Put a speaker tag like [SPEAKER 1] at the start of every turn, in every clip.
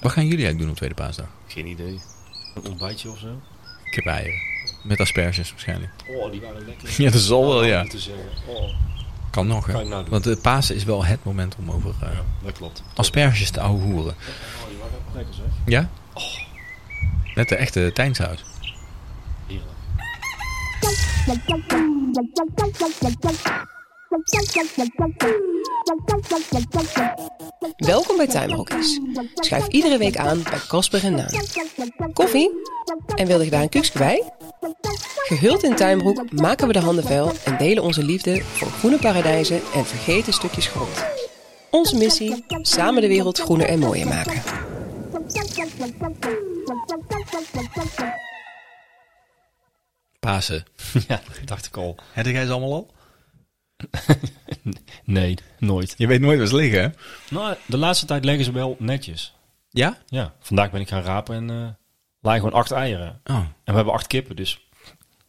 [SPEAKER 1] Wat gaan jullie eigenlijk doen op tweede paasdag?
[SPEAKER 2] Geen idee. Een ontbijtje of zo?
[SPEAKER 1] Kip eieren. Met asperges waarschijnlijk.
[SPEAKER 2] Oh, die waren lekker.
[SPEAKER 1] Ja, dat zal wel,
[SPEAKER 2] Oh,
[SPEAKER 1] ja.
[SPEAKER 2] om te zeggen. Oh,
[SPEAKER 1] Kan nog,
[SPEAKER 2] Kan
[SPEAKER 1] hè?
[SPEAKER 2] je nou doen.
[SPEAKER 1] Want de Pasen is wel het moment om over eh,
[SPEAKER 2] dat klopt.
[SPEAKER 1] asperges te ouwe hoeren.
[SPEAKER 2] Oh, die waren ook lekker zeg.
[SPEAKER 1] Ja? Oh. Net de echte Tijnshuis.
[SPEAKER 2] Heerlijk.
[SPEAKER 3] Welkom bij Tuinbroekjes. Schuif iedere week aan bij Kasper en Naam.
[SPEAKER 4] Koffie? En wil je daar een kuksje bij? Gehuld in tuinbroek maken we de handen vuil en delen onze liefde voor groene paradijzen en vergeten stukjes grond. Onze missie: samen de wereld groener en mooier maken.
[SPEAKER 1] Pasen.
[SPEAKER 5] Ja, dat dacht ik al.
[SPEAKER 1] Heb jij ze allemaal al?
[SPEAKER 5] Nee, nooit.
[SPEAKER 1] Je weet nooit waar ze liggen, hè?
[SPEAKER 5] Nou, de laatste tijd leggen ze wel netjes.
[SPEAKER 1] Ja?
[SPEAKER 5] Ja, vandaag ben ik gaan rapen en eh lagen gewoon acht eieren.
[SPEAKER 1] Oh.
[SPEAKER 5] En we hebben acht kippen, dus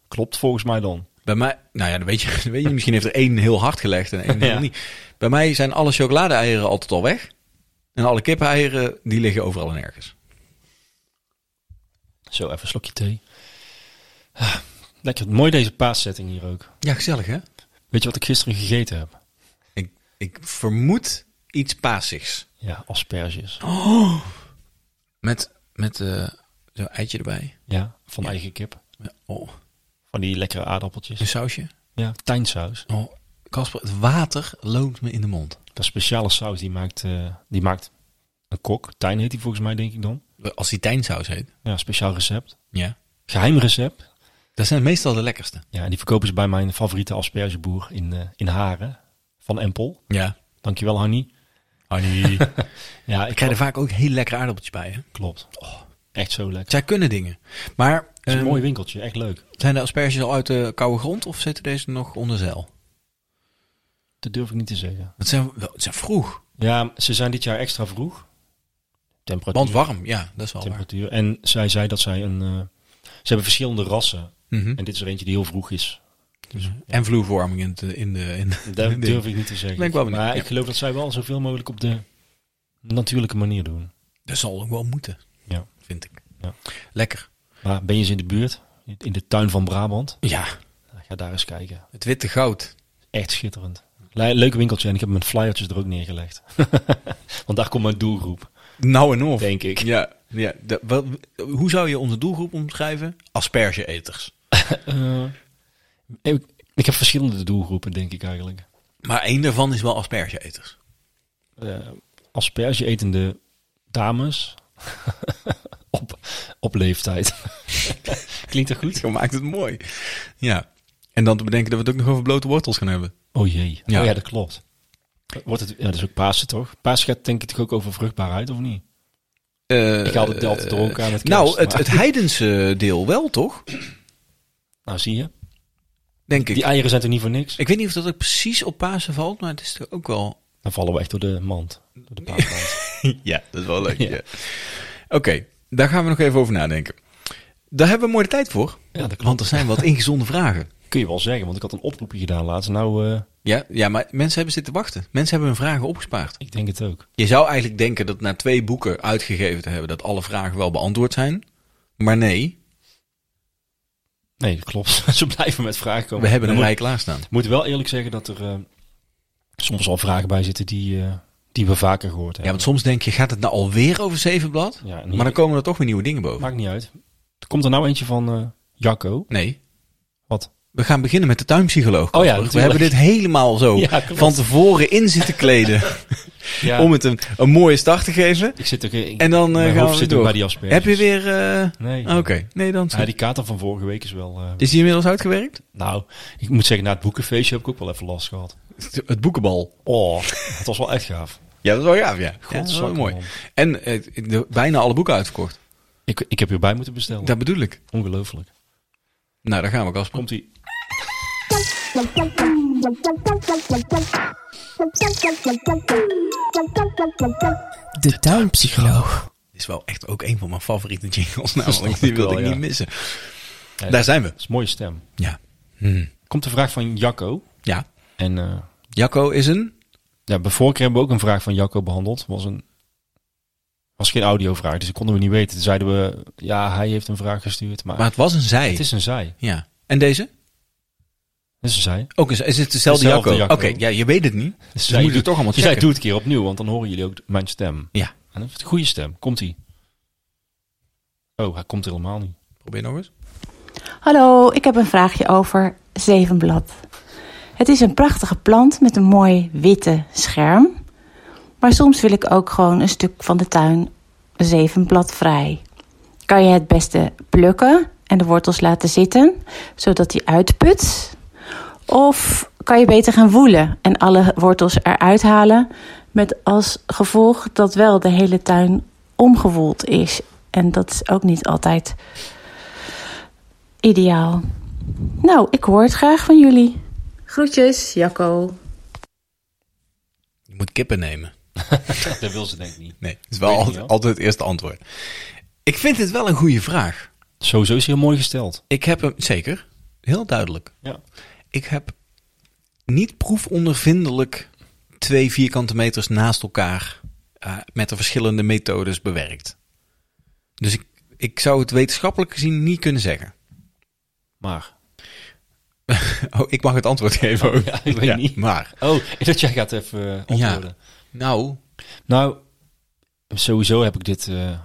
[SPEAKER 5] klopt volgens mij dan.
[SPEAKER 1] Bij mij, nou ja, dan weet je, dan weet je misschien heeft er één heel hard gelegd en één
[SPEAKER 5] Ja.
[SPEAKER 1] heel niet. Bij mij zijn alle chocolade-eieren altijd al weg. En alle kippeneieren, die liggen overal en ergens.
[SPEAKER 5] Zo, even een slokje thee. Ah, Lekker, mooi deze paaszetting hier ook.
[SPEAKER 1] Ja, gezellig, hè?
[SPEAKER 5] Weet je wat ik gisteren gegeten heb?
[SPEAKER 1] Ik, ik vermoed iets paasigs.
[SPEAKER 5] Ja, asperges.
[SPEAKER 2] Oh.
[SPEAKER 1] Met, met eh, zo'n eitje erbij.
[SPEAKER 5] Ja, van eigen kip.
[SPEAKER 1] Oh,
[SPEAKER 5] Van die lekkere aardappeltjes.
[SPEAKER 1] een sausje.
[SPEAKER 5] Ja, tijnsaus.
[SPEAKER 1] Oh, Kasper, het water loont me in de mond.
[SPEAKER 5] Dat speciale saus die maakt, eh, die maakt een kok. Tijn heet die volgens mij, denk ik dan.
[SPEAKER 1] Als die tijnsaus heet.
[SPEAKER 5] Ja, speciaal recept.
[SPEAKER 1] Ja.
[SPEAKER 5] Geheim recept.
[SPEAKER 1] Dat zijn meestal de lekkerste.
[SPEAKER 5] Ja, en die verkopen ze bij mijn favoriete aspergeboer in, eh, in Haren. Van Empel.
[SPEAKER 1] Ja.
[SPEAKER 5] Dankjewel, Hanny.
[SPEAKER 1] Annie. Ik
[SPEAKER 5] Ja,
[SPEAKER 1] krijg er vaak ook heel lekkere aardappeltjes bij. Hè?
[SPEAKER 5] Klopt. Oh, echt zo lekker.
[SPEAKER 1] Zij kunnen dingen. Maar
[SPEAKER 5] Het is een
[SPEAKER 1] ehm,
[SPEAKER 5] mooi winkeltje, echt leuk.
[SPEAKER 1] zijn de asperges al uit de koude grond of zitten deze nog onder zeil?
[SPEAKER 5] Dat durf ik niet te zeggen.
[SPEAKER 1] Het zijn, wel- het zijn vroeg.
[SPEAKER 5] Ja, ze zijn dit jaar extra vroeg. Temperatuur.
[SPEAKER 1] Want warm, ja, dat is wel waar.
[SPEAKER 5] temperatuur. En zij zei dat zij een... eh, ze hebben verschillende rassen.
[SPEAKER 1] Mhm.
[SPEAKER 5] En dit is er eentje die heel vroeg is.
[SPEAKER 1] En vloerverwarming in de... In de, in de
[SPEAKER 5] Dat
[SPEAKER 1] in de-
[SPEAKER 5] durf ik niet te zeggen.
[SPEAKER 1] Ben ik wel benieuwd,
[SPEAKER 5] maar
[SPEAKER 1] ja.
[SPEAKER 5] ik geloof dat zij wel zoveel mogelijk op de natuurlijke manier doen.
[SPEAKER 1] Dat zal ook wel moeten,
[SPEAKER 5] Ja.
[SPEAKER 1] vind ik.
[SPEAKER 5] Ja.
[SPEAKER 1] Lekker.
[SPEAKER 5] Maar ben je eens in de buurt? In de tuin van Brabant?
[SPEAKER 1] Ja,
[SPEAKER 5] Nou, Ga daar eens kijken.
[SPEAKER 1] het witte goud.
[SPEAKER 5] Echt schitterend. Le- leuk winkeltje. En ik heb mijn flyertjes er ook neergelegd. Want daar komt mijn doelgroep,
[SPEAKER 1] Nou en of.
[SPEAKER 5] denk ik.
[SPEAKER 1] Ja, ja. De- wat- hoe zou je onze doelgroep omschrijven? Aspergeeters.
[SPEAKER 5] Eh, ik, ik heb verschillende doelgroepen, denk ik eigenlijk.
[SPEAKER 1] Maar één daarvan is wel aspergeeters.
[SPEAKER 5] Eh asperge etende dames op, op leeftijd. Klinkt dat goed?
[SPEAKER 1] Zo maakt het mooi. Ja. En dan te bedenken dat we het ook nog over blote wortels gaan hebben.
[SPEAKER 5] Oh jee.
[SPEAKER 1] Ja.
[SPEAKER 5] Oh ja, dat klopt. Wordt het, ja, dat is ook Pasen toch? Pasen gaat denk ik toch ook over vruchtbaarheid, of niet?
[SPEAKER 1] Eh,
[SPEAKER 5] Ik haal het altijd door elkaar met kerst,
[SPEAKER 1] Nou, het,
[SPEAKER 5] maar-
[SPEAKER 1] het heidense deel wel, toch?
[SPEAKER 5] Nou, zie je.
[SPEAKER 1] Denk ik.
[SPEAKER 5] Die eieren zijn er niet voor niks.
[SPEAKER 1] Ik weet niet of dat ook precies op Pasen valt, maar het is toch ook wel...
[SPEAKER 5] Dan vallen we echt door de mand. Door de paasmand.
[SPEAKER 1] Ja, dat is wel leuk.
[SPEAKER 5] Ja.
[SPEAKER 1] ja. Oké, daar gaan we nog even over nadenken. Daar hebben we een mooie tijd voor.
[SPEAKER 5] Ja, dat klopt.
[SPEAKER 1] want er zijn wat ingezonde vragen.
[SPEAKER 5] Kun je wel zeggen, want ik had een oproepje gedaan laatst. Nou, eh,
[SPEAKER 1] Ja, ja, maar mensen hebben zitten wachten. Mensen hebben hun vragen opgespaard.
[SPEAKER 5] ik denk het ook.
[SPEAKER 1] Je zou eigenlijk denken dat na twee boeken uitgegeven te hebben... dat alle vragen wel beantwoord zijn. Maar nee,
[SPEAKER 5] Nee, dat klopt. Ze blijven met vragen komen.
[SPEAKER 1] we hebben een
[SPEAKER 5] Dan moet-
[SPEAKER 1] rij klaarstaan.
[SPEAKER 5] Ik moet wel eerlijk zeggen dat er eh, soms al vragen bij zitten die, eh, die we vaker gehoord
[SPEAKER 1] Ja,
[SPEAKER 5] hebben.
[SPEAKER 1] want soms denk je, gaat het nou alweer over zeven blad?
[SPEAKER 5] Ja, en hier-
[SPEAKER 1] maar dan komen er toch weer nieuwe dingen boven.
[SPEAKER 5] Maakt niet uit. Er komt er nou eentje van eh, Jacco.
[SPEAKER 1] Nee,
[SPEAKER 5] Wat?
[SPEAKER 1] we gaan beginnen met de tuinpsycholoog.
[SPEAKER 5] Oh ja,
[SPEAKER 1] we
[SPEAKER 5] natuurlijk.
[SPEAKER 1] hebben dit helemaal zo
[SPEAKER 5] Ja, klopt.
[SPEAKER 1] van tevoren in zitten kleden.
[SPEAKER 5] Ja,
[SPEAKER 1] Om het een, een mooie start te geven.
[SPEAKER 5] ik zit ook, ik,
[SPEAKER 1] En dan eh,
[SPEAKER 5] mijn
[SPEAKER 1] gaan
[SPEAKER 5] hoofd
[SPEAKER 1] we weer
[SPEAKER 5] zit ook
[SPEAKER 1] door.
[SPEAKER 5] bij die asperges.
[SPEAKER 1] Heb je weer... eh,
[SPEAKER 5] Nee.
[SPEAKER 1] Oké, nee dan.
[SPEAKER 5] Ja, die kater van vorige week is wel... eh,
[SPEAKER 1] Is die inmiddels uitgewerkt?
[SPEAKER 5] nou, ik moet zeggen, na het boekenfeestje heb ik ook wel even last gehad.
[SPEAKER 1] Het boekenbal.
[SPEAKER 5] Oh, het was wel echt gaaf.
[SPEAKER 1] Ja, dat is wel gaaf, ja. ja dat is wel
[SPEAKER 5] Godzakken,
[SPEAKER 1] mooi.
[SPEAKER 5] man.
[SPEAKER 1] En eh, de- bijna alle boeken uitverkocht.
[SPEAKER 5] Ik, ik heb hierbij moeten bestellen.
[SPEAKER 1] Dat bedoel ik.
[SPEAKER 5] Ongelooflijk.
[SPEAKER 1] Nou, daar gaan we, Kasper.
[SPEAKER 5] Komt ie.
[SPEAKER 4] De tuinpsycholoog.
[SPEAKER 1] Dit is wel echt ook een van mijn favoriete jingles.
[SPEAKER 5] snap
[SPEAKER 1] Nou, die
[SPEAKER 5] ik
[SPEAKER 1] wil
[SPEAKER 5] wel,
[SPEAKER 1] ik
[SPEAKER 5] ja.
[SPEAKER 1] niet missen. Daar zijn we.
[SPEAKER 5] Dat is een mooie stem.
[SPEAKER 1] Ja. Hm.
[SPEAKER 5] Komt de vraag van Jacco.
[SPEAKER 1] Ja.
[SPEAKER 5] En eh
[SPEAKER 1] Jacco is een...
[SPEAKER 5] ja, bij vorige keer hebben we ook een vraag van Jacco behandeld. was een was geen audiovraag, dus dat konden we niet weten. Toen zeiden we, ja, hij heeft een vraag gestuurd, maar,
[SPEAKER 1] Maar het was een zij.
[SPEAKER 5] het is een zij.
[SPEAKER 1] Ja. En deze?
[SPEAKER 5] Het is een zij.
[SPEAKER 1] Ook een zij. Is het dezelfde
[SPEAKER 5] Dezelfde
[SPEAKER 1] jacco?
[SPEAKER 5] jacco.
[SPEAKER 1] Oké, ja, je weet het niet. Dus we moeten het toch allemaal
[SPEAKER 5] Je zei,
[SPEAKER 1] checken.
[SPEAKER 5] doe het een keer opnieuw, want dan horen jullie ook mijn stem.
[SPEAKER 1] Ja.
[SPEAKER 5] En dat is een goede stem. Komt-ie. Oh, hij komt er helemaal niet.
[SPEAKER 1] Probeer nog eens.
[SPEAKER 6] Hallo, ik heb een vraagje over zevenblad. Het is een prachtige plant met een mooi witte scherm. Maar soms wil ik ook gewoon een stuk van de tuin zevenblad vrij. Kan je het beste plukken en de wortels laten zitten, zodat die uitput? Of kan je beter gaan woelen en alle wortels eruit halen, met als gevolg dat wel de hele tuin omgewoeld is? En dat is ook niet altijd ideaal. Nou, ik hoor het graag van jullie. Groetjes, Jacco.
[SPEAKER 1] Je moet kippen nemen.
[SPEAKER 5] dat wil ze denk ik niet.
[SPEAKER 1] Nee, dat is wel
[SPEAKER 5] Weet ik
[SPEAKER 1] altijd,
[SPEAKER 5] niet, hoor.
[SPEAKER 1] altijd het eerste antwoord. Ik vind dit wel een goede vraag.
[SPEAKER 5] Sowieso is hij heel mooi gesteld.
[SPEAKER 1] Ik heb hem, zeker, heel duidelijk.
[SPEAKER 5] Ja.
[SPEAKER 1] Ik heb niet proefondervindelijk twee vierkante meters naast elkaar eh, met de verschillende methodes bewerkt. Dus ik, ik zou het wetenschappelijk gezien niet kunnen zeggen.
[SPEAKER 5] Maar.
[SPEAKER 1] Oh, ik mag het antwoord geven. ook.
[SPEAKER 5] ja, ik weet niet.
[SPEAKER 1] Maar,
[SPEAKER 5] Oh, dat jij gaat even eh, antwoorden.
[SPEAKER 1] nou,
[SPEAKER 5] Nou, sowieso heb ik dit. eh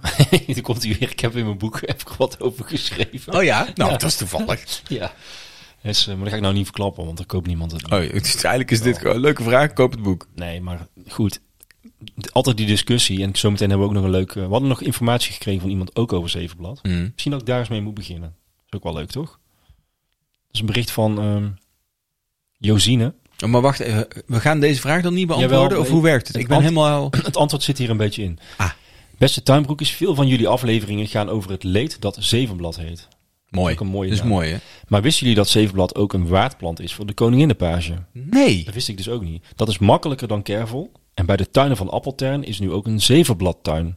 [SPEAKER 5] er komt hij weer. Ik heb in mijn boek heb ik wat over geschreven.
[SPEAKER 1] oh ja, nou, dat is toevallig.
[SPEAKER 5] Ja. Dus, eh, maar dat ga ik nou niet verklappen, want dan koopt niemand het.
[SPEAKER 1] Oh, het is- eigenlijk is dit
[SPEAKER 5] Nou.
[SPEAKER 1] gewoon een leuke vraag. Koop het boek.
[SPEAKER 5] Nee, maar goed. Altijd die discussie. En zometeen hebben we ook nog een leuke. We hadden nog informatie gekregen van iemand ook over Zevenblad. Misschien dat ik daar eens mee moet beginnen. is ook wel leuk, toch? Dat is een bericht van ehm, Josine.
[SPEAKER 1] Oh, Maar wacht even, we gaan deze vraag dan niet beantwoorden?
[SPEAKER 5] Jawel,
[SPEAKER 1] of
[SPEAKER 5] nee.
[SPEAKER 1] hoe werkt het?
[SPEAKER 5] Het
[SPEAKER 1] Ik ben
[SPEAKER 5] ant-
[SPEAKER 1] helemaal... al-
[SPEAKER 5] Het antwoord zit hier een beetje in.
[SPEAKER 1] Ah.
[SPEAKER 5] Beste tuinbroekers, veel van jullie afleveringen gaan over het leed dat Zevenblad heet.
[SPEAKER 1] Mooi.
[SPEAKER 5] Ook een mooie
[SPEAKER 1] Dat is
[SPEAKER 5] naam.
[SPEAKER 1] mooi, hè?
[SPEAKER 5] Maar wisten jullie dat zevenblad ook een waardplant is voor de koninginnenpage?
[SPEAKER 1] Nee.
[SPEAKER 5] Dat wist ik dus ook niet. Dat is makkelijker dan kervel. En bij de tuinen van Appeltern is nu ook een zevenbladtuin.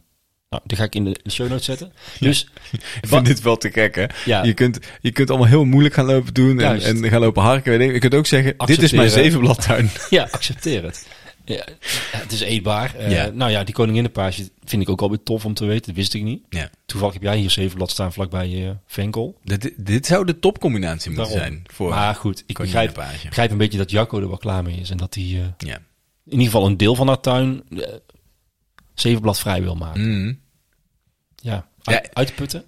[SPEAKER 5] Nou, die ga ik in de show notes zetten. Dus
[SPEAKER 1] Ik vind dit wel te gek, hè?
[SPEAKER 5] Ja.
[SPEAKER 1] Je, kunt, je kunt allemaal heel moeilijk gaan lopen doen en,
[SPEAKER 5] Juist.
[SPEAKER 1] en gaan lopen harken. Weet ik. Je kunt ook zeggen, dit is mijn
[SPEAKER 5] Accepteren.
[SPEAKER 1] zevenbladtuin.
[SPEAKER 5] ja, accepteer het. Ja, het is eetbaar. Eh,
[SPEAKER 1] Ja.
[SPEAKER 5] Nou ja, die koninginnenpage vind ik ook alweer tof om te weten. Dat wist ik niet.
[SPEAKER 1] ja.
[SPEAKER 5] Toevallig heb jij hier zevenblad staan vlakbij je venkel.
[SPEAKER 1] Dit, dit zou de topcombinatie moeten
[SPEAKER 5] Daarom.
[SPEAKER 1] zijn. Voor
[SPEAKER 5] maar goed, ik begrijp,
[SPEAKER 1] koninginnenpage.
[SPEAKER 5] begrijp een beetje dat Jacco er wel klaar mee is. En dat hij eh,
[SPEAKER 1] Ja.
[SPEAKER 5] in ieder geval een deel van haar tuin eh, zevenblad vrij wil maken.
[SPEAKER 1] Mm.
[SPEAKER 5] Ja,
[SPEAKER 1] Ja.
[SPEAKER 5] uit- uitputten.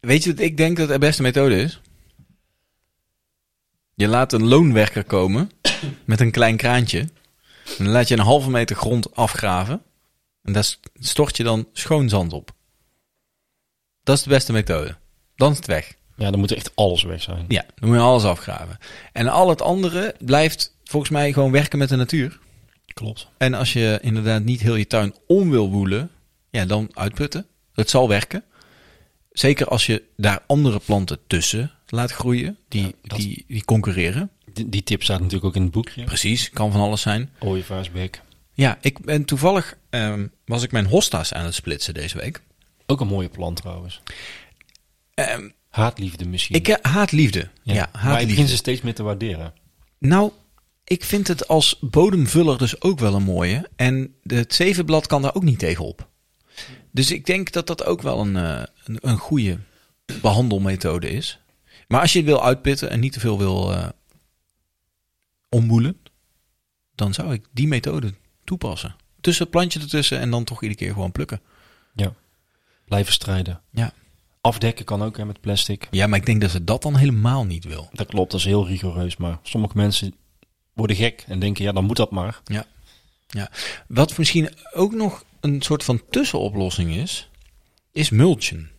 [SPEAKER 1] Weet je wat ik denk dat de beste methode is? Je laat een loonwerker komen met een klein kraantje. En dan laat je een halve meter grond afgraven. En daar st- stort je dan schoon zand op. Dat is de beste methode. Dan is het weg.
[SPEAKER 5] Ja, dan moet er echt alles weg zijn.
[SPEAKER 1] Ja, dan moet je alles afgraven. En al het andere blijft volgens mij gewoon werken met de natuur.
[SPEAKER 5] Klopt.
[SPEAKER 1] En als je inderdaad niet heel je tuin om wil woelen, ja, dan uitputten. Het zal werken. Zeker als je daar andere planten tussen laat groeien, die,
[SPEAKER 5] Ja, dat-
[SPEAKER 1] die, die concurreren.
[SPEAKER 5] Die, die tip staat natuurlijk ook in het boekje.
[SPEAKER 1] Precies, kan van alles zijn.
[SPEAKER 5] Ooievaarsbeek.
[SPEAKER 1] Ja, ik ben toevallig ehm, was ik mijn hosta's aan het splitsen deze week.
[SPEAKER 5] Ook een mooie plant trouwens.
[SPEAKER 1] Ehm,
[SPEAKER 5] Haatliefde misschien.
[SPEAKER 1] ik eh, haat liefde. Ja,
[SPEAKER 5] maar
[SPEAKER 1] haat
[SPEAKER 5] ik begin
[SPEAKER 1] liefde.
[SPEAKER 5] ze steeds meer te waarderen.
[SPEAKER 1] Nou, ik vind het als bodemvuller dus ook wel een mooie. En het zevenblad kan daar ook niet tegen op. Dus ik denk dat dat ook wel een, eh, een, een goede behandelmethode is. Maar als je het wil uitpitten en niet te veel wil eh omwoelen, dan zou ik die methode toepassen. Tussen het plantje ertussen en dan toch iedere keer gewoon plukken.
[SPEAKER 5] Ja. Blijven strijden.
[SPEAKER 1] Ja.
[SPEAKER 5] Afdekken kan ook hè, met plastic.
[SPEAKER 1] Ja, maar ik denk dat ze dat dan helemaal niet wil.
[SPEAKER 5] Dat klopt, dat is heel rigoureus. Maar sommige mensen worden gek en denken, ja, dan moet dat maar.
[SPEAKER 1] Ja. ja. Wat misschien ook nog een soort van tussenoplossing is, is mulchen.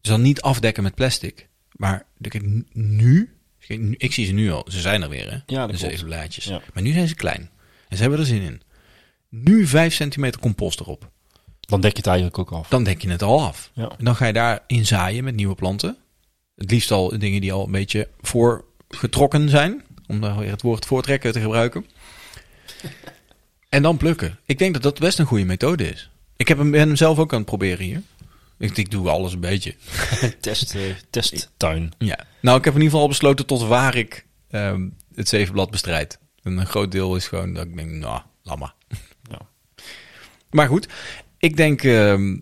[SPEAKER 1] Dus dan niet afdekken met plastic, maar ik heb n- nu, ik- nu- ik zie ze nu al, ze zijn er weer hè,
[SPEAKER 5] Ja, dat
[SPEAKER 1] de
[SPEAKER 5] klopt.
[SPEAKER 1] zeven blaadjes.
[SPEAKER 5] Ja.
[SPEAKER 1] Maar nu zijn ze klein en ze hebben er zin in. Nu 5 centimeter compost erop,
[SPEAKER 5] Dan dek je het eigenlijk ook af.
[SPEAKER 1] dan dek je het al af.
[SPEAKER 5] Ja.
[SPEAKER 1] En dan ga je daarin zaaien met nieuwe planten. Het liefst al dingen die al een beetje voorgetrokken zijn. Om daar weer het woord voortrekken te gebruiken. En dan plukken. Ik denk dat dat best een goede methode is. Ik heb hem, ben hem zelf ook aan het proberen hier. Ik, ik doe alles een beetje.
[SPEAKER 5] Test, eh, testtuin.
[SPEAKER 1] Ja. Nou, ik heb in ieder geval al besloten tot waar ik ehm, het zevenblad bestrijd. En een groot deel is gewoon dat ik denk, nou, laat maar.
[SPEAKER 5] Ja.
[SPEAKER 1] Maar goed, Ik denk ehm,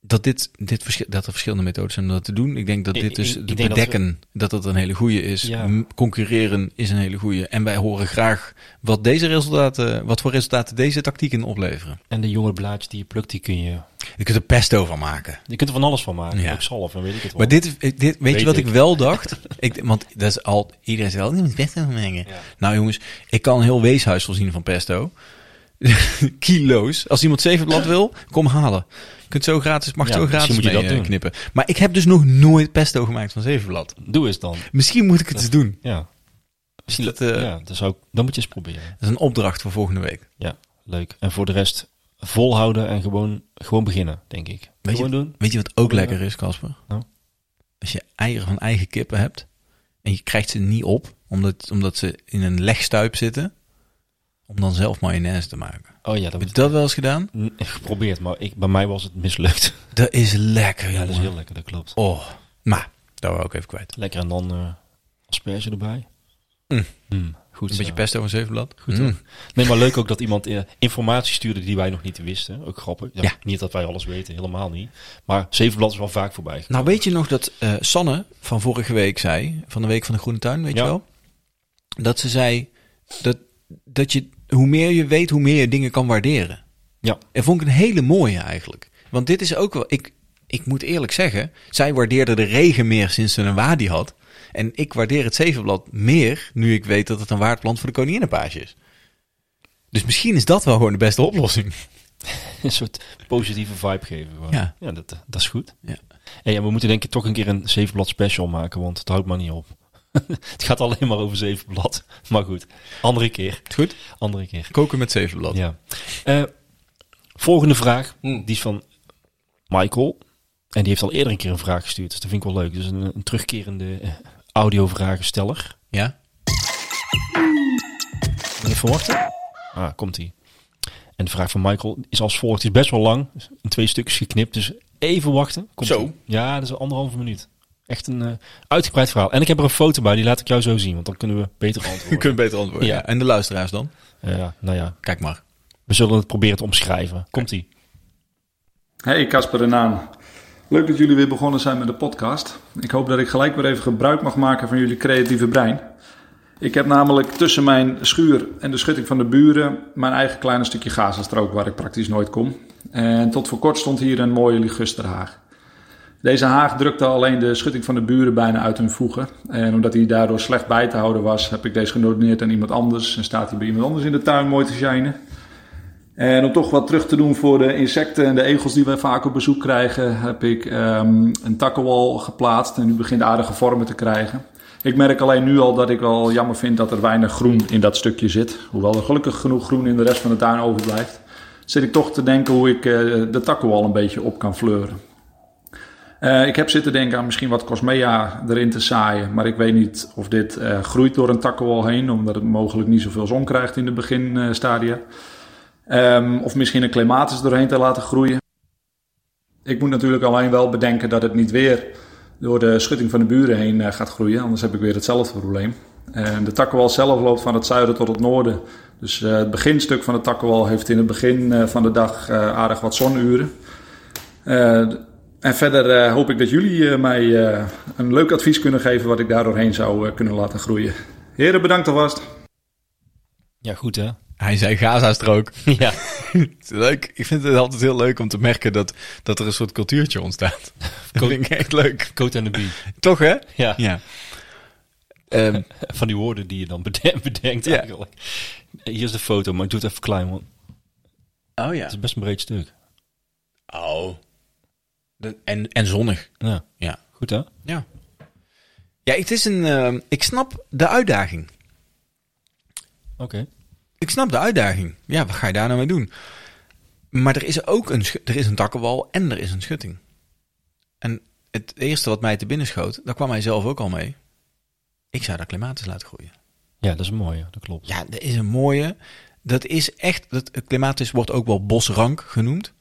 [SPEAKER 1] dat, dit, dit verschil, dat er verschillende methodes zijn om dat te doen. Ik denk dat
[SPEAKER 5] Ik-
[SPEAKER 1] dit dus
[SPEAKER 5] ik- ik
[SPEAKER 1] het
[SPEAKER 5] denk dat we-
[SPEAKER 1] bedekken, dat, dat een hele goede is.
[SPEAKER 5] Ja.
[SPEAKER 1] M- Concurreren is een hele goede. En wij horen graag wat, deze resultaten, wat voor resultaten deze tactieken opleveren.
[SPEAKER 5] En de jonge blaadjes die je plukt, die kun je...
[SPEAKER 1] Je kunt er pesto van maken.
[SPEAKER 5] Je kunt er van alles van maken.
[SPEAKER 1] Ja.
[SPEAKER 5] Ook zalf en weet ik het wel.
[SPEAKER 1] Maar dit, eh, dit weet,
[SPEAKER 5] Weet
[SPEAKER 1] je wat ik,
[SPEAKER 5] ik.
[SPEAKER 1] wel dacht? ik, want dat is al, iedereen zegt al, je moet pesto van mengen.
[SPEAKER 5] Ja.
[SPEAKER 1] Nou jongens, ik kan een heel weeshuis voorzien van pesto. Kilo's. Als iemand zevenblad wil, kom halen. Je kunt zo gratis, mag
[SPEAKER 5] Ja,
[SPEAKER 1] zo
[SPEAKER 5] misschien
[SPEAKER 1] gratis
[SPEAKER 5] moet je
[SPEAKER 1] mee,
[SPEAKER 5] dat
[SPEAKER 1] eh,
[SPEAKER 5] doen.
[SPEAKER 1] knippen. Maar ik heb dus nog nooit pesto gemaakt van zevenblad.
[SPEAKER 5] Doe eens dan.
[SPEAKER 1] Misschien moet ik het eens doen.
[SPEAKER 5] Ja. Misschien
[SPEAKER 1] dat, eh,
[SPEAKER 5] ja, dat zou ik, dan moet je eens proberen.
[SPEAKER 1] Dat is een opdracht voor volgende week.
[SPEAKER 5] Ja, leuk. En voor de rest volhouden en gewoon, gewoon beginnen, denk ik.
[SPEAKER 1] Weet
[SPEAKER 5] gewoon
[SPEAKER 1] je,
[SPEAKER 5] doen.
[SPEAKER 1] weet je wat ook
[SPEAKER 5] Ja.
[SPEAKER 1] lekker is, Casper?
[SPEAKER 5] Nou?
[SPEAKER 1] Als je eieren van eigen kippen hebt en je krijgt ze niet op, omdat, omdat ze in een legstuip zitten, om dan zelf mayonaise te maken.
[SPEAKER 5] Oh ja, dat
[SPEAKER 1] Heb je
[SPEAKER 5] wordt
[SPEAKER 1] dat wel eens gedaan?
[SPEAKER 5] geprobeerd, maar ik, bij mij was het mislukt.
[SPEAKER 1] Dat is lekker,
[SPEAKER 5] Ja, dat is
[SPEAKER 1] jongen.
[SPEAKER 5] heel lekker, dat klopt.
[SPEAKER 1] Oh, maar, daar wou ik even kwijt.
[SPEAKER 5] Lekker en dan eh, asperge erbij.
[SPEAKER 1] Mm.
[SPEAKER 5] Mm, goed
[SPEAKER 1] Een beetje
[SPEAKER 5] zo.
[SPEAKER 1] pesto van zevenblad.
[SPEAKER 5] Goed, hoor. Nee, maar leuk ook dat iemand eh, informatie stuurde die wij nog niet wisten. Ook grappig. Ja,
[SPEAKER 1] Ja.
[SPEAKER 5] Niet dat wij alles weten, helemaal niet. Maar Zevenblad is wel vaak voorbij.
[SPEAKER 1] Nou, weet je nog dat eh, Sanne van vorige week zei, van de Week van de Groene Tuin, weet
[SPEAKER 5] Ja.
[SPEAKER 1] je wel? Dat ze zei dat, dat je, hoe meer je weet, hoe meer je dingen kan waarderen.
[SPEAKER 5] Ja.
[SPEAKER 1] En vond ik een hele mooie eigenlijk. Want dit is ook wel, ik, ik moet eerlijk zeggen, zij waardeerde de regen meer sinds ze een wadi had. En ik waardeer het zevenblad meer nu ik weet dat het een waardplant voor de koninginnenpaasje is. Dus misschien is dat wel gewoon de beste oplossing.
[SPEAKER 5] een soort positieve vibe geven. gewoon.
[SPEAKER 1] Ja.
[SPEAKER 5] ja dat, eh, dat is goed.
[SPEAKER 1] Ja.
[SPEAKER 5] En ja, we moeten denk ik toch een keer een zevenblad special maken, want het houdt maar niet op. het gaat alleen maar over zevenblad. Maar goed, andere keer.
[SPEAKER 1] Goed?
[SPEAKER 5] Andere keer.
[SPEAKER 1] Koken met zevenblad.
[SPEAKER 5] Ja. Eh, volgende vraag, die is van Michael. En die heeft al eerder een keer een vraag gestuurd, dus dat vind ik wel leuk. Dus een, een terugkerende eh, audiovragensteller.
[SPEAKER 1] Ja?
[SPEAKER 5] Even wachten. Ah, komt ie. En de vraag van Michael is als volgt. Die is best wel lang. is In twee stukjes geknipt. Dus even wachten. Komt
[SPEAKER 1] Zo.
[SPEAKER 5] ie. Ja, dat is een anderhalve minuut. Echt een eh, uitgebreid verhaal. En ik heb er een foto bij. Die laat ik jou zo zien. Want dan kunnen we beter
[SPEAKER 1] U
[SPEAKER 5] antwoorden.
[SPEAKER 1] kunt beter antwoorden.
[SPEAKER 5] Ja.
[SPEAKER 1] ja. En de luisteraars dan?
[SPEAKER 5] Eh, ja, nou ja.
[SPEAKER 1] Kijk maar.
[SPEAKER 5] We zullen het proberen te omschrijven. Komt ie.
[SPEAKER 7] Hey Casper en Aan. Leuk dat jullie weer begonnen zijn met de podcast. Ik hoop dat ik gelijk weer even gebruik mag maken van jullie creatieve brein. Ik heb namelijk tussen mijn schuur en de schutting van de buren mijn eigen kleine stukje Gazastrook waar ik praktisch nooit kom. En tot voor kort stond hier een mooie ligusterhaag. Deze haag drukte alleen de schutting van de buren bijna uit hun voegen. En omdat hij daardoor slecht bij te houden was, heb ik deze gedoneerd aan iemand anders. En staat hij bij iemand anders in de tuin mooi te shinen. En om toch wat terug te doen voor de insecten en de egels die wij vaak op bezoek krijgen, heb ik ehm, een takkenwal geplaatst en nu begint aardige vormen te krijgen. Ik merk alleen nu al dat ik wel jammer vind dat er weinig groen in dat stukje zit. Hoewel er gelukkig genoeg groen in de rest van de tuin overblijft, zit ik toch te denken hoe ik eh, de takkenwal een beetje op kan fleuren. Eh, ik heb zitten denken aan misschien wat Cosmea erin te zaaien, maar ik weet niet of dit eh, groeit door een takkenwal heen, omdat het mogelijk niet zoveel zon krijgt in de beginstadia. Ehm, of misschien een clematis doorheen te laten groeien. Ik moet natuurlijk alleen wel bedenken dat het niet weer door de schutting van de buren heen eh, gaat groeien. Anders heb ik weer hetzelfde probleem. En de takkenwal zelf loopt van het zuiden tot het noorden. Dus eh, het beginstuk van de takkenwal heeft in het begin eh, van de dag eh, aardig wat zonuren. Eh, d- en verder eh, hoop ik dat jullie eh, mij eh, een leuk advies kunnen geven wat ik daar doorheen zou eh, kunnen laten groeien. Heren, bedankt alvast.
[SPEAKER 5] Ja, goed hè?
[SPEAKER 1] Hij zei Gaza-strook.
[SPEAKER 5] ja.
[SPEAKER 1] Leuk. Ik vind het altijd heel leuk om te merken dat, dat er een soort cultuurtje ontstaat. Dat vind ik echt leuk.
[SPEAKER 5] Coat en de Bee.
[SPEAKER 1] Toch, hè?
[SPEAKER 5] Ja.
[SPEAKER 1] Ja. Ehm,
[SPEAKER 5] Van die woorden die je dan bede- bedenkt
[SPEAKER 1] Ja.
[SPEAKER 5] eigenlijk. Hier is de foto, maar ik doe het even klein, want
[SPEAKER 1] oh ja.
[SPEAKER 5] het is best een breed stuk.
[SPEAKER 1] Oh. De- En, en zonnig.
[SPEAKER 5] Ja.
[SPEAKER 1] Ja.
[SPEAKER 5] Goed hè?
[SPEAKER 1] Ja. Ja, het is een... ehm, ik snap de uitdaging.
[SPEAKER 5] Oké.
[SPEAKER 1] Ik snap de uitdaging. Ja, wat ga je daar nou mee doen? Maar er is ook een, schu- er is een takkenwal en er is een schutting. En het eerste wat mij te binnen schoot, daar kwam hij zelf ook al mee. Ik zou daar klimatis laten groeien.
[SPEAKER 5] Ja, dat is mooi. ja, Dat klopt.
[SPEAKER 1] Ja, dat is een mooie. Dat is echt, dat, het klimatis wordt ook wel bosrank genoemd.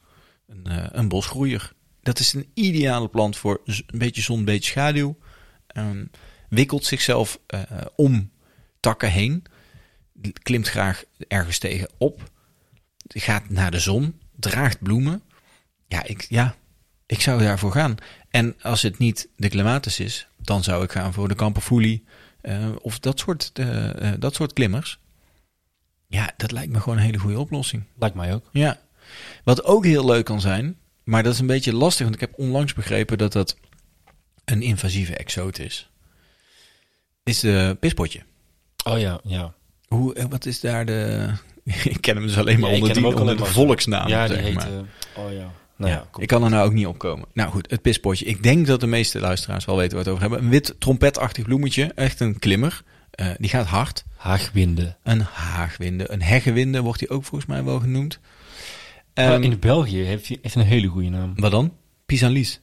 [SPEAKER 1] Een, eh, een bosgroeier. Dat is een ideale plant voor z- een beetje zon, een beetje schaduw. Ehm, wikkelt zichzelf eh, om takken heen. Klimt graag ergens tegen op. Gaat naar de zon. draagt bloemen. Ja ik, ja, ik zou daarvoor gaan. En als het niet de clematis is, dan zou ik gaan voor de kamperfoelie eh, of dat soort, eh, eh, dat soort klimmers. Ja, dat lijkt me gewoon een hele goede oplossing.
[SPEAKER 5] Lijkt mij ook.
[SPEAKER 1] Ja. Wat ook heel leuk kan zijn, maar dat is een beetje lastig, want ik heb onlangs begrepen dat dat een invasieve exoot is. Is de pispotje.
[SPEAKER 5] Oh ja, ja.
[SPEAKER 1] Hoe, eh, wat is daar de. ik ken hem dus alleen maar
[SPEAKER 5] Ja, ik
[SPEAKER 1] onder
[SPEAKER 5] ken
[SPEAKER 1] die
[SPEAKER 5] hem ook
[SPEAKER 1] onder
[SPEAKER 5] alleen
[SPEAKER 1] de
[SPEAKER 5] maar zo.
[SPEAKER 1] volksnaam.
[SPEAKER 5] ja, die
[SPEAKER 1] zeg
[SPEAKER 5] heet...
[SPEAKER 1] maar.
[SPEAKER 5] eh, oh ja. Nou ja,
[SPEAKER 1] ja,
[SPEAKER 5] kom.
[SPEAKER 1] ik kan er nou ook niet op komen. Nou goed, het pispotje. Ik denk dat de meeste luisteraars wel weten waar we het over hebben. Een wit trompetachtig bloemetje, echt een klimmer. Eh, die gaat hard.
[SPEAKER 5] Haagwinden.
[SPEAKER 1] Een haagwinde, een heggewinde wordt die ook volgens mij wel genoemd.
[SPEAKER 5] Maar
[SPEAKER 1] Ehm,
[SPEAKER 5] Oh, in België heeft hij echt een hele goede naam.
[SPEAKER 1] Wat dan? Pisanlies.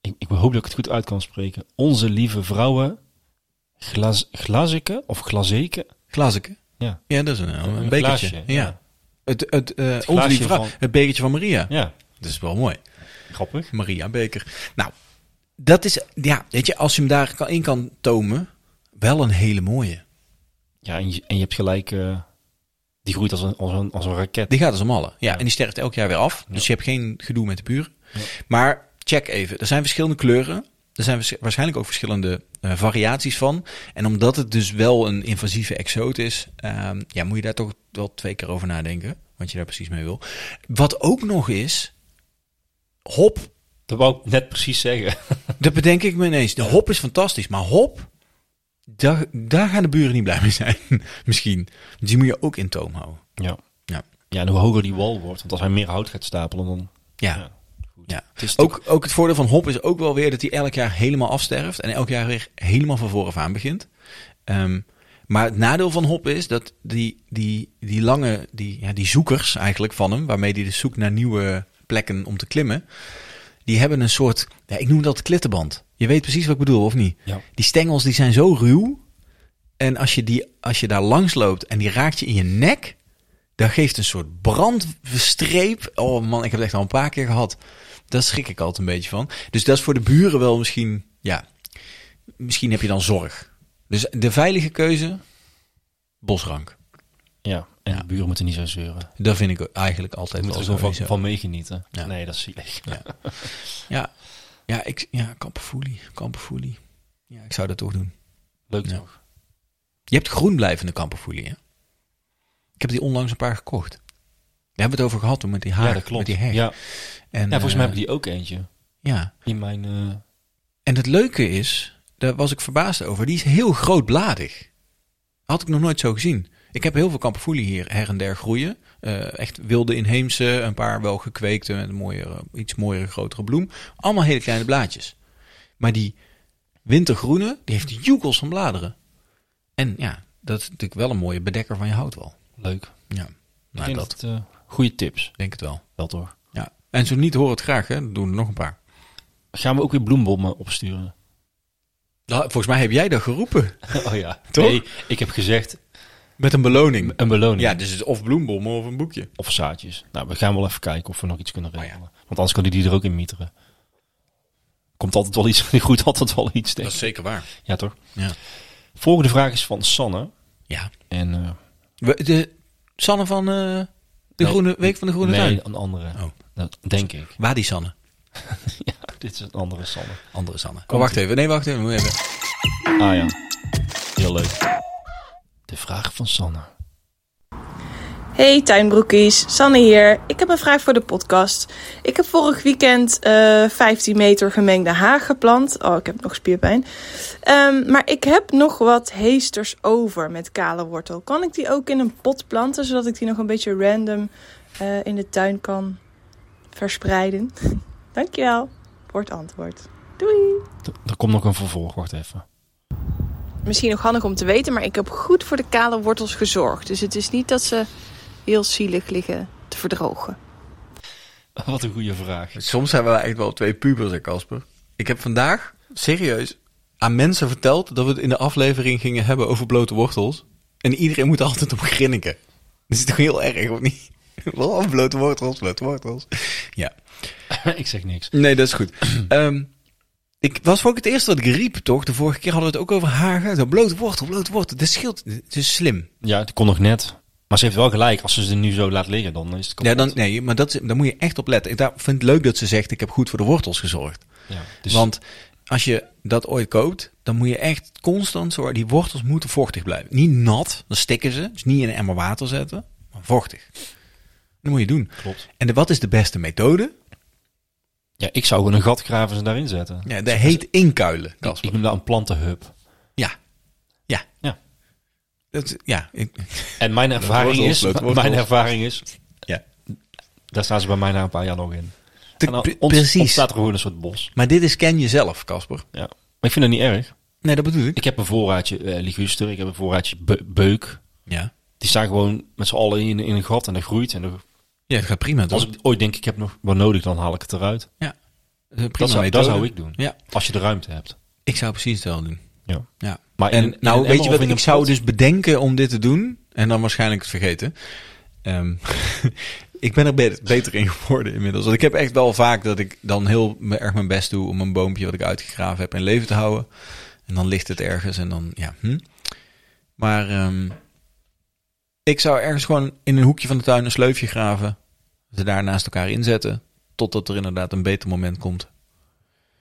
[SPEAKER 5] Ik, ik hoop dat ik het goed uit kan spreken. Onze lieve vrouwen... Glaz, glazeke of glazeke?
[SPEAKER 1] Glazeke.
[SPEAKER 5] Ja.
[SPEAKER 1] Ja, dat is een, een,
[SPEAKER 5] Een
[SPEAKER 1] bekertje.
[SPEAKER 5] glaasje,
[SPEAKER 1] ja.
[SPEAKER 5] ja.
[SPEAKER 1] Het, het, eh, onze
[SPEAKER 5] glaasje
[SPEAKER 1] lieve vrouw,
[SPEAKER 5] van-
[SPEAKER 1] het bekertje van Maria.
[SPEAKER 5] Ja,
[SPEAKER 1] Dat is wel mooi.
[SPEAKER 5] grappig.
[SPEAKER 1] Maria Beker. Nou, dat is, ja, weet je, als je hem daar kan- in kan tomen, wel een hele mooie.
[SPEAKER 5] Ja, en je, en je hebt gelijk... eh, die groeit als een, als een, als een raket.
[SPEAKER 1] Die gaat dus om alle. Ja, en die sterft elk jaar weer af. Dus je hebt geen gedoe met de buren. Maar check even. Er zijn verschillende kleuren. Er zijn waarsch- waarschijnlijk ook verschillende eh, variaties van. En omdat het dus wel een invasieve exoot is, ehm, ja, moet je daar toch wel twee keer over nadenken. Wat je daar precies mee wil. Wat ook nog is, hop.
[SPEAKER 5] Dat wou ik net precies zeggen.
[SPEAKER 1] Dat bedenk ik me ineens. De hop is fantastisch, maar hop, daar, daar gaan de buren niet blij mee zijn. Misschien. Die moet je ook in toom houden.
[SPEAKER 5] Ja.
[SPEAKER 1] Ja.
[SPEAKER 5] Ja, en hoe hoger die wal wordt. Want als hij meer hout gaat stapelen, dan...
[SPEAKER 1] Ja. ja.
[SPEAKER 5] Het is
[SPEAKER 1] Ook, ook het voordeel van hop is ook wel weer dat hij elk jaar helemaal afsterft. En elk jaar weer helemaal van vooraf aan begint. Ehm, maar het nadeel van hop is dat die, die, die lange, die, ja, die zoekers eigenlijk van hem, waarmee hij dus zoekt naar nieuwe plekken om te klimmen. Die hebben een soort, ja, ik noem dat klittenband. Je weet precies wat ik bedoel, of niet?
[SPEAKER 5] Ja.
[SPEAKER 1] Die stengels die zijn zo ruw. En als je, die, als je daar langs loopt en die raakt je in je nek, dat geeft een soort brandstreep. Oh man, ik heb het echt al een paar keer gehad. Daar schrik ik altijd een beetje van. Dus dat is voor de buren wel misschien, ja, misschien heb je dan zorg. Dus de veilige keuze, bosrank.
[SPEAKER 5] Ja, en
[SPEAKER 1] Ja.
[SPEAKER 5] de buren moeten niet zo zeuren.
[SPEAKER 1] Dat vind ik eigenlijk altijd
[SPEAKER 5] Ze moeten
[SPEAKER 1] wel
[SPEAKER 5] er zo van,
[SPEAKER 1] sowieso.
[SPEAKER 5] van meegenieten.
[SPEAKER 1] Ja.
[SPEAKER 5] Nee, dat is zielig.
[SPEAKER 1] Ja. Ja, ja, ik, ja kamperfoelie, kamperfoelie. Ja, ik zou dat toch doen.
[SPEAKER 5] Leuk
[SPEAKER 1] Ja.
[SPEAKER 5] toch?
[SPEAKER 1] Je hebt groenblijvende kamperfoelie, hè? Ik heb die onlangs een paar gekocht. Daar hebben we het over gehad toen met die haar,
[SPEAKER 5] ja, dat klopt.
[SPEAKER 1] met die heg.
[SPEAKER 5] Ja.
[SPEAKER 1] en,
[SPEAKER 5] ja, volgens mij
[SPEAKER 1] eh,
[SPEAKER 5] heb ik die ook eentje.
[SPEAKER 1] Ja,
[SPEAKER 5] In mijn... eh,
[SPEAKER 1] en het leuke is, daar was ik verbaasd over, die is heel grootbladig. Had ik nog nooit zo gezien. Ik heb heel veel kamperfoelie hier her en der groeien. Eh, echt wilde inheemse, een paar wel gekweekte met een mooiere, iets mooiere, grotere bloem. Allemaal hele kleine blaadjes. Maar die wintergroene, die heeft joekels van bladeren. En ja, dat is natuurlijk wel een mooie bedekker van je houtwal.
[SPEAKER 5] leuk.
[SPEAKER 1] Ja,
[SPEAKER 5] Ik
[SPEAKER 1] nou,
[SPEAKER 5] denk
[SPEAKER 1] dat
[SPEAKER 5] dat, eh, goede tips.
[SPEAKER 1] denk het wel.
[SPEAKER 5] Wel toch?
[SPEAKER 1] Ja. En zo niet, hoor het graag, hè? Dan doen er nog een paar.
[SPEAKER 5] Gaan we ook weer bloembommen opsturen?
[SPEAKER 1] Nou, volgens mij heb jij dat geroepen.
[SPEAKER 5] oh ja.
[SPEAKER 1] Toch?
[SPEAKER 5] Nee, ik heb gezegd
[SPEAKER 1] Met een beloning.
[SPEAKER 5] een beloning.
[SPEAKER 1] Ja, dus het is of bloembommen of een boekje.
[SPEAKER 5] Of zaadjes. Nou, we gaan wel even kijken of we nog iets kunnen
[SPEAKER 1] ja.
[SPEAKER 5] regelen. Want anders kunnen die er ook in mieteren. Komt altijd wel iets. Die groeit altijd wel iets denk ik.
[SPEAKER 1] zeker waar.
[SPEAKER 5] Ja, toch?
[SPEAKER 1] Ja.
[SPEAKER 5] Volgende vraag is van Sanne.
[SPEAKER 1] ja.
[SPEAKER 5] En eh,
[SPEAKER 1] We, de, Sanne van eh, de
[SPEAKER 5] Nou,
[SPEAKER 1] groene, Week van de Groene
[SPEAKER 5] nee,
[SPEAKER 1] Tuin.
[SPEAKER 5] een andere.
[SPEAKER 1] Oh.
[SPEAKER 5] Dat denk ik.
[SPEAKER 1] Waar die Sanne?
[SPEAKER 5] ja, dit is een andere Sanne.
[SPEAKER 1] Andere Sanne. Oh, wacht even. Nee, wacht even. Moet even.
[SPEAKER 5] Ah ja. Heel leuk. De vraag van Sanne.
[SPEAKER 8] Hey tuinbroekies, Sanne hier. Ik heb een vraag voor de podcast. Ik heb vorig weekend eh 15 meter gemengde haag geplant. Oh, ik heb nog spierpijn. Ehm, maar ik heb nog wat heesters over met kale wortel. Kan ik die ook in een pot planten, zodat ik die nog een beetje random eh, in de tuin kan verspreiden? Dankjewel voor het antwoord. Doei!
[SPEAKER 5] D- Er komt nog een vervolg, wacht even.
[SPEAKER 8] misschien nog handig om te weten, maar ik heb goed voor de kale wortels gezorgd. Dus het is niet dat ze heel zielig liggen te verdrogen.
[SPEAKER 5] Wat een goede vraag.
[SPEAKER 1] Soms hebben we echt wel twee pubers, hè, Casper. Ik heb vandaag, serieus, aan mensen verteld dat we het in de aflevering gingen hebben over blote wortels. En iedereen moet er altijd op grinniken. Dat is toch heel erg, of niet? Oh, blote wortels, blote wortels. Ja.
[SPEAKER 5] ik zeg niks.
[SPEAKER 1] Nee, dat is goed. Ehm, ik was voor ook het eerste dat ik riep, toch? De vorige keer hadden we het ook over hagen. Zo, blote wortel, blote wortel. Dat scheelt. Het is slim.
[SPEAKER 5] Ja, het kon nog net. Maar ze heeft wel gelijk, als ze ze nu zo laat liggen, dan is het
[SPEAKER 1] Ja,
[SPEAKER 5] kapot.
[SPEAKER 1] dan, nee, maar dat, daar moet je echt op letten. Ik daar vind het leuk dat ze zegt, ik heb goed voor de wortels gezorgd.
[SPEAKER 5] Ja, dus
[SPEAKER 1] Want als je dat ooit koopt, dan moet je echt constant zorgen. Die wortels moeten vochtig blijven. Niet nat, dan stikken ze. Dus niet in een emmer water zetten, maar vochtig. Dat moet je doen.
[SPEAKER 5] klopt.
[SPEAKER 1] En de, wat is de beste methode?
[SPEAKER 5] Ja, ik zou gewoon een gat graven en ze daarin zetten.
[SPEAKER 1] Ja, dat heet inkuilen,
[SPEAKER 5] ik,
[SPEAKER 1] Casper.
[SPEAKER 5] ik noem dat een plantenhub.
[SPEAKER 1] Ja. Ja.
[SPEAKER 5] Ja.
[SPEAKER 1] Dat, ja. ik-
[SPEAKER 5] En mijn ervaring
[SPEAKER 1] wortels,
[SPEAKER 5] is,
[SPEAKER 1] leuk, wortels.
[SPEAKER 5] mijn ervaring is,
[SPEAKER 1] ja.
[SPEAKER 5] daar staan ze bij mij na een paar jaar nog in.
[SPEAKER 1] Te-
[SPEAKER 5] En dan
[SPEAKER 1] pre-
[SPEAKER 5] ont-
[SPEAKER 1] precies.
[SPEAKER 5] ontstaat er gewoon een soort bos.
[SPEAKER 1] Maar dit is ken jezelf, Casper.
[SPEAKER 5] Ja. Maar ik vind het niet erg.
[SPEAKER 1] Nee, dat bedoel ik.
[SPEAKER 5] Ik heb een voorraadje eh liguster, ik heb een voorraadje be- beuk.
[SPEAKER 1] Ja.
[SPEAKER 5] Die staan gewoon met z'n allen in, in een gat en dat groeit. En dat-
[SPEAKER 1] Ja, dat gaat prima.
[SPEAKER 5] als
[SPEAKER 1] Toch?
[SPEAKER 5] ik ooit denk, ik heb nog wat nodig, dan haal ik het eruit.
[SPEAKER 1] Ja. Dat, is een prima
[SPEAKER 5] Dat zou, dat
[SPEAKER 1] methode.
[SPEAKER 5] zou ik doen.
[SPEAKER 1] Ja.
[SPEAKER 5] Als je de ruimte hebt.
[SPEAKER 1] Ik zou precies hetzelfde doen.
[SPEAKER 5] Ja.
[SPEAKER 1] Ja.
[SPEAKER 5] Maar in
[SPEAKER 1] en
[SPEAKER 5] een- in
[SPEAKER 1] nou,
[SPEAKER 5] een
[SPEAKER 1] weet
[SPEAKER 5] emmer
[SPEAKER 1] je
[SPEAKER 5] of
[SPEAKER 1] wat?
[SPEAKER 5] in
[SPEAKER 1] Ik
[SPEAKER 5] een
[SPEAKER 1] zou
[SPEAKER 5] pot?
[SPEAKER 1] dus bedenken om dit te doen en dan waarschijnlijk het vergeten. Ehm, ik ben er be- beter in geworden inmiddels. Want ik heb echt wel vaak dat ik dan heel me- erg mijn best doe om een boompje wat ik uitgegraven heb in leven te houden. En dan ligt het ergens en dan, ja. Hm. Maar ehm, ik zou ergens gewoon in een hoekje van de tuin een sleufje graven. Ze daar naast elkaar inzetten. Totdat er inderdaad een beter moment komt.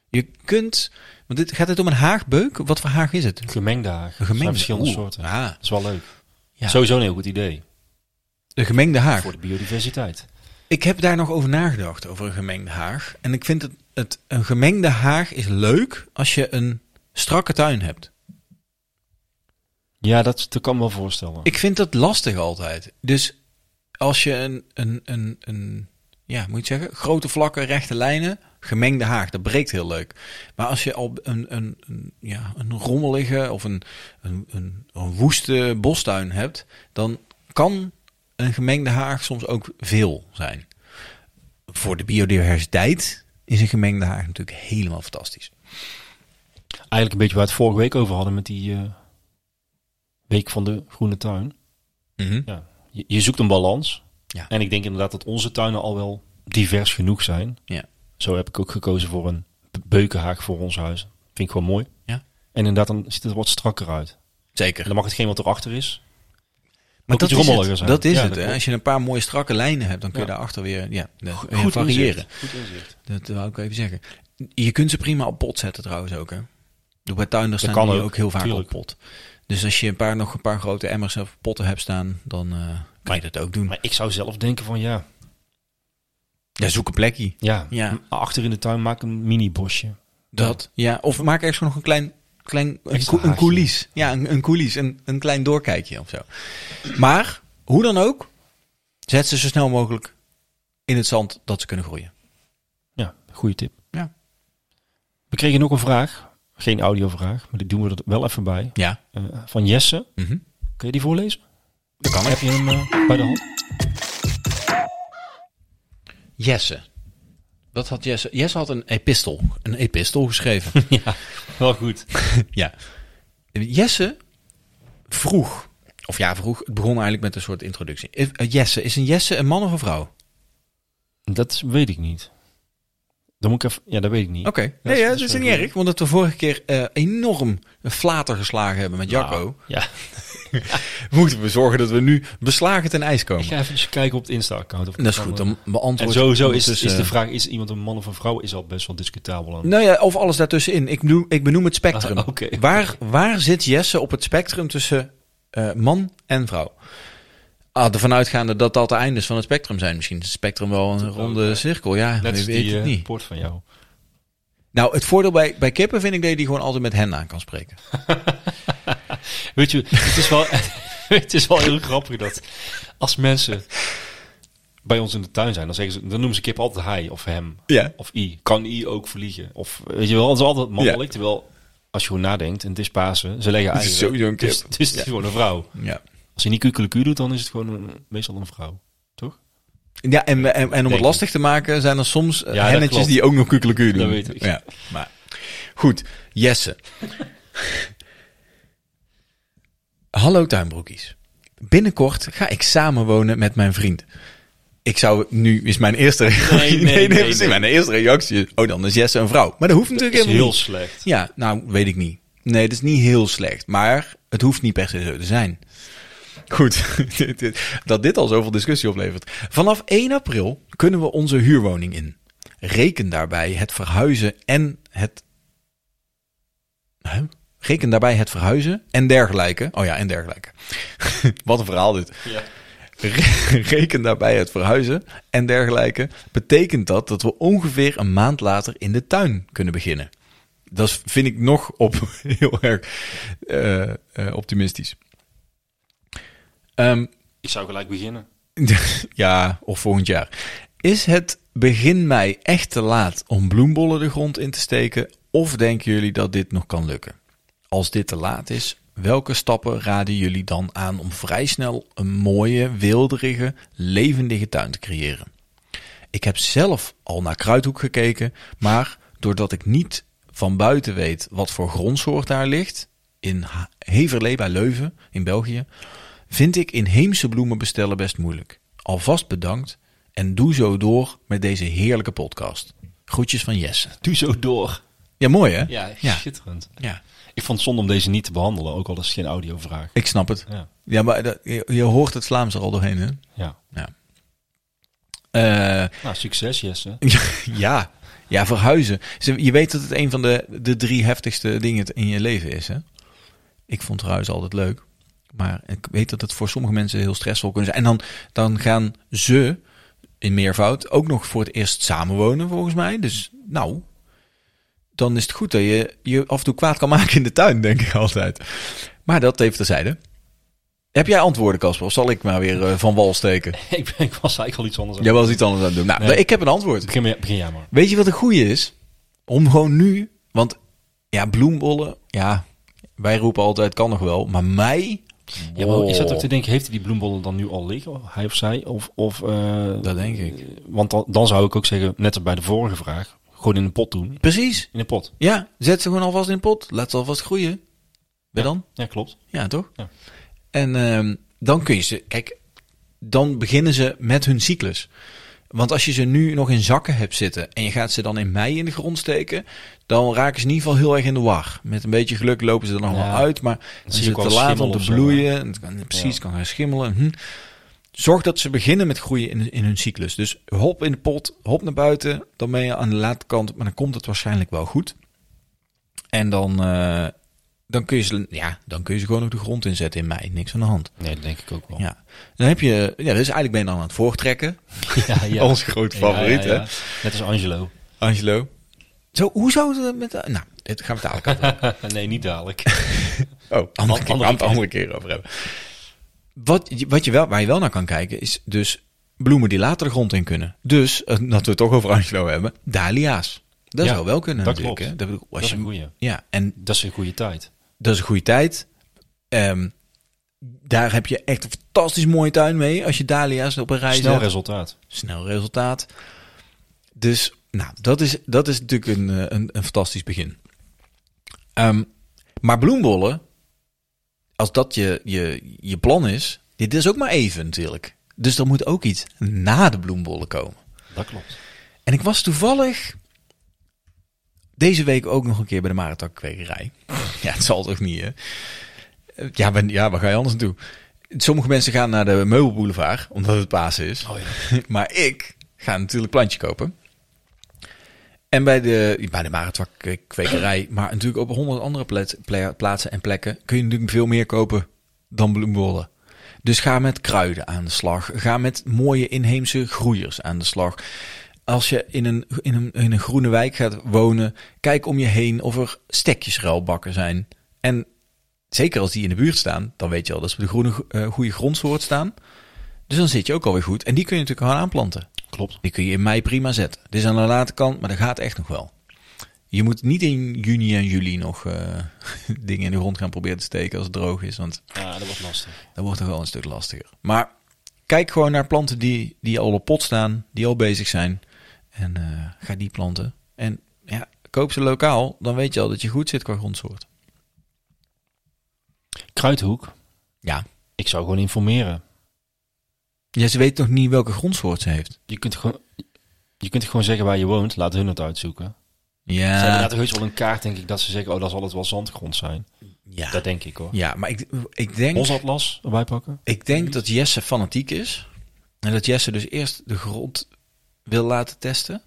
[SPEAKER 1] Je kunt. Want dit, gaat het om een haagbeuk? Wat voor haag is het?
[SPEAKER 5] Gemengde haag.
[SPEAKER 1] Een
[SPEAKER 5] Er zijn
[SPEAKER 1] gemengde
[SPEAKER 5] verschillende
[SPEAKER 1] oeh,
[SPEAKER 5] soorten.
[SPEAKER 1] ah,
[SPEAKER 5] Dat is wel leuk.
[SPEAKER 1] Ja.
[SPEAKER 5] Sowieso een heel goed idee.
[SPEAKER 1] een gemengde haag.
[SPEAKER 5] Voor de biodiversiteit.
[SPEAKER 1] Ik heb daar nog over nagedacht, over een gemengde haag. En ik vind het, het een gemengde haag is leuk als je een strakke tuin hebt.
[SPEAKER 5] Ja, dat, dat kan ik me wel voorstellen.
[SPEAKER 1] Ik vind dat lastig altijd. Dus als je een, een, een, een ja, moet je het zeggen, grote vlakke, rechte lijnen, gemengde haag, dat breekt heel leuk. Maar als je al een, een, een, ja, een rommelige of een, een, een, een woeste bostuin hebt, dan kan een gemengde haag soms ook veel zijn. Voor de biodiversiteit is een gemengde haag natuurlijk helemaal fantastisch.
[SPEAKER 5] Eigenlijk een beetje waar we het vorige week over hadden met die eh, week van de groene tuin.
[SPEAKER 1] Mhm.
[SPEAKER 5] Ja. Je, je zoekt een balans.
[SPEAKER 1] Ja.
[SPEAKER 5] En ik denk inderdaad dat onze tuinen al wel divers genoeg zijn.
[SPEAKER 1] Ja.
[SPEAKER 5] Zo heb ik ook gekozen voor een be- beukenhaag voor ons huis. Vind ik gewoon mooi.
[SPEAKER 1] Ja.
[SPEAKER 5] En inderdaad, dan ziet het er wat strakker uit.
[SPEAKER 1] Zeker.
[SPEAKER 5] En dan mag hetgeen wat erachter is.
[SPEAKER 1] Maar
[SPEAKER 5] Ook
[SPEAKER 1] dat
[SPEAKER 5] iets
[SPEAKER 1] is,
[SPEAKER 5] rommeliger
[SPEAKER 1] het,
[SPEAKER 5] zijn.
[SPEAKER 1] dat is
[SPEAKER 5] Ja,
[SPEAKER 1] het.
[SPEAKER 5] dat
[SPEAKER 1] hè.
[SPEAKER 5] klopt.
[SPEAKER 1] Als je een paar mooie strakke lijnen hebt, dan kun je
[SPEAKER 5] Ja.
[SPEAKER 1] daarachter weer, ja, de- weer
[SPEAKER 5] inzicht.
[SPEAKER 1] variëren.
[SPEAKER 5] Goed inzicht.
[SPEAKER 1] Dat wou ik even zeggen. Je kunt ze prima op pot zetten trouwens ook. Hè? De bij tuinders
[SPEAKER 5] Dat
[SPEAKER 1] staan
[SPEAKER 5] kan
[SPEAKER 1] die ook,
[SPEAKER 5] ook,
[SPEAKER 1] heel vaak
[SPEAKER 5] tuurlijk.
[SPEAKER 1] op pot. Dus als je een paar, nog een paar grote emmers of potten hebt staan, dan eh kan je dat ook doen.
[SPEAKER 5] Maar ik zou zelf denken van ja,
[SPEAKER 1] Ja, zoek een plekje.
[SPEAKER 5] ja,
[SPEAKER 1] Ja.
[SPEAKER 5] achter in de tuin maak een mini bosje.
[SPEAKER 1] Dat, ja. Of maak ergens gewoon nog een klein, klein een,
[SPEAKER 5] Extra
[SPEAKER 1] cou- een
[SPEAKER 5] haakje.
[SPEAKER 1] coulis. Ja, een, een coulis. Een, een klein doorkijkje of zo. Maar, hoe dan ook, zet ze zo snel mogelijk in het zand dat ze kunnen groeien.
[SPEAKER 5] Ja, goede tip.
[SPEAKER 1] Ja.
[SPEAKER 5] We kregen ook een vraag, geen audiovraag, maar die doen we er wel even bij.
[SPEAKER 1] Ja.
[SPEAKER 5] Eh, van Jesse.
[SPEAKER 1] Mhm.
[SPEAKER 5] Kun je die voorlezen?
[SPEAKER 1] Dat kan
[SPEAKER 5] Heb je hem eh, bij de hand?
[SPEAKER 1] Jesse. Wat had Jesse? Jesse had een epistel. Een epistel geschreven.
[SPEAKER 5] ja, wel goed.
[SPEAKER 1] ja. Jesse vroeg. Of ja, vroeg. Het begon eigenlijk met een soort introductie. Is- eh, Jesse. Is een Jesse een man of een vrouw?
[SPEAKER 5] Dat weet ik niet. Dan moet ik even, ja, dat weet ik niet.
[SPEAKER 1] Oké. Nee, ja,
[SPEAKER 5] dat
[SPEAKER 1] dat
[SPEAKER 5] is
[SPEAKER 1] is
[SPEAKER 5] wel
[SPEAKER 1] niet
[SPEAKER 5] goed.
[SPEAKER 1] erg. Want dat we vorige keer eh, enorm een flater geslagen hebben met Jacco.
[SPEAKER 5] Nou, ja,
[SPEAKER 1] Moeten we zorgen dat we nu beslagen ten ijs
[SPEAKER 5] ik
[SPEAKER 1] komen.
[SPEAKER 5] ga even eens kijken op het Insta-account. of
[SPEAKER 1] Dat is
[SPEAKER 5] het
[SPEAKER 1] goed.
[SPEAKER 5] kan, eh.
[SPEAKER 1] Dan beantwoord
[SPEAKER 5] En sowieso is,
[SPEAKER 1] ondertussen-
[SPEAKER 5] is de vraag, is iemand een man of een vrouw, is al best wel discutabel. Aan.
[SPEAKER 1] Nou ja, of alles daartussenin. Ik benoem, ik benoem het spectrum.
[SPEAKER 5] Ah, oké.
[SPEAKER 1] waar, waar zit Jesse op het spectrum tussen eh, man en vrouw? Ah, ervan uitgaande dat dat de eindes van het spectrum zijn. Misschien is het spectrum wel een ronde cirkel. Ja,
[SPEAKER 5] Net
[SPEAKER 1] ik
[SPEAKER 5] als
[SPEAKER 1] weet
[SPEAKER 5] die
[SPEAKER 1] het
[SPEAKER 5] eh,
[SPEAKER 1] niet.
[SPEAKER 5] poort van jou.
[SPEAKER 1] Nou, het voordeel bij, bij kippen vind ik dat je die gewoon altijd met hen aan kan spreken.
[SPEAKER 5] Weet je, het is wel, het is wel heel grappig dat als mensen bij ons in de tuin zijn, dan, zeggen ze, dan noemen ze kip altijd hij of hem
[SPEAKER 1] Ja.
[SPEAKER 5] of i. Kan i ook vliegen? Of weet je wel, het is altijd mannelijk.
[SPEAKER 1] Ja.
[SPEAKER 5] Terwijl als je gewoon nadenkt, en het is Pasen, ze leggen
[SPEAKER 1] Het is
[SPEAKER 5] eieren.
[SPEAKER 1] sowieso een
[SPEAKER 5] Dus,
[SPEAKER 1] kip.
[SPEAKER 5] dus het
[SPEAKER 1] Ja.
[SPEAKER 5] is gewoon een vrouw.
[SPEAKER 1] Ja,
[SPEAKER 5] Als je niet kukkeleku doet, dan is het gewoon een- meestal een vrouw. Toch?
[SPEAKER 1] ja en, en, en om
[SPEAKER 5] Denk
[SPEAKER 1] het
[SPEAKER 5] ik.
[SPEAKER 1] lastig te maken zijn er soms eh,
[SPEAKER 5] Ja, dat
[SPEAKER 1] hennetjes
[SPEAKER 5] klopt.
[SPEAKER 1] die ook nog kukkeleku doen.
[SPEAKER 5] Dat weet ik.
[SPEAKER 1] Ja, maar goed, Jesse. Hallo tuinbroekies. Binnenkort ga ik samenwonen met mijn vriend. Ik zou nu is mijn eerste reactie.
[SPEAKER 5] nee, nee,
[SPEAKER 1] precies.
[SPEAKER 5] nee.
[SPEAKER 1] Mijn eerste reactie is, oh dan is Jesse een vrouw. Maar dat hoeft natuurlijk
[SPEAKER 5] is
[SPEAKER 1] helemaal
[SPEAKER 5] heel
[SPEAKER 1] niet.
[SPEAKER 5] slecht.
[SPEAKER 1] Ja, nou weet ik niet. Nee, dat is niet heel slecht. Maar het hoeft niet per se zo te zijn. Goed, dit- dit- dat dit al zoveel discussie oplevert. Vanaf 1 april kunnen we onze huurwoning in. Reken daarbij het verhuizen en het. Huh? Reken daarbij het verhuizen en dergelijke. Oh ja, en dergelijke. Wat een verhaal dit. Re- Reken daarbij het verhuizen en dergelijke. Betekent dat dat we ongeveer een maand later in de tuin kunnen beginnen? Dat vind ik nog op heel erg eh, eh, optimistisch. Ehm,
[SPEAKER 5] Ik zou gelijk beginnen.
[SPEAKER 1] ja, of volgend jaar. Is het begin mei echt te laat om bloembollen de grond in te steken? Of denken jullie dat dit nog kan lukken? Als dit te laat is, welke stappen raden jullie dan aan om vrij snel een mooie, wilderige, levendige tuin te creëren? Ik heb zelf al naar Kruidhoek gekeken, maar doordat ik niet van buiten weet wat voor grondsoort daar ligt, in Ha- Heverlee bij Leuven in België, vind ik inheemse bloemen bestellen best moeilijk. Alvast bedankt en doe zo door met deze heerlijke podcast. Groetjes van Jesse.
[SPEAKER 5] Doe zo door.
[SPEAKER 1] Ja, mooi hè?
[SPEAKER 5] Ja,
[SPEAKER 1] ja.
[SPEAKER 5] schitterend.
[SPEAKER 1] ja.
[SPEAKER 5] Ik vond het zonde om deze niet te behandelen, ook al is het geen audiovraag.
[SPEAKER 1] Ik snap het.
[SPEAKER 5] Ja.
[SPEAKER 1] Ja, maar dat, je, je hoort het Vlaams er al doorheen hè?
[SPEAKER 5] ja.
[SPEAKER 1] Ja. Eh,
[SPEAKER 5] Nou, succes Jesse.
[SPEAKER 1] ja. ja, verhuizen. Ze- Je weet dat het een van de, de drie heftigste dingen in je leven is. Hè? Ik vond verhuizen altijd leuk. Maar ik weet dat het voor sommige mensen heel stressvol kunnen zijn. En dan, dan gaan ze, in meervoud, ook nog voor het eerst samenwonen volgens mij. Dus nou, dan is het goed dat je je af en toe kwaad kan maken in de tuin, denk ik altijd. Maar dat even terzijde. Heb jij antwoorden, Casper? Of zal ik maar weer eh, van wal steken?
[SPEAKER 5] ik, ben, ik was eigenlijk al iets anders aan
[SPEAKER 1] Jij was iets anders aan het doen. Nou,
[SPEAKER 5] Nee.
[SPEAKER 1] ik heb een antwoord.
[SPEAKER 5] Begin, maar- begin jij maar.
[SPEAKER 1] Weet je wat een goeie is? Om gewoon nu, want ja, bloembollen, ja, wij roepen altijd kan nog wel, maar mei,
[SPEAKER 5] Ja, maar ik zat ook te denken, heeft hij die bloembollen dan nu al liggen? Hij of zij? Of, of, eh,
[SPEAKER 1] dat denk ik.
[SPEAKER 5] Want dan, dan zou ik ook zeggen, net als bij de vorige vraag, gewoon in een pot doen.
[SPEAKER 1] Precies,
[SPEAKER 5] In een pot.
[SPEAKER 1] ja, zet ze gewoon alvast in de pot, laat ze alvast groeien. Ben dan?
[SPEAKER 5] Ja, klopt.
[SPEAKER 1] Ja, toch?
[SPEAKER 5] Ja.
[SPEAKER 1] En ehm, dan kun je ze, kijk, dan beginnen ze met hun cyclus. Want als je ze nu nog in zakken hebt zitten en je gaat ze dan in mei in de grond steken, dan raken ze in ieder geval heel erg in de war. Met een beetje geluk lopen ze er nog wel
[SPEAKER 5] Ja.
[SPEAKER 1] uit, maar dan
[SPEAKER 5] zie
[SPEAKER 1] is
[SPEAKER 5] je
[SPEAKER 1] het
[SPEAKER 5] ook
[SPEAKER 1] te
[SPEAKER 5] wel
[SPEAKER 1] laat om
[SPEAKER 5] schimmel
[SPEAKER 1] te
[SPEAKER 5] of zo,
[SPEAKER 1] bloeien. En het kan, precies, kan gaan schimmelen. Hm. Zorg dat ze beginnen met groeien in, in hun cyclus. Dus hop in de pot, hop naar buiten, dan ben je aan de late kant, maar dan komt het waarschijnlijk wel goed. En dan, eh, dan, kun je ze, ja, dan kun je ze gewoon op de grond inzetten in mei. Niks aan de hand.
[SPEAKER 5] Nee, dat denk ik ook wel.
[SPEAKER 1] Ja. Dan heb je, ja, dus eigenlijk ben je dan aan het voortrekken.
[SPEAKER 5] Ja, ja.
[SPEAKER 1] Ons groot
[SPEAKER 5] Ja,
[SPEAKER 1] favoriet,
[SPEAKER 5] ja, ja. Net als Angelo.
[SPEAKER 1] Angelo. Zo, hoe zou het met, nou, dit gaan we het dadelijk over
[SPEAKER 5] nee, niet dadelijk.
[SPEAKER 1] Oh, andere keer, gaan
[SPEAKER 5] andere
[SPEAKER 1] we het
[SPEAKER 5] keer.
[SPEAKER 1] andere keer over hebben. Wat, je- wat je wel, waar je wel naar kan kijken is dus bloemen die later de grond in kunnen. Dus, eh, dat we het toch over Angelo hebben, dahlia's. Dat
[SPEAKER 5] Ja,
[SPEAKER 1] zou wel kunnen
[SPEAKER 5] dat
[SPEAKER 1] natuurlijk.
[SPEAKER 5] klopt.
[SPEAKER 1] hè. Dat, bedoel, als
[SPEAKER 5] Dat is
[SPEAKER 1] je-
[SPEAKER 5] een goeie.
[SPEAKER 1] Ja, en
[SPEAKER 5] Dat is een goede tijd.
[SPEAKER 1] Dat is een goede tijd. Ehm, daar heb je echt een fantastisch mooie tuin mee. Als je dahlia's op een rij
[SPEAKER 5] Snel
[SPEAKER 1] zet.
[SPEAKER 5] resultaat.
[SPEAKER 1] Snel resultaat. Dus nou, dat, is, dat is natuurlijk een, eh, een, een fantastisch begin. Ehm, maar bloembollen, als dat je, je, je plan is, dit is ook maar even natuurlijk. Dus er moet ook iets na de bloembollen komen.
[SPEAKER 5] Dat klopt.
[SPEAKER 1] En ik was toevallig deze week ook nog een keer bij de Maratakkwekerij. ja, het zal toch niet, hè? Eh, Ja, ben, ja, waar ga je anders naartoe? Sommige mensen gaan naar de meubelboulevard, omdat het Pasen is. maar ik ga natuurlijk plantje kopen. En bij de, bij de Maratakkwekerij, maar natuurlijk ook op honderd andere plet- ple- plaatsen en plekken... kun je natuurlijk veel meer kopen dan bloembollen. Dus ga met kruiden aan de slag. Ga met mooie inheemse groeiers aan de slag. Als je in een, in een, in een groene wijk gaat wonen, kijk om je heen of er stekjesruilbakken zijn. En zeker als die in de buurt staan, dan weet je al dat ze op de groene, eh, goede grondsoort staan. Dus dan zit je ook alweer goed. En die kun je natuurlijk gewoon aanplanten.
[SPEAKER 5] Klopt.
[SPEAKER 1] Die kun je in mei prima zetten. Dit is aan de late kant, maar dat gaat echt nog wel. Je moet niet in juni en juli nog eh, dingen in de grond gaan proberen te steken als het droog is. Want
[SPEAKER 5] Ja, dat was lastig.
[SPEAKER 1] dan wordt het wel een stuk lastiger. Maar kijk gewoon naar planten die, die al op pot staan, die al bezig zijn. En eh, ga die planten. En ja, koop ze lokaal, dan weet je al dat je goed zit qua grondsoort.
[SPEAKER 5] Kruidhoek.
[SPEAKER 1] Ja.
[SPEAKER 5] Ik zou gewoon informeren.
[SPEAKER 1] Ja, ze weet nog niet welke grondsoort ze heeft.
[SPEAKER 5] Je kunt gewoon... Je kunt gewoon zeggen waar je woont, laat hun het uitzoeken. Ze hebben
[SPEAKER 1] Ja,
[SPEAKER 5] inderdaad heus wel een kaart, denk ik, dat ze zeggen, oh, dat zal het wel zandgrond zijn.
[SPEAKER 1] Ja,
[SPEAKER 5] Dat denk ik hoor.
[SPEAKER 1] ja maar ik, ik denk...
[SPEAKER 5] Bosatlas erbij pakken.
[SPEAKER 1] Ik denk dat Jesse fanatiek is. En dat Jesse dus eerst de grond wil laten testen.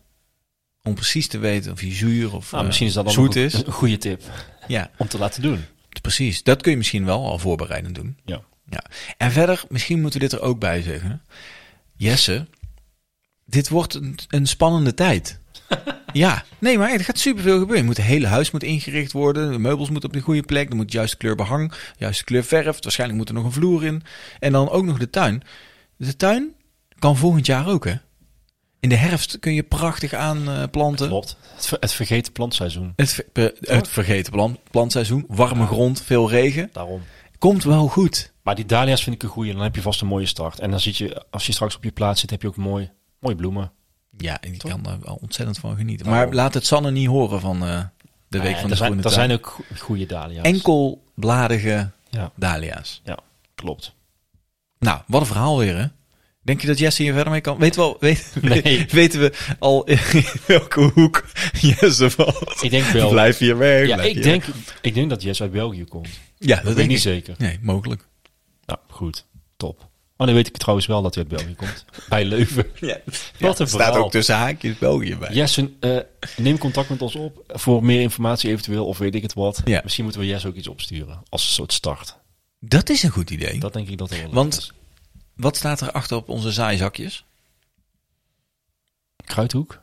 [SPEAKER 1] Om precies te weten of hij zuur of
[SPEAKER 5] Nou,
[SPEAKER 1] eh,
[SPEAKER 5] misschien is dat dan
[SPEAKER 1] zoet
[SPEAKER 5] nog een,
[SPEAKER 1] is.
[SPEAKER 5] een goede tip
[SPEAKER 1] Ja,
[SPEAKER 5] om te laten doen.
[SPEAKER 1] precies. Dat kun je misschien wel al voorbereidend doen.
[SPEAKER 5] Ja.
[SPEAKER 1] Ja. En verder, misschien moeten we dit er ook bij zeggen. Jesse, dit wordt een, een spannende tijd. ja, nee, maar er gaat superveel gebeuren. Je moet, het hele huis moet ingericht worden. De meubels moeten op de goede plek. Er moet juist kleur behang, juist kleur verf. Waarschijnlijk moet er nog een vloer in. En dan ook nog de tuin. De tuin kan volgend jaar ook, hè? In de herfst kun je prachtig aanplanten.
[SPEAKER 5] Klopt. Het, ver- het vergeten plantseizoen.
[SPEAKER 1] het, ver- eh, het vergeten plan- plantseizoen. Warme grond, veel regen.
[SPEAKER 5] Daarom.
[SPEAKER 1] Komt wel goed.
[SPEAKER 5] Maar die dahlia's vind ik een goede. Dan heb je vast een mooie start. En dan zit je, als je straks op je plaats zit, heb je ook mooi, mooie bloemen.
[SPEAKER 1] Ja, en ik
[SPEAKER 5] Toch?
[SPEAKER 1] kan daar wel ontzettend van genieten.
[SPEAKER 5] Daarom.
[SPEAKER 1] Maar laat het Sanne niet horen van eh, de week
[SPEAKER 5] Eh,
[SPEAKER 1] van de
[SPEAKER 5] er zijn,
[SPEAKER 1] groene
[SPEAKER 5] er
[SPEAKER 1] tuin.
[SPEAKER 5] zijn ook go- goede dahlia's.
[SPEAKER 1] Enkelbladige
[SPEAKER 5] Ja.
[SPEAKER 1] dahlia's.
[SPEAKER 5] Klopt.
[SPEAKER 1] Nou, wat een verhaal weer, hè? Denk je dat Jesse hier verder mee kan? Weet wel, weet,
[SPEAKER 5] Nee.
[SPEAKER 1] weten we al in welke hoek Jesse valt?
[SPEAKER 5] Ik denk wel.
[SPEAKER 1] Blijf hier weg.
[SPEAKER 5] ja,
[SPEAKER 1] blijf
[SPEAKER 5] ik
[SPEAKER 1] hier
[SPEAKER 5] denk, ik denk dat Jess uit België komt.
[SPEAKER 1] weg. Ja, dat,
[SPEAKER 5] Dat weet
[SPEAKER 1] denk
[SPEAKER 5] ik
[SPEAKER 1] ik
[SPEAKER 5] niet zeker.
[SPEAKER 1] Nee, mogelijk.
[SPEAKER 5] Nou, goed. Top. Oh, dan weet ik trouwens wel dat hij uit België komt. Bij Leuven.
[SPEAKER 1] Ja.
[SPEAKER 5] Wat een
[SPEAKER 1] er staat
[SPEAKER 5] verhaal.
[SPEAKER 1] ook tussen haakjes België bij.
[SPEAKER 5] Jesse, eh, neem contact met ons op voor meer informatie eventueel of weet ik het wat.
[SPEAKER 1] Ja.
[SPEAKER 5] Misschien moeten we Jess ook iets opsturen als een soort start.
[SPEAKER 1] Dat is een goed idee.
[SPEAKER 5] Dat denk ik dat er wel leuk
[SPEAKER 1] Want-
[SPEAKER 5] is.
[SPEAKER 1] Wat staat er achter op onze zaaizakjes?
[SPEAKER 5] Kruidhoek?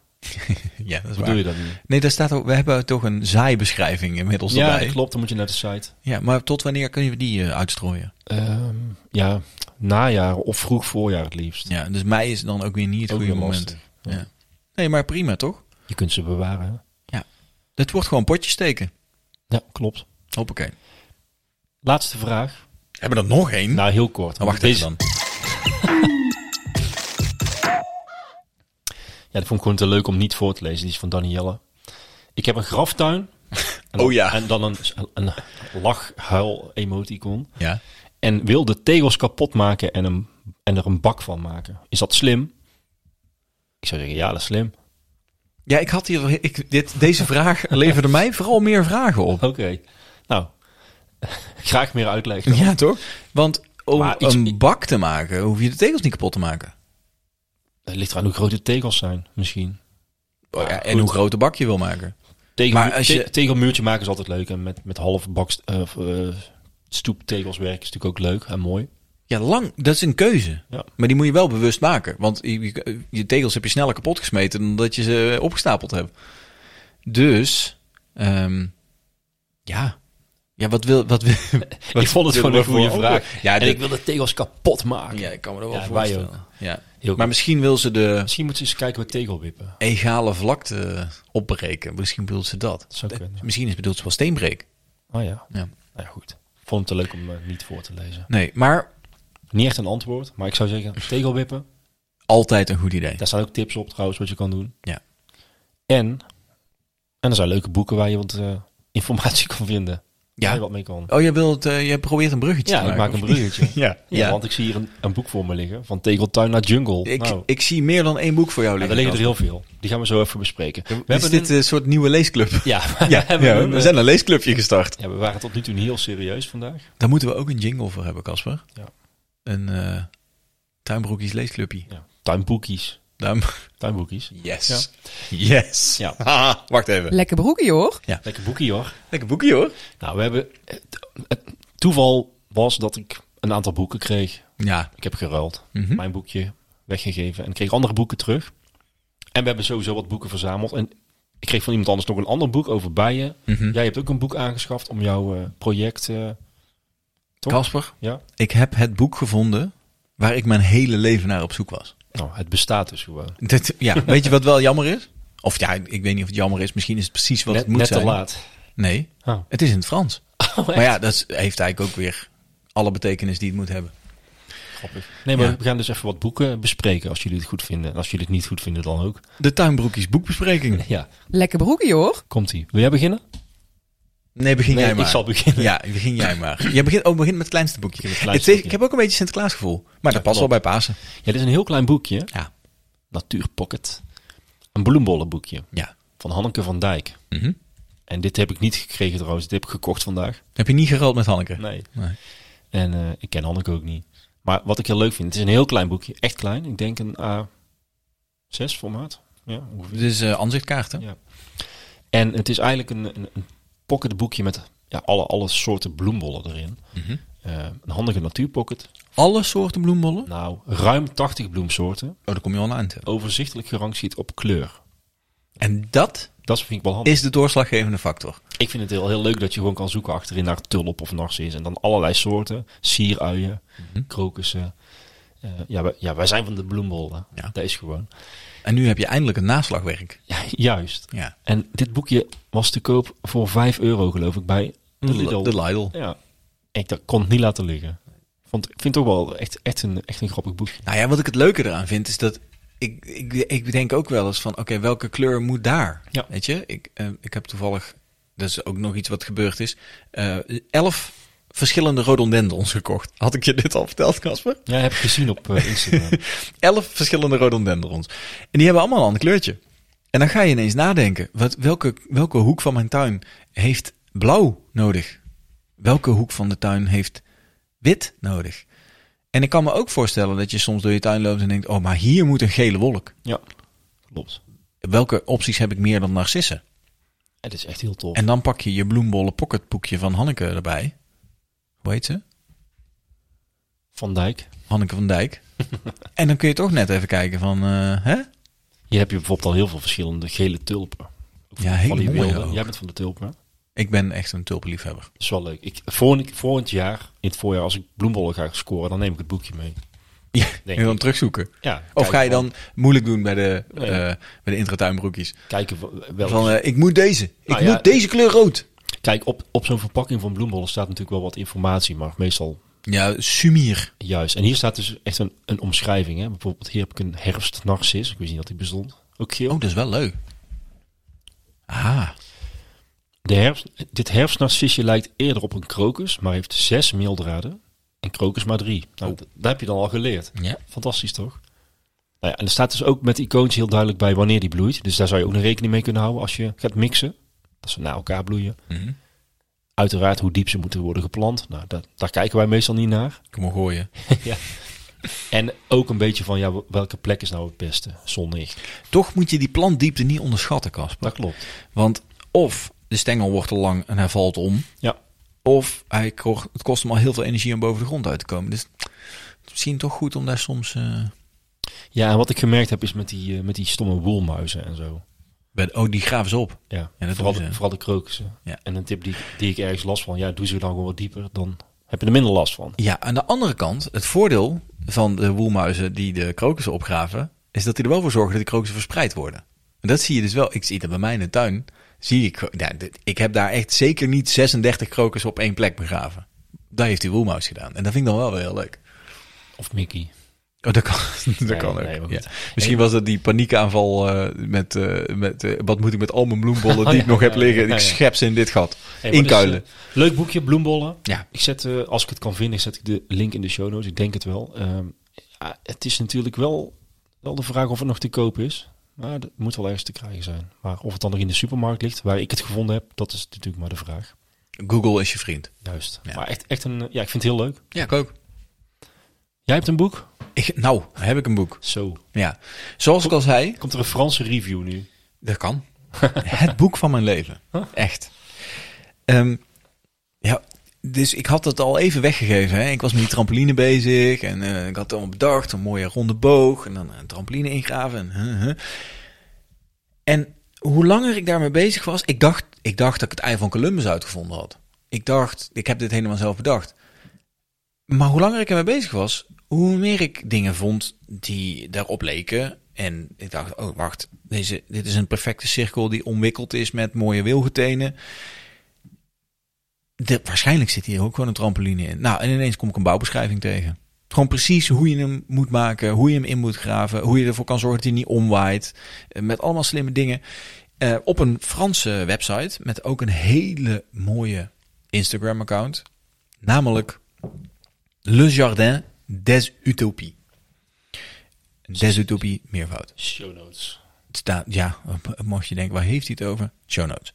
[SPEAKER 1] Ja, dat is
[SPEAKER 5] Hoe
[SPEAKER 1] waar.
[SPEAKER 5] doe je dat nu?
[SPEAKER 1] Nee, daar staat ook, we hebben toch een zaaibeschrijving inmiddels
[SPEAKER 5] Ja,
[SPEAKER 1] erbij.
[SPEAKER 5] klopt. Dan moet je naar de site.
[SPEAKER 1] Ja, maar tot wanneer kun je die eh, uitstrooien?
[SPEAKER 5] Ehm, ja, najaar of vroeg voorjaar het liefst.
[SPEAKER 1] Ja, dus mei is dan ook weer niet het
[SPEAKER 5] Ook
[SPEAKER 1] goede
[SPEAKER 5] weer
[SPEAKER 1] moment.
[SPEAKER 5] lastig.
[SPEAKER 1] Ja. Nee, maar prima toch?
[SPEAKER 5] Je kunt ze bewaren. hè?
[SPEAKER 1] Het wordt gewoon potjes steken.
[SPEAKER 5] Ja, klopt.
[SPEAKER 1] Hoppakee.
[SPEAKER 5] Laatste vraag.
[SPEAKER 1] Hebben we er nog één?
[SPEAKER 5] Nou, heel kort.
[SPEAKER 1] Nou, wacht
[SPEAKER 5] Deze-
[SPEAKER 1] even dan.
[SPEAKER 5] Ja, dat vond ik gewoon te leuk om niet voor te lezen. Die is van Danielle. Ik heb een graftuin. En
[SPEAKER 1] Oh ja.
[SPEAKER 5] En dan een, een lach-huil-emoticon.
[SPEAKER 1] Ja.
[SPEAKER 5] En wil de tegels kapot maken en, een, en er een bak van maken. Is dat slim? Ik zou zeggen, ja, dat is slim.
[SPEAKER 1] Ja, ik had hier, ik, dit, deze vraag leverde mij vooral meer vragen op.
[SPEAKER 5] Oké. Nou, graag meer uitleg. dan.
[SPEAKER 1] Ja, toch? Want om
[SPEAKER 5] Maar iets-
[SPEAKER 1] een bak te maken, hoef je de tegels niet kapot te maken.
[SPEAKER 5] Het ligt eraan hoe groot de tegels zijn, misschien.
[SPEAKER 1] Oh, ja, en
[SPEAKER 5] Nou, goed.
[SPEAKER 1] hoe groot de bak je wil maken.
[SPEAKER 5] Tegel,
[SPEAKER 1] Maar als je-
[SPEAKER 5] te- tegelmuurtje maken is altijd leuk. En met, met half bak eh, of, eh, stoeptegels werken is natuurlijk ook leuk en mooi.
[SPEAKER 1] Ja, lang, dat is een keuze.
[SPEAKER 5] Ja.
[SPEAKER 1] Maar die moet je wel bewust maken. Want je, je- je tegels heb je sneller kapot gesmeten dan dat je ze opgestapeld hebt. Dus, ehm, ja. Ja, wat wil... Wat wil
[SPEAKER 5] ik vond het
[SPEAKER 1] wil
[SPEAKER 5] gewoon een
[SPEAKER 1] er voor
[SPEAKER 5] goede
[SPEAKER 1] over?
[SPEAKER 5] vraag.
[SPEAKER 1] Ja,
[SPEAKER 5] en
[SPEAKER 1] dit-
[SPEAKER 5] ik wil de tegels kapot maken.
[SPEAKER 1] ja, ik kan me dat wel
[SPEAKER 5] Ja, wij
[SPEAKER 1] voorstellen. Ja.
[SPEAKER 5] Heel
[SPEAKER 1] Maar
[SPEAKER 5] maar
[SPEAKER 1] misschien wil ze de
[SPEAKER 5] misschien moeten ze eens kijken wat tegelwippen.
[SPEAKER 1] egale vlakte opbreken. Misschien bedoelt ze dat.
[SPEAKER 5] Dat zou kunnen.
[SPEAKER 1] Misschien is bedoeld ze wel steenbreek.
[SPEAKER 5] Oh ja.
[SPEAKER 1] Ja.
[SPEAKER 5] Nou ja, goed. Ik vond het te leuk om eh, niet voor te lezen.
[SPEAKER 1] Nee, maar
[SPEAKER 5] Niet echt een antwoord, maar ik zou zeggen tegelwippen.
[SPEAKER 1] altijd een goed idee.
[SPEAKER 5] Daar staan ook tips op trouwens wat je kan doen.
[SPEAKER 1] Ja.
[SPEAKER 5] En, en er zijn leuke boeken waar je wat eh, informatie kan vinden. Waar je
[SPEAKER 1] Ja.
[SPEAKER 5] wat mee kan.
[SPEAKER 1] Oh, jij wilt, eh, jij probeert een bruggetje
[SPEAKER 5] Ja,
[SPEAKER 1] te maken.
[SPEAKER 5] ik maak een
[SPEAKER 1] of niet?
[SPEAKER 5] bruggetje.
[SPEAKER 1] Ja,
[SPEAKER 5] Ja, want ik zie hier een, een boek voor me liggen. Van Tegeltuin naar Jungle.
[SPEAKER 1] Ik,
[SPEAKER 5] nou,
[SPEAKER 1] ik zie meer dan één boek voor jou
[SPEAKER 5] ja,
[SPEAKER 1] liggen.
[SPEAKER 5] er liggen er
[SPEAKER 1] Cas.
[SPEAKER 5] heel veel. Die gaan we zo even bespreken. We
[SPEAKER 1] is dit
[SPEAKER 5] een-
[SPEAKER 1] een soort nieuwe leesclub?
[SPEAKER 5] ja, we, hebben een, eh,
[SPEAKER 1] een leesclubje gestart.
[SPEAKER 5] ja, we waren tot nu toe heel serieus vandaag.
[SPEAKER 1] Daar moeten we ook een jingle voor hebben, Casper.
[SPEAKER 5] Ja.
[SPEAKER 1] Een eh tuinbroekjes leesclubje.
[SPEAKER 5] Ja. Tuinboekies.
[SPEAKER 1] Duim.
[SPEAKER 5] Tuinboekies.
[SPEAKER 1] Yes. Yes.
[SPEAKER 5] Ja.
[SPEAKER 1] Haha, wacht even.
[SPEAKER 4] Lekker broekje hoor.
[SPEAKER 5] Ah, Lekker boekie hoor.
[SPEAKER 1] Lekker boekje hoor.
[SPEAKER 5] Nou, we hebben... Het, het toeval was dat ik een aantal boeken kreeg.
[SPEAKER 1] Ja.
[SPEAKER 5] Ik heb geruild.
[SPEAKER 1] Mhm.
[SPEAKER 5] Mijn boekje weggegeven. En ik kreeg andere boeken terug. En we hebben sowieso wat boeken verzameld. En ik kreeg van iemand anders nog een ander boek over bijen.
[SPEAKER 1] Mhm.
[SPEAKER 5] Jij hebt ook een boek aangeschaft om jouw eh, project... eh, toch?
[SPEAKER 1] Casper,
[SPEAKER 5] Ja.
[SPEAKER 1] ik heb het boek gevonden waar ik mijn hele leven naar op zoek was.
[SPEAKER 5] Nou, het bestaat dus gewoon.
[SPEAKER 1] Dit, ja, weet je wat wel jammer is? Of ja, ik weet niet of het jammer is. Misschien is het precies wat
[SPEAKER 5] net
[SPEAKER 1] het moet
[SPEAKER 5] net
[SPEAKER 1] zijn.
[SPEAKER 5] te laat.
[SPEAKER 1] Nee,
[SPEAKER 5] Oh.
[SPEAKER 1] het is in het Frans.
[SPEAKER 5] echt?
[SPEAKER 1] maar ja, dat is- heeft eigenlijk ook weer alle betekenis die het moet hebben.
[SPEAKER 5] Grappig. Nee, maar
[SPEAKER 1] Ja.
[SPEAKER 5] we gaan dus even wat boeken bespreken als jullie het goed vinden. En als jullie het niet goed vinden, dan ook.
[SPEAKER 1] De tuinbroekjes boekbespreking.
[SPEAKER 5] Ja,
[SPEAKER 4] Lekker broekje hoor.
[SPEAKER 5] komt-ie. Wil jij beginnen?
[SPEAKER 1] Nee, begin
[SPEAKER 5] nee,
[SPEAKER 1] jij maar.
[SPEAKER 5] ik zal beginnen.
[SPEAKER 1] Ja, begin jij maar. Jij begint, oh, begin met het kleinste boekje.
[SPEAKER 5] begin met het
[SPEAKER 1] het
[SPEAKER 5] kleinste
[SPEAKER 1] is-
[SPEAKER 5] boekje.
[SPEAKER 1] ik heb ook een beetje Sinterklaas gevoel. Maar dat past wel
[SPEAKER 5] klopt.
[SPEAKER 1] bij Pasen.
[SPEAKER 5] Ja, dit is een heel klein boekje.
[SPEAKER 1] Ja.
[SPEAKER 5] Natuurpocket. Een bloembollenboekje
[SPEAKER 1] Ja.
[SPEAKER 5] van Hanneke van Dijk.
[SPEAKER 1] Mhm.
[SPEAKER 5] En dit heb ik niet gekregen trouwens. Dit heb ik gekocht vandaag.
[SPEAKER 1] Heb je niet gerald met Hanneke?
[SPEAKER 5] Nee.
[SPEAKER 1] Nee.
[SPEAKER 5] En eh, ik ken Hanneke ook niet. Maar wat ik heel leuk vind, het is een heel klein boekje. Echt klein. Ik denk een A6 formaat. Ja, ongeveer.
[SPEAKER 1] Dit is eh aanzichtkaarten.
[SPEAKER 5] Ja. En het is eigenlijk een, een, een pocketboekje met ja, alle, alle soorten bloembollen erin.
[SPEAKER 1] Mhm.
[SPEAKER 5] Eh, een handige natuurpocket.
[SPEAKER 1] Alle soorten bloembollen?
[SPEAKER 5] Nou, ruim 80 bloemsoorten.
[SPEAKER 1] Oh, daar kom je al aan. toe.
[SPEAKER 5] Overzichtelijk gerangschikt op kleur.
[SPEAKER 1] En dat
[SPEAKER 5] Dat vind ik wel handig.
[SPEAKER 1] is de doorslaggevende factor.
[SPEAKER 5] Ik vind het heel, heel leuk dat je gewoon kan zoeken achterin naar tulp of narcis. En dan allerlei soorten. Sieruien,
[SPEAKER 1] Mhm.
[SPEAKER 5] krokussen. Eh, ja, wij, ja, wij zijn van de bloembollen.
[SPEAKER 1] Ja.
[SPEAKER 5] Dat is gewoon.
[SPEAKER 1] En nu heb je eindelijk een naslagwerk.
[SPEAKER 5] Ja, juist.
[SPEAKER 1] Ja.
[SPEAKER 5] En dit boekje was te koop voor 5 euro geloof ik bij de Lidl.
[SPEAKER 1] Mm, De Lidl.
[SPEAKER 5] Ja. Ik dat kon het niet laten liggen. Vond, ik vind het ook wel echt, echt, een, echt een grappig boekje.
[SPEAKER 1] Nou ja, wat ik het leuke eraan vind is dat ik, ik, ik denk ook wel eens van, oké, welke kleur moet daar?
[SPEAKER 5] Ja.
[SPEAKER 1] Weet je, ik, eh, ik heb toevallig, dat is ook nog iets wat gebeurd is, eh, elf verschillende rhododendrons gekocht. Had ik je dit al verteld, Casper?
[SPEAKER 5] Ja, heb ik gezien op eh, Instagram.
[SPEAKER 1] Elf verschillende rhododendrons. En die hebben allemaal een ander kleurtje. En dan ga je ineens nadenken, wat, welke, welke hoek van mijn tuin heeft blauw nodig? Welke hoek van de tuin heeft wit nodig? En ik kan me ook voorstellen dat je soms door je tuin loopt en denkt, oh, maar hier moet een gele wolk.
[SPEAKER 5] ja, klopt.
[SPEAKER 1] Welke opties heb ik meer dan narcissen?
[SPEAKER 5] Het is echt heel tof.
[SPEAKER 1] En dan pak je je bloembollen pocketboekje van Hanneke erbij. Hoe heet ze?
[SPEAKER 5] Van Dijk.
[SPEAKER 1] Hanneke van Dijk. en dan kun je toch net even kijken van, eh, hè?
[SPEAKER 5] Hier heb je bijvoorbeeld al heel veel verschillende gele tulpen. Ook
[SPEAKER 1] Ja,
[SPEAKER 5] van
[SPEAKER 1] hele
[SPEAKER 5] die
[SPEAKER 1] mooie
[SPEAKER 5] wilde.
[SPEAKER 1] ook.
[SPEAKER 5] Jij bent van de tulpen. hè?
[SPEAKER 1] Ik ben echt een tulpenliefhebber.
[SPEAKER 5] Dat is wel leuk. Ik, volgend, volgend jaar, in het voorjaar, als ik bloembollen ga scoren, dan neem ik het boekje mee.
[SPEAKER 1] Ja,
[SPEAKER 5] Denk
[SPEAKER 1] en dan
[SPEAKER 5] ik.
[SPEAKER 1] terugzoeken.
[SPEAKER 5] Ja,
[SPEAKER 1] Of ga je
[SPEAKER 5] kijken
[SPEAKER 1] dan moeilijk doen bij de,
[SPEAKER 5] Nee.
[SPEAKER 1] eh bij de intratuinbroekjes?
[SPEAKER 5] Kijken wa- welke-
[SPEAKER 1] Van, eh, ik moet deze. Ik
[SPEAKER 5] Nou
[SPEAKER 1] moet
[SPEAKER 5] ja,
[SPEAKER 1] deze kleur rood.
[SPEAKER 5] Kijk, op, op zo'n verpakking van bloembollen staat natuurlijk wel wat informatie, maar meestal
[SPEAKER 1] Ja, sumier.
[SPEAKER 5] Juist, en hier staat dus echt een, een omschrijving. Hè? Bijvoorbeeld hier heb ik een herfstnarcis. Ik wist niet dat die bestond. Ook geel.
[SPEAKER 1] Oh, dat is wel leuk. Ah,
[SPEAKER 5] De herfst, dit herfstnarcisje lijkt eerder op een krokus, maar heeft zes meeldraden. En krokus maar drie. Nou, d- dat heb je dan al geleerd.
[SPEAKER 1] ja.
[SPEAKER 5] Fantastisch toch? Nou ja, en er staat dus ook met de icoontjes heel duidelijk bij wanneer die bloeit. Dus daar zou je ook nog rekening mee kunnen houden als je gaat mixen. Dat ze na elkaar bloeien.
[SPEAKER 1] Mhm.
[SPEAKER 5] Uiteraard hoe diep ze moeten worden geplant. Nou, dat, daar kijken wij meestal niet naar.
[SPEAKER 1] Kom maar gooien.
[SPEAKER 5] En ook een beetje van ja, welke plek is nou het beste? Zonnig.
[SPEAKER 1] Toch moet je die plantdiepte niet onderschatten, Kasper.
[SPEAKER 5] Dat klopt.
[SPEAKER 1] Want of de stengel wordt te lang en hij valt om.
[SPEAKER 5] Ja.
[SPEAKER 1] Of hij kocht, het kost hem al heel veel energie om boven de grond uit te komen. Dus het is misschien toch goed om daar soms eh,
[SPEAKER 5] Ja, en wat ik gemerkt heb is met die, eh, met die stomme woelmuizen en zo.
[SPEAKER 1] bij de- Oh, die graven ze op.
[SPEAKER 5] Ja,
[SPEAKER 1] Ja, dat
[SPEAKER 5] vooral,
[SPEAKER 1] doen
[SPEAKER 5] de,
[SPEAKER 1] ze.
[SPEAKER 5] vooral de krokussen.
[SPEAKER 1] Ja.
[SPEAKER 5] En een tip die, die ik ergens last van, ja, doe ze dan gewoon wat dieper, dan heb je er minder last van.
[SPEAKER 1] Ja, aan de andere kant, het voordeel van de woelmuizen die de krokussen opgraven, is dat die er wel voor zorgen dat de krokussen verspreid worden. En dat zie je dus wel. Ik zie dat bij mij in de tuin. Zie ik, gewoon- ja, dit- ik heb daar echt zeker niet 36 krokussen op één plek begraven. Dat heeft die woelmuis gedaan. En dat vind ik dan wel weer heel leuk.
[SPEAKER 5] Of Mickey.
[SPEAKER 1] Oh, dat kan, dat
[SPEAKER 5] Nee,
[SPEAKER 1] kan ook.
[SPEAKER 5] nee, maar
[SPEAKER 1] ja.
[SPEAKER 5] goed.
[SPEAKER 1] Misschien was dat die paniekaanval eh, met, eh, met eh, wat moet ik met al mijn bloembollen die
[SPEAKER 5] ja,
[SPEAKER 1] ik nog heb
[SPEAKER 5] ja,
[SPEAKER 1] liggen.
[SPEAKER 5] ja,
[SPEAKER 1] Ik
[SPEAKER 5] ja.
[SPEAKER 1] schep ze in dit gat.
[SPEAKER 5] Hey, maar
[SPEAKER 1] Inkuilen.
[SPEAKER 5] dus, eh, leuk boekje, bloembollen.
[SPEAKER 1] Ja.
[SPEAKER 5] Ik zet, eh, als ik het kan vinden, zet ik de link in de show notes. Ik denk het wel. Ehm, ja, het is natuurlijk wel, wel de vraag of het nog te koop is. Maar dat moet wel ergens te krijgen zijn. Maar of het dan nog in de supermarkt ligt, waar ik het gevonden heb, dat is natuurlijk maar de vraag.
[SPEAKER 1] Google is je vriend.
[SPEAKER 5] Juist.
[SPEAKER 1] Ja.
[SPEAKER 5] Maar echt, echt een, eh, ja, ik vind het heel leuk.
[SPEAKER 1] Ja, ik ook.
[SPEAKER 5] Jij hebt een boek?
[SPEAKER 1] Ik, nou, heb ik een boek.
[SPEAKER 5] Zo.
[SPEAKER 1] Ja. Zoals ik al zei,
[SPEAKER 5] Komt er een Franse review nu?
[SPEAKER 1] Dat kan. het boek van mijn leven. Echt. Ehm, ja, dus ik had het al even weggegeven. Hè. Ik was met die trampoline bezig. En eh, ik had het allemaal bedacht. Een mooie ronde boog. En dan een trampoline ingraven. En, huh, huh. en hoe langer ik daarmee bezig was... Ik dacht, ik dacht dat ik het ei van Columbus uitgevonden had. Ik dacht, ik heb dit helemaal zelf bedacht. Maar hoe langer ik ermee bezig was, hoe meer ik dingen vond die daarop leken. En ik dacht, oh wacht, deze, dit is een perfecte cirkel die omwikkeld is met mooie wilgetenen. De, waarschijnlijk zit hier ook gewoon een trampoline in. Nou, en ineens kom ik een bouwbeschrijving tegen. Gewoon precies hoe je hem moet maken, hoe je hem in moet graven, hoe je ervoor kan zorgen dat hij niet omwaait. Eh, Met allemaal slimme dingen. Eh, op een Franse website met ook een hele mooie Instagram-account. Namelijk Le Jardin des Utopies. Des Utopies, meervoud.
[SPEAKER 5] Show notes.
[SPEAKER 1] Het staat, ja, mocht je denken, waar heeft hij het over? Show notes.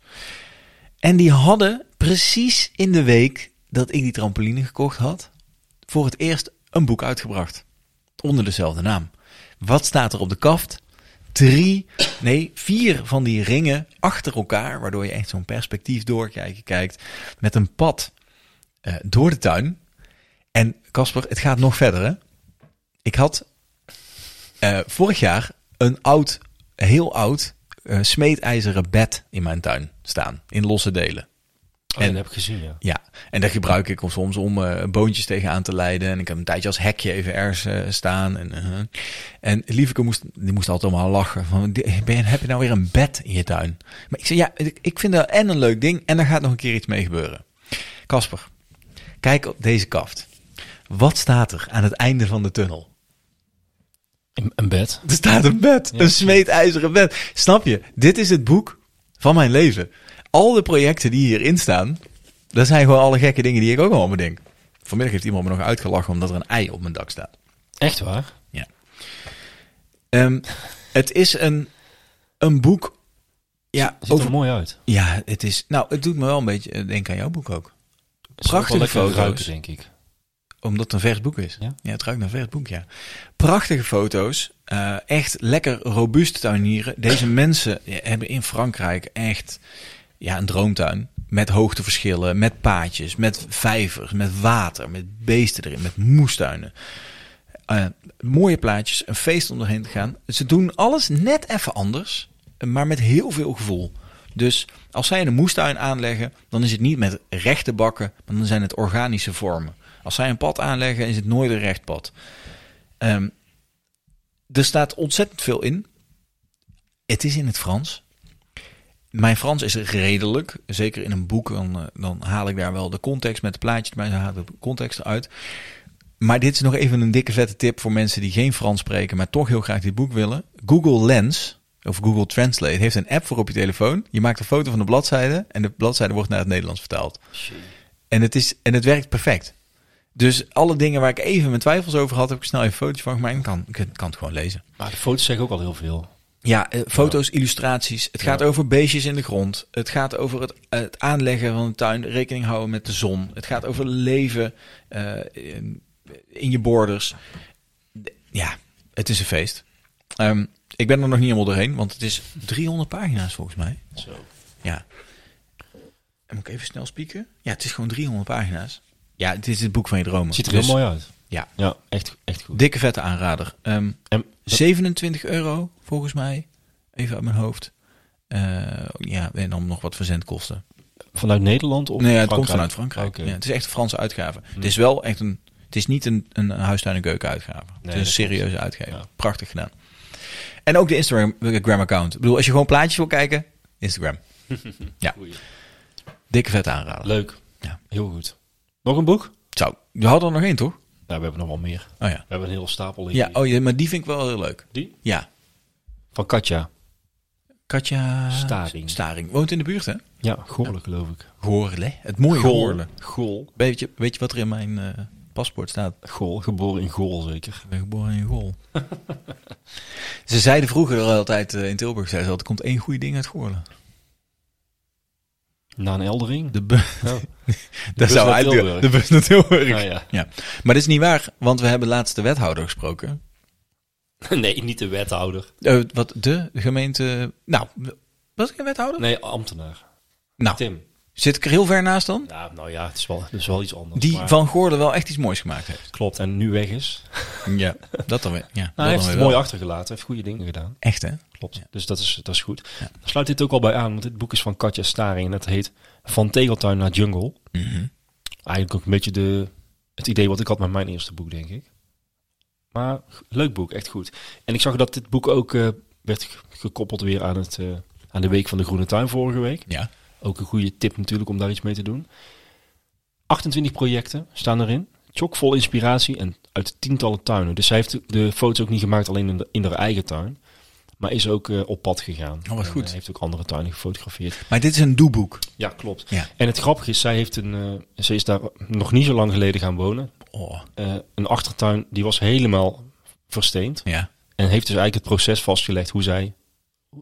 [SPEAKER 1] En die hadden precies in de week dat ik die trampoline gekocht had, voor het eerst een boek uitgebracht. Onder dezelfde naam. Wat staat er op de kaft? Drie, nee, vier van die ringen achter elkaar, waardoor je echt zo'n perspectief doorkijken kijkt. Met een pad eh, door de tuin. En Casper, het gaat nog verder. Hè? Ik had eh, vorig jaar een oud, heel oud, eh, smeedijzeren bed in mijn tuin staan. In losse delen.
[SPEAKER 5] Oh, dat heb ik gezien, ja.
[SPEAKER 1] Ja, en dat gebruik ik soms om eh, boontjes tegenaan te leiden. En ik heb een tijdje als hekje even ergens eh, staan. En, eh, en Lieveke moest, die moest altijd allemaal lachen. Van, "Die- ben je, heb je nou weer een bed in je tuin? Maar ik zei, ja, ik, ik vind dat en een leuk ding. En daar gaat nog een keer iets mee gebeuren. Kasper, kijk op deze kaft. Wat staat er aan het einde van de tunnel?
[SPEAKER 5] Een, een bed.
[SPEAKER 1] Er staat een bed, een smeedijzeren bed. Snap je? Dit is het boek van mijn leven. Al de projecten die hierin staan, dat zijn gewoon alle gekke dingen die ik ook allemaal bedenk. Vanmiddag heeft iemand me nog uitgelachen omdat er een ei op mijn dak staat.
[SPEAKER 5] Echt waar?
[SPEAKER 1] Ehm, het is een, een boek. Ja,
[SPEAKER 5] Ziet
[SPEAKER 1] over,
[SPEAKER 5] er mooi uit.
[SPEAKER 1] ja, het is. Nou, het doet me wel een beetje eh, denken aan jouw boek ook.
[SPEAKER 5] Het zal ook wel
[SPEAKER 1] Prachtige
[SPEAKER 5] lekker
[SPEAKER 1] foto's.
[SPEAKER 5] ruiken, denk ik.
[SPEAKER 1] Omdat het een vers boek is. Ja,
[SPEAKER 5] Ja?
[SPEAKER 1] het ruikt naar vers boek, ja. Prachtige foto's. eh, echt lekker robuust tuinieren. Deze mensen hebben in Frankrijk echt ja, een droomtuin. Met hoogteverschillen, met paadjes, met vijvers, met water, met beesten erin, met moestuinen. Eh, mooie plaatjes, een feest om erheen te gaan. Ze doen alles net even anders, maar met heel veel gevoel. Dus als zij een moestuin aanleggen, dan is het niet met rechte bakken, maar dan zijn het organische vormen. Als zij een pad aanleggen, is het nooit een recht pad. Ehm, er staat ontzettend veel in. Het is in het Frans. Mijn Frans is redelijk. Zeker in een boek, dan, eh, dan haal ik daar wel de context met het plaatje, maar dan haal ik de context eruit. Maar dit is nog even een dikke vette tip voor mensen die geen Frans spreken, maar toch heel graag dit boek willen. Google Lens of Google Translate heeft een app voor op je telefoon. Je maakt een foto van de bladzijde en de bladzijde wordt naar het Nederlands vertaald. En het, is, en het werkt perfect. Dus alle dingen waar ik even mijn twijfels over had, heb ik snel even foto's van gemaakt. En ik kan, ik kan het gewoon lezen.
[SPEAKER 5] Maar de foto's zeggen ook al heel veel.
[SPEAKER 1] Ja, eh, foto's, illustraties. Het gaat over beestjes in de grond. Het gaat over het, eh, het aanleggen van een tuin. Rekening houden met de zon. Het gaat over leven eh, in, in je borders. De- Ja, het is een feest. Ehm, ik ben er nog niet helemaal doorheen, want het is 300 pagina's volgens mij.
[SPEAKER 5] Zo.
[SPEAKER 1] Ja. En Moet ik even snel spieken? Ja, het is gewoon 300 pagina's. Ja, het is het boek van je dromen.
[SPEAKER 5] Het ziet er heel
[SPEAKER 1] Dus
[SPEAKER 5] mooi uit.
[SPEAKER 1] ja.
[SPEAKER 5] Ja, echt, echt goed.
[SPEAKER 1] Dikke vette aanrader. Ehm,
[SPEAKER 5] En
[SPEAKER 1] 27 euro, volgens mij. Even uit mijn hoofd. Eh, ja, en dan nog wat verzendkosten.
[SPEAKER 5] vanuit Nederland? Of
[SPEAKER 1] nee, het komt
[SPEAKER 5] Frankrijk?
[SPEAKER 1] vanuit Frankrijk.
[SPEAKER 5] Oké. Mm.
[SPEAKER 1] Ja, het is echt een Franse uitgave. Het is wel echt een... Het is niet een, een huistuin- en keukenuitgave. het is een
[SPEAKER 5] dat
[SPEAKER 1] serieuze uitgave.
[SPEAKER 5] Ja.
[SPEAKER 1] Prachtig gedaan. En ook de Instagram-account. Ik bedoel, als je gewoon plaatjes wil kijken, Instagram. ja. Dikke vet aanrader.
[SPEAKER 5] Leuk.
[SPEAKER 1] Ja.
[SPEAKER 5] Heel goed. Nog een boek?
[SPEAKER 1] Zo, we hadden er nog één, toch?
[SPEAKER 5] Nou, we hebben nog wel meer.
[SPEAKER 1] Oh ja.
[SPEAKER 5] We hebben een hele stapel liggen
[SPEAKER 1] Ja,
[SPEAKER 5] hier.
[SPEAKER 1] oh, ja, maar die vind ik wel heel leuk.
[SPEAKER 5] Die?
[SPEAKER 1] Ja.
[SPEAKER 5] Van Katja.
[SPEAKER 1] Katja...
[SPEAKER 5] Staring.
[SPEAKER 1] Staring. Woont in de buurt, hè?
[SPEAKER 5] Ja, Goorle geloof ik.
[SPEAKER 1] Goorle. Het mooie Goorle.
[SPEAKER 5] Gool.
[SPEAKER 1] Weet je, weet je wat er in mijn eh, paspoort staat?
[SPEAKER 5] Gool. Geboren in Gool zeker.
[SPEAKER 1] Ik ben geboren in Goorl. ze zeiden vroeger altijd eh, in Tilburg, zeiden ze altijd, er komt één goede ding uit Goorle.
[SPEAKER 5] Na een eldering.
[SPEAKER 1] De, bu-
[SPEAKER 5] Oh.
[SPEAKER 1] dat
[SPEAKER 5] bus
[SPEAKER 1] zou
[SPEAKER 5] naar
[SPEAKER 1] eigenlijk-
[SPEAKER 5] Tilburg.
[SPEAKER 1] De bus naar Tilburg.
[SPEAKER 5] Nou ja.
[SPEAKER 1] Maar dit is niet waar, want we hebben laatst de wethouder gesproken.
[SPEAKER 5] Nee, niet de wethouder.
[SPEAKER 1] Eh, wat de gemeente... Nou, was ik een wethouder?
[SPEAKER 5] Nee, ambtenaar.
[SPEAKER 1] Nou,
[SPEAKER 5] Tim.
[SPEAKER 1] zit ik er heel ver naast dan?
[SPEAKER 5] Nou, nou ja, het is wel, het is wel iets anders.
[SPEAKER 1] Die
[SPEAKER 5] maar-
[SPEAKER 1] van Goorle wel echt iets moois gemaakt heeft.
[SPEAKER 5] Klopt, en nu weg is.
[SPEAKER 1] Ja, dat dan weer. Ja, dat
[SPEAKER 5] Nou, hij
[SPEAKER 1] dan
[SPEAKER 5] heeft
[SPEAKER 1] weer
[SPEAKER 5] het
[SPEAKER 1] wel.
[SPEAKER 5] mooi achtergelaten. heeft goede dingen gedaan.
[SPEAKER 1] Echt, hè?
[SPEAKER 5] Klopt.
[SPEAKER 1] Ja.
[SPEAKER 5] Dus dat is, dat is goed. Dan sluit dit ook al bij aan, want dit boek is van Katja Staring. En dat heet Van Tegeltuin naar Jungle.
[SPEAKER 1] Mhm.
[SPEAKER 5] Eigenlijk ook een beetje de, het idee wat ik had met mijn eerste boek, denk ik. Maar g- leuk boek, echt goed. En ik zag dat dit boek ook eh, werd ge- gekoppeld weer aan, het, eh, aan de Week van de Groene Tuin vorige week.
[SPEAKER 1] Ja.
[SPEAKER 5] Ook een goede tip natuurlijk om daar iets mee te doen. 28 projecten staan erin. Chockvol inspiratie en uit tientallen tuinen. Dus zij heeft de- de foto's ook niet gemaakt alleen in, de- in haar eigen tuin. Maar is ook eh, op pad gegaan.
[SPEAKER 1] Oh, wat
[SPEAKER 5] En,
[SPEAKER 1] goed.
[SPEAKER 5] eh, heeft ook andere tuinen gefotografeerd.
[SPEAKER 1] Maar dit is een doeboek.
[SPEAKER 5] Ja, klopt.
[SPEAKER 1] Ja.
[SPEAKER 5] En het grappige is, zij heeft een, eh, ze is daar nog niet zo lang geleden gaan wonen.
[SPEAKER 1] Oh,
[SPEAKER 5] Eh, een achtertuin die was helemaal versteend.
[SPEAKER 1] ja.
[SPEAKER 5] En heeft dus eigenlijk het proces vastgelegd hoe zij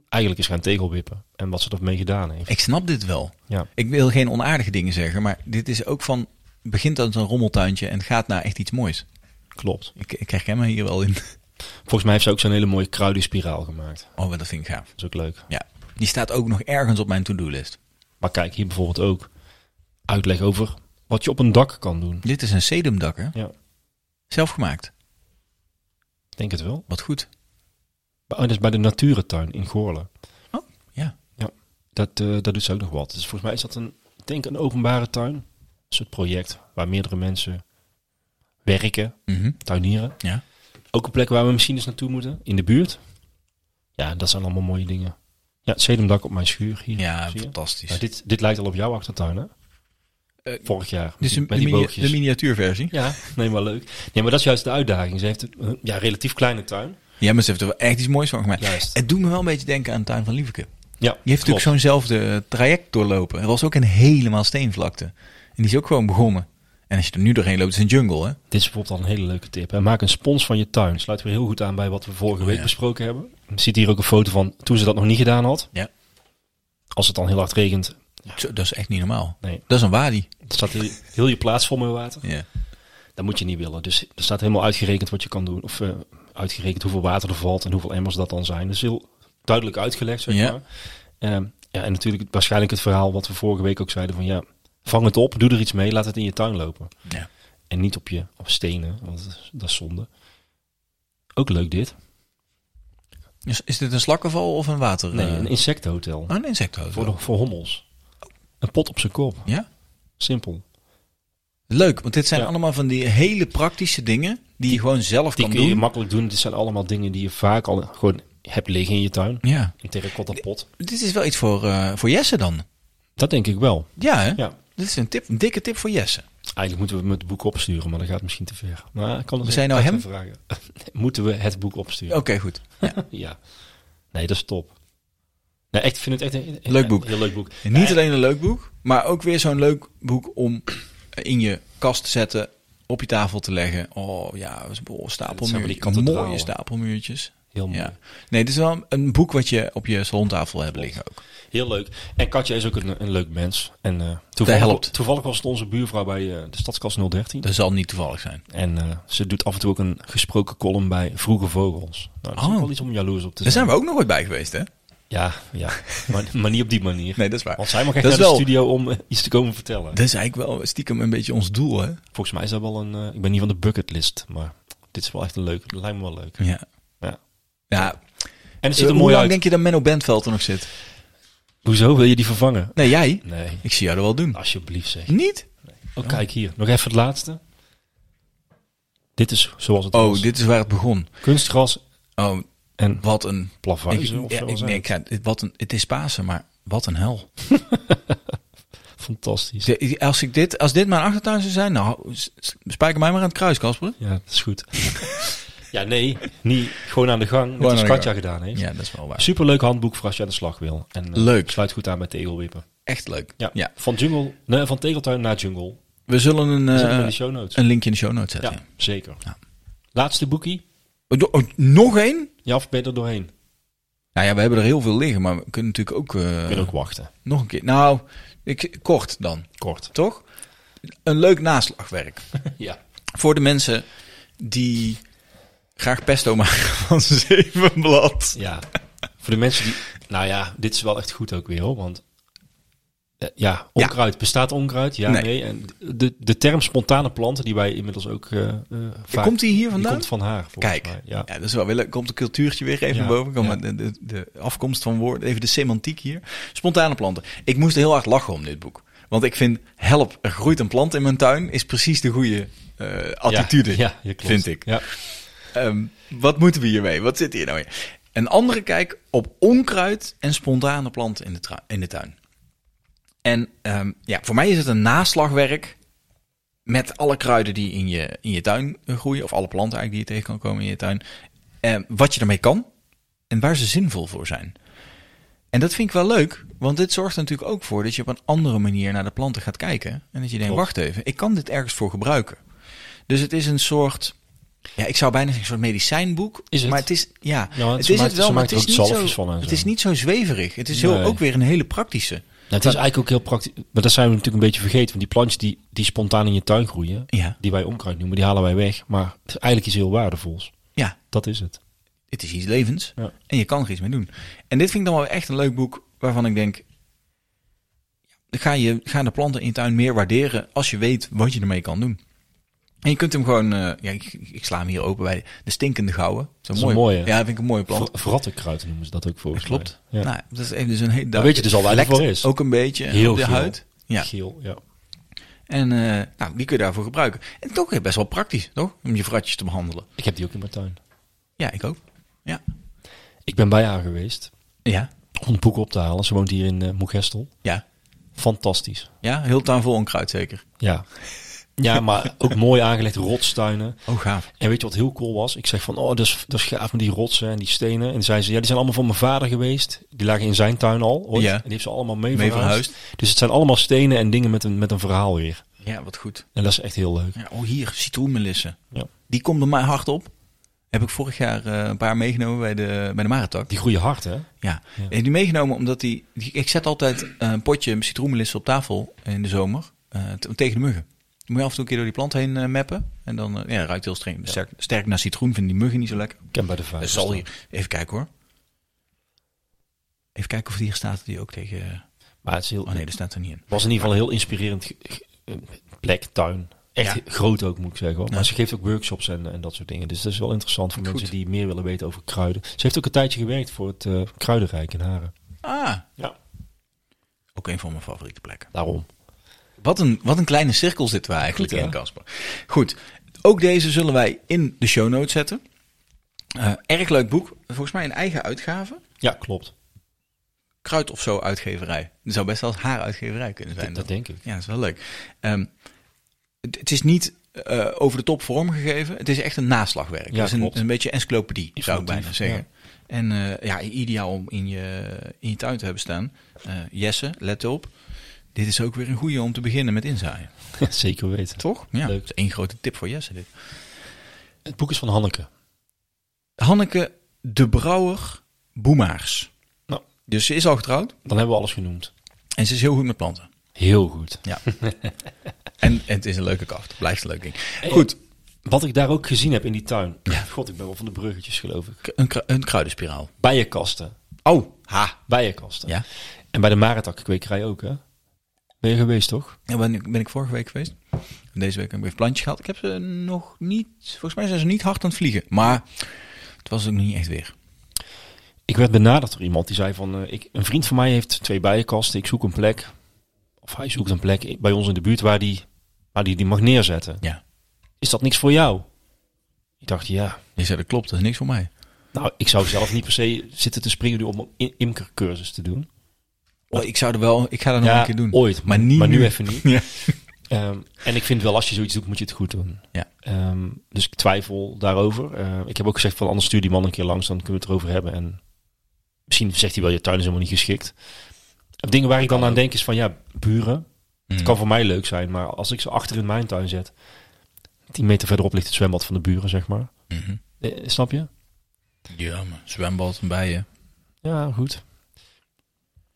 [SPEAKER 5] eigenlijk is gaan tegelwippen. En wat ze ermee gedaan heeft.
[SPEAKER 1] Ik snap dit wel.
[SPEAKER 5] Ja.
[SPEAKER 1] Ik wil geen onaardige dingen zeggen, maar dit is ook van... Begint als een rommeltuintje en gaat naar echt iets moois.
[SPEAKER 5] Klopt.
[SPEAKER 1] Ik, ik herken me hier wel in.
[SPEAKER 5] Volgens mij heeft ze ook zo'n hele mooie kruidenspiraal gemaakt.
[SPEAKER 1] Oh, maar dat vind ik gaaf.
[SPEAKER 5] Dat is ook leuk.
[SPEAKER 1] Ja. Die staat ook nog ergens op mijn to-do-list.
[SPEAKER 5] Maar kijk, hier bijvoorbeeld ook uitleg over wat je op een dak kan doen.
[SPEAKER 1] Dit is een sedumdakker.
[SPEAKER 5] Ja.
[SPEAKER 1] Zelfgemaakt.
[SPEAKER 5] Ik Denk het wel.
[SPEAKER 1] Wat goed.
[SPEAKER 5] Bij- Oh, dat is bij de Naturentuin in Goorlen.
[SPEAKER 1] Oh, ja.
[SPEAKER 5] Ja, dat, eh, dat doet ze ook nog wat. Dus volgens mij is dat een, ik denk een openbare tuin. Een soort project waar meerdere mensen werken,
[SPEAKER 1] Mhm.
[SPEAKER 5] tuinieren.
[SPEAKER 1] Ja.
[SPEAKER 5] Ook een plek waar we misschien eens naartoe moeten, in de buurt. Ja, dat zijn allemaal mooie dingen. Ja, het sedumdak op mijn schuur hier.
[SPEAKER 1] Ja,
[SPEAKER 5] zie je?
[SPEAKER 1] fantastisch.
[SPEAKER 5] Nou, dit, dit lijkt al op jouw achtertuin, hè?
[SPEAKER 1] Eh,
[SPEAKER 5] Vorig jaar.
[SPEAKER 1] Dit is een,
[SPEAKER 5] met
[SPEAKER 1] de
[SPEAKER 5] die
[SPEAKER 1] mini-
[SPEAKER 5] boogjes.
[SPEAKER 1] de miniatuurversie.
[SPEAKER 5] Ja, nee, maar leuk. Nee, maar dat is juist de uitdaging. Ze heeft een ja, relatief kleine tuin.
[SPEAKER 1] Ja, maar ze heeft er wel echt iets moois van gemaakt.
[SPEAKER 5] Juist.
[SPEAKER 1] Het doet me wel een beetje denken aan de tuin van Lieveke. Die
[SPEAKER 5] Ja,
[SPEAKER 1] heeft natuurlijk zo'nzelfde eh, traject doorlopen. Er was ook een helemaal steenvlakte. En die is ook gewoon begonnen. En als je er nu doorheen loopt, is het een jungle, hè?
[SPEAKER 5] Dit is bijvoorbeeld al een hele leuke tip. En maak een spons van je tuin. Sluit weer heel goed aan bij wat we vorige
[SPEAKER 1] Oh,
[SPEAKER 5] week
[SPEAKER 1] ja.
[SPEAKER 5] besproken hebben. Je ziet hier ook een foto van toen ze dat nog niet gedaan had.
[SPEAKER 1] Ja.
[SPEAKER 5] Als het dan heel hard regent,
[SPEAKER 1] Zo, dat is echt niet normaal.
[SPEAKER 5] Nee.
[SPEAKER 1] Dat is een wadi.
[SPEAKER 5] staat heel, heel je plaats vol met water.
[SPEAKER 1] Ja.
[SPEAKER 5] Dat moet je niet willen. Dus er staat helemaal uitgerekend wat je kan doen. Of eh, uitgerekend hoeveel water er valt en hoeveel emmers dat dan zijn. Dus heel duidelijk uitgelegd, zeg
[SPEAKER 1] Ja.
[SPEAKER 5] maar. Ehm, ja, en natuurlijk het- waarschijnlijk het verhaal wat we vorige week ook zeiden van ja, vang het op, doe er iets mee, laat het in je tuin lopen.
[SPEAKER 1] Ja.
[SPEAKER 5] En niet op je op stenen, want dat is- dat is zonde. Ook leuk dit.
[SPEAKER 1] Dus is dit een slakkenval of een water?
[SPEAKER 5] Nee,
[SPEAKER 1] eh,
[SPEAKER 5] een insectenhotel.
[SPEAKER 1] oh, een insecthotel.
[SPEAKER 5] Voor, de- voor hommels. Een pot op zijn kop.
[SPEAKER 1] Ja?
[SPEAKER 5] Simpel.
[SPEAKER 1] Leuk, want dit zijn
[SPEAKER 5] Ja.
[SPEAKER 1] allemaal van die hele praktische dingen die je gewoon zelf
[SPEAKER 5] Die
[SPEAKER 1] kan
[SPEAKER 5] kun je
[SPEAKER 1] doen.
[SPEAKER 5] makkelijk doen. Dit zijn allemaal dingen die je vaak al gewoon hebt liggen in je tuin.
[SPEAKER 1] Ja.
[SPEAKER 5] Een terracotta pot.
[SPEAKER 1] Dit is wel iets voor, eh, voor Jesse dan.
[SPEAKER 5] Dat denk ik wel.
[SPEAKER 1] Ja, hè?
[SPEAKER 5] Ja.
[SPEAKER 1] Dit is een, tip, een dikke tip voor Jesse.
[SPEAKER 5] Eigenlijk moeten we hem het boek opsturen, maar dat gaat misschien te ver. Maar ik kan het
[SPEAKER 1] We zijn nou
[SPEAKER 5] even
[SPEAKER 1] hem? Oh.
[SPEAKER 5] vragen. moeten we het boek opsturen?
[SPEAKER 1] Oké, goed.
[SPEAKER 5] Ja. Nee, dat is top. Nee, echt, ik vind het echt een, een-
[SPEAKER 1] Leuk boek.
[SPEAKER 5] een heel leuk boek.
[SPEAKER 1] En niet alleen een leuk boek, maar ook weer zo'n leuk boek om in je kast te zetten, op je tafel te leggen. Oh ja, dat is een
[SPEAKER 5] van die
[SPEAKER 1] stapelmuurtjes.
[SPEAKER 5] kathedralen.
[SPEAKER 1] Mooie stapelmuurtjes.
[SPEAKER 5] Heel mooi.
[SPEAKER 1] Ja. Nee, dit is wel een boek wat je op je salontafel hebt liggen ook.
[SPEAKER 5] Heel leuk. En Katja is ook een, een leuk mens. En eh toevallig,
[SPEAKER 1] helpt.
[SPEAKER 5] toevallig was het onze buurvrouw bij eh, de Stadskas 013.
[SPEAKER 1] Dat zal niet toevallig zijn.
[SPEAKER 5] En eh, ze doet af en toe ook een gesproken column bij Vroege Vogels. Nou, dat is
[SPEAKER 1] Oh.
[SPEAKER 5] ook wel iets om jaloers op te
[SPEAKER 1] Daar
[SPEAKER 5] zijn.
[SPEAKER 1] zijn we ook nog ooit bij geweest, hè?
[SPEAKER 5] Ja, ja. Maar, maar niet op die manier.
[SPEAKER 1] Nee, dat is waar.
[SPEAKER 5] Want zij mag
[SPEAKER 1] dat
[SPEAKER 5] echt
[SPEAKER 1] is
[SPEAKER 5] naar de
[SPEAKER 1] wel-
[SPEAKER 5] studio om eh, iets te komen vertellen.
[SPEAKER 1] Dat is eigenlijk wel stiekem een beetje ons doel, hè?
[SPEAKER 5] Volgens mij is dat wel een... eh, ik ben niet van de bucketlist, maar dit is wel echt een leuk. Dat lijkt me wel leuk.
[SPEAKER 1] Ja.
[SPEAKER 5] Ja.
[SPEAKER 1] Ja,
[SPEAKER 5] En het ziet er
[SPEAKER 1] Hm. Eh, hoe
[SPEAKER 5] mooi
[SPEAKER 1] lang
[SPEAKER 5] uit.
[SPEAKER 1] denk je dat Menno Bentveld er nog zit?
[SPEAKER 5] Hoezo? Wil je die vervangen?
[SPEAKER 1] Nee, jij?
[SPEAKER 5] Nee.
[SPEAKER 1] Ik zie jou er wel doen.
[SPEAKER 5] Alsjeblieft zeg.
[SPEAKER 1] Niet?
[SPEAKER 5] Oh, kijk hier. Nog even het laatste. Dit is zoals het was.
[SPEAKER 1] Oh, dit is waar het begon.
[SPEAKER 5] Kunstgras
[SPEAKER 1] Oh,
[SPEAKER 5] en
[SPEAKER 1] wat een... Ik,
[SPEAKER 5] plavuizen of
[SPEAKER 1] ja,
[SPEAKER 5] zo
[SPEAKER 1] ik,
[SPEAKER 5] zijn.
[SPEAKER 1] nee, ik ga- het- wat een het is Pasen, maar wat een hel.
[SPEAKER 5] Fantastisch.
[SPEAKER 1] De- Als, ik dit, als dit mijn achtertuin zou zijn, nou, s- s- spijker mij maar aan het kruis, Kasper.
[SPEAKER 5] Ja, dat is goed. ja, nee, niet gewoon aan de gang. Net
[SPEAKER 1] Gewoon
[SPEAKER 5] als
[SPEAKER 1] aan de
[SPEAKER 5] Katja
[SPEAKER 1] gang.
[SPEAKER 5] gedaan heeft.
[SPEAKER 1] Ja, dat is wel waar.
[SPEAKER 5] Superleuk handboek voor als je aan de slag wil. En, eh,
[SPEAKER 1] Leuk.
[SPEAKER 5] Sluit goed aan bij tegelwippen.
[SPEAKER 1] Echt leuk.
[SPEAKER 5] Ja, Van, jungle, nee, van tegeltuin naar jungle.
[SPEAKER 1] We zullen een,
[SPEAKER 5] Zet hem
[SPEAKER 1] eh,
[SPEAKER 5] in de show notes.
[SPEAKER 1] een linkje in de show notes
[SPEAKER 5] ja,
[SPEAKER 1] zetten.
[SPEAKER 5] zeker.
[SPEAKER 1] Ja.
[SPEAKER 5] Laatste boekie.
[SPEAKER 1] ja. Do- oh, nog één?
[SPEAKER 5] Ja, of ben je er doorheen? Kun
[SPEAKER 1] Nou ja, we hebben er heel veel liggen, maar we kunnen natuurlijk ook, eh,
[SPEAKER 5] je ook wachten.
[SPEAKER 1] nog een keer. Nou, ik, kort dan,
[SPEAKER 5] Kort.
[SPEAKER 1] toch? Een leuk naslagwerk.
[SPEAKER 5] Ja.
[SPEAKER 1] Voor de mensen die graag pesto maken van zevenblad.
[SPEAKER 5] ja. voor de mensen die... Nou ja, dit is wel echt goed ook weer hoor, want... eh, Ja, onkruid. Bestaat onkruid? Ja, nee.
[SPEAKER 1] Nee.
[SPEAKER 5] En de, de term spontane planten, die wij inmiddels ook eh eh, vaak...
[SPEAKER 1] Komt die hier
[SPEAKER 5] die
[SPEAKER 1] vandaan?
[SPEAKER 5] komt van haar, volgens
[SPEAKER 1] Kijk,
[SPEAKER 5] mij.
[SPEAKER 1] ja. dat is wel weer leuk. Komt de cultuurtje weer even
[SPEAKER 5] Ja,
[SPEAKER 1] boven. Kom
[SPEAKER 5] ja.
[SPEAKER 1] maar de, de, de afkomst van woorden, even de semantiek hier. Spontane planten. Ik moest heel hard lachen om dit boek. Want ik vind, help, er groeit een plant in mijn tuin, is precies de goede eh, attitude,
[SPEAKER 5] Ja, ja, klopt.
[SPEAKER 1] vind ik.
[SPEAKER 5] Ja.
[SPEAKER 1] Ehm, wat moeten we hiermee? Wat zit hier nou in? Een andere kijk op onkruid en spontane planten in de, tru- in de tuin. En ehm, ja, voor mij is het een naslagwerk met alle kruiden die in je, in je tuin eh, groeien, of alle planten eigenlijk die je tegen kan komen in je tuin. Ehm, wat je daarmee kan en waar ze zinvol voor zijn. En dat vind ik wel leuk, want dit zorgt er natuurlijk ook voor dat je op een andere manier naar de planten gaat kijken. En dat je denkt,
[SPEAKER 5] Klopt.
[SPEAKER 1] wacht even, ik kan dit ergens voor gebruiken. Dus het is een soort Ja, ik zou bijna zeggen een soort medicijnboek.
[SPEAKER 5] Is het?
[SPEAKER 1] Maar het is, ja,
[SPEAKER 5] Ja, want
[SPEAKER 1] het
[SPEAKER 5] ze
[SPEAKER 1] is
[SPEAKER 5] maakt-
[SPEAKER 1] het wel,
[SPEAKER 5] ze
[SPEAKER 1] maar
[SPEAKER 5] maakt
[SPEAKER 1] het
[SPEAKER 5] er
[SPEAKER 1] is, niet
[SPEAKER 5] ook
[SPEAKER 1] zo,
[SPEAKER 5] zalfjes van en
[SPEAKER 1] het
[SPEAKER 5] zo.
[SPEAKER 1] is niet zo zweverig. Het is heel,
[SPEAKER 5] Nee.
[SPEAKER 1] ook weer een hele praktische.
[SPEAKER 5] Nou, het is eigenlijk ook heel praktisch. Maar dat zijn we natuurlijk een beetje vergeten. Want die plantjes die, die spontaan in je tuin groeien,
[SPEAKER 1] Ja.
[SPEAKER 5] die wij onkruid noemen, die halen wij weg. Maar het is eigenlijk iets heel waardevols.
[SPEAKER 1] Ja,
[SPEAKER 5] Dat is het.
[SPEAKER 1] het is iets levens
[SPEAKER 5] Ja.
[SPEAKER 1] en je kan er iets mee doen. En dit vind ik dan wel echt een leuk boek waarvan ik denk... Ga, je, ga de planten in je tuin meer waarderen als je weet wat je ermee kan doen. En je kunt hem gewoon... eh, ja, ik, ik sla hem hier open bij de stinkende gouden. Dat
[SPEAKER 5] is een mooie.
[SPEAKER 1] Ja, vind ik een mooie plant.
[SPEAKER 5] Ver- Verrattenkruid noemen ze dat ook volgens mij.
[SPEAKER 1] Klopt.
[SPEAKER 5] Ja.
[SPEAKER 1] Nou, dat is even dus een hele
[SPEAKER 5] Dan weet je dus al waar het
[SPEAKER 1] Lekt
[SPEAKER 5] voor is.
[SPEAKER 1] Ook een beetje
[SPEAKER 5] Heel
[SPEAKER 1] op de
[SPEAKER 5] geel.
[SPEAKER 1] huid. Ja.
[SPEAKER 5] Geel, ja.
[SPEAKER 1] En eh, nou, die kun je daarvoor gebruiken. En toch weer best wel praktisch, toch? Om je vratjes te behandelen.
[SPEAKER 5] Ik heb die ook in mijn tuin.
[SPEAKER 1] Ja, ik ook. Ja.
[SPEAKER 5] Ik ben bij haar geweest
[SPEAKER 1] Ja.
[SPEAKER 5] om het boek op te halen. Ze woont hier in eh Moegestel.
[SPEAKER 1] Ja.
[SPEAKER 5] Fantastisch.
[SPEAKER 1] Ja, heel tuin vol onkruid zeker.
[SPEAKER 5] Ja. Ja, maar ook mooi aangelegd rotstuinen.
[SPEAKER 1] Oh, gaaf.
[SPEAKER 5] En weet je wat heel cool was? Ik zeg van, oh, dat is, dat is gaaf met die rotsen en die stenen. En zei ze, ja, die zijn allemaal van mijn vader geweest. Die lagen in zijn tuin al ooit.
[SPEAKER 1] Ja.
[SPEAKER 5] En die heeft ze allemaal mee,
[SPEAKER 1] Mee
[SPEAKER 5] verhuisd. Dus het zijn allemaal stenen en dingen met een, met een verhaal weer.
[SPEAKER 1] Ja, wat goed.
[SPEAKER 5] En dat is echt heel leuk.
[SPEAKER 1] Ja, oh, hier, citroenmelissen.
[SPEAKER 5] Ja.
[SPEAKER 1] Die komt er mij hard op. Heb ik vorig jaar eh, een paar meegenomen bij de, bij de Maratak.
[SPEAKER 5] Die groeien hard, hè?
[SPEAKER 1] Ja.
[SPEAKER 5] Ja.
[SPEAKER 1] Ik heb die meegenomen omdat die, die- Ik zet altijd eh, een potje citroenmelissen op tafel in de zomer. eh, t- tegen de muggen. Dan moet je af en toe een keer door die plant heen eh, meppen. En dan eh, ja, ruikt heel streng, sterk, sterk naar citroen. Vinden die muggen niet zo lekker.
[SPEAKER 5] Ik ken bij de vijf.
[SPEAKER 1] Dat zal hier. Even kijken hoor. Even kijken of die hier staat. Die ook tegen.
[SPEAKER 5] Maar het is heel,
[SPEAKER 1] Oh nee, dat staat er niet in.
[SPEAKER 5] was in ieder geval een heel inspirerend ge- ge- eh, plek, tuin. Echt
[SPEAKER 1] Ja.
[SPEAKER 5] groot ook, moet ik zeggen. hoor. Maar
[SPEAKER 1] Ja.
[SPEAKER 5] ze geeft ook workshops en, en dat soort dingen. Dus dat is wel interessant voor
[SPEAKER 1] Goed.
[SPEAKER 5] mensen die meer willen weten over kruiden. Ze heeft ook een tijdje gewerkt voor het eh, Kruidenrijk in Haren.
[SPEAKER 1] Ah.
[SPEAKER 5] Ja.
[SPEAKER 1] Ook een van mijn favoriete plekken.
[SPEAKER 5] Daarom.
[SPEAKER 1] Wat een, wat een kleine cirkel zitten we eigenlijk
[SPEAKER 5] Goed, hè?
[SPEAKER 1] in, Casper. Goed, ook deze zullen wij in de show notes zetten. Eh, erg leuk boek. Volgens mij een eigen uitgave.
[SPEAKER 5] Ja, klopt.
[SPEAKER 1] Kruid of zo uitgeverij. Dat zou best wel eens haar uitgeverij kunnen zijn.
[SPEAKER 5] Dat, dat denk ik.
[SPEAKER 1] Ja, dat is wel leuk. Ehm, het, het is niet eh, over de top vormgegeven. Het is echt een naslagwerk.
[SPEAKER 5] Ja,
[SPEAKER 1] het is een,
[SPEAKER 5] klopt.
[SPEAKER 1] een beetje encyclopedie, zou ik
[SPEAKER 5] Informatief,
[SPEAKER 1] bijna zeggen. En eh, ja, ideaal om in je, in je tuin te hebben staan. Eh, Jesse, let op. Dit is ook weer een goede om te beginnen met inzaaien.
[SPEAKER 5] Zeker weten.
[SPEAKER 1] Toch? Ja,
[SPEAKER 5] Leuk.
[SPEAKER 1] dat is één grote tip voor Jesse dit.
[SPEAKER 5] Het boek is van Hanneke.
[SPEAKER 1] Hanneke de Brouwer Boemaars.
[SPEAKER 5] Nou.
[SPEAKER 1] Dus ze is al getrouwd
[SPEAKER 5] Dan hebben we alles genoemd.
[SPEAKER 1] en ze is heel goed met planten.
[SPEAKER 5] Heel goed.
[SPEAKER 1] En het is een leuke kaft. Het blijft een leuk ding. Goed,
[SPEAKER 5] Wat ik daar ook gezien heb in die tuin. God, ik ben wel van de bruggetjes geloof ik.
[SPEAKER 1] k- een, kru- een kruidenspiraal.
[SPEAKER 5] Bijenkasten.
[SPEAKER 1] Oh, ha.
[SPEAKER 5] Bijenkasten.
[SPEAKER 1] Ja.
[SPEAKER 5] En bij de Maratakkwekerij ook hè. Ben je geweest toch?
[SPEAKER 1] Ja, ben, ik, ben ik vorige week geweest. Deze week heb ik weer plantjes gehad. Ik heb ze nog niet... Volgens mij zijn ze niet hard aan het vliegen. Maar het was ook niet echt weer.
[SPEAKER 5] Ik werd benaderd door iemand die zei van... eh, ik, een vriend van mij heeft twee bijenkasten. Ik zoek een plek. Of hij zoekt een plek bij ons in de buurt waar die, waar die, die mag neerzetten.
[SPEAKER 1] Ja.
[SPEAKER 5] Is dat niks voor jou? Ik dacht ja.
[SPEAKER 1] Je zei, dat klopt. Dat is niks voor mij.
[SPEAKER 5] Nou, ik zou zelf niet per se zitten te springen nu om een im- imkercursus te doen.
[SPEAKER 1] Oh, ik zou er wel... Ik ga dat nog
[SPEAKER 5] Ja,
[SPEAKER 1] een keer doen.
[SPEAKER 5] ooit.
[SPEAKER 1] Maar niet
[SPEAKER 5] Maar nu
[SPEAKER 1] nu.
[SPEAKER 5] even niet.
[SPEAKER 1] Ja.
[SPEAKER 5] Ehm, en ik vind wel, als je zoiets doet, moet je het goed doen.
[SPEAKER 1] Ja.
[SPEAKER 5] Ehm, dus ik twijfel daarover. Eh, ik heb ook gezegd van, anders stuur die man een keer langs, dan kunnen we het erover hebben. En misschien zegt hij wel, je tuin is helemaal niet geschikt. Dingen waar ik dan aan denk is van, ja, buren. Het
[SPEAKER 1] Mm. Mhm.
[SPEAKER 5] kan voor mij leuk zijn, maar als ik ze achter in mijn tuin zet... 10 meter verderop ligt het zwembad van de buren, zeg maar.
[SPEAKER 1] Mhm.
[SPEAKER 5] Eh, snap je?
[SPEAKER 1] Ja, maar zwembad en bijen.
[SPEAKER 5] Ja, goed.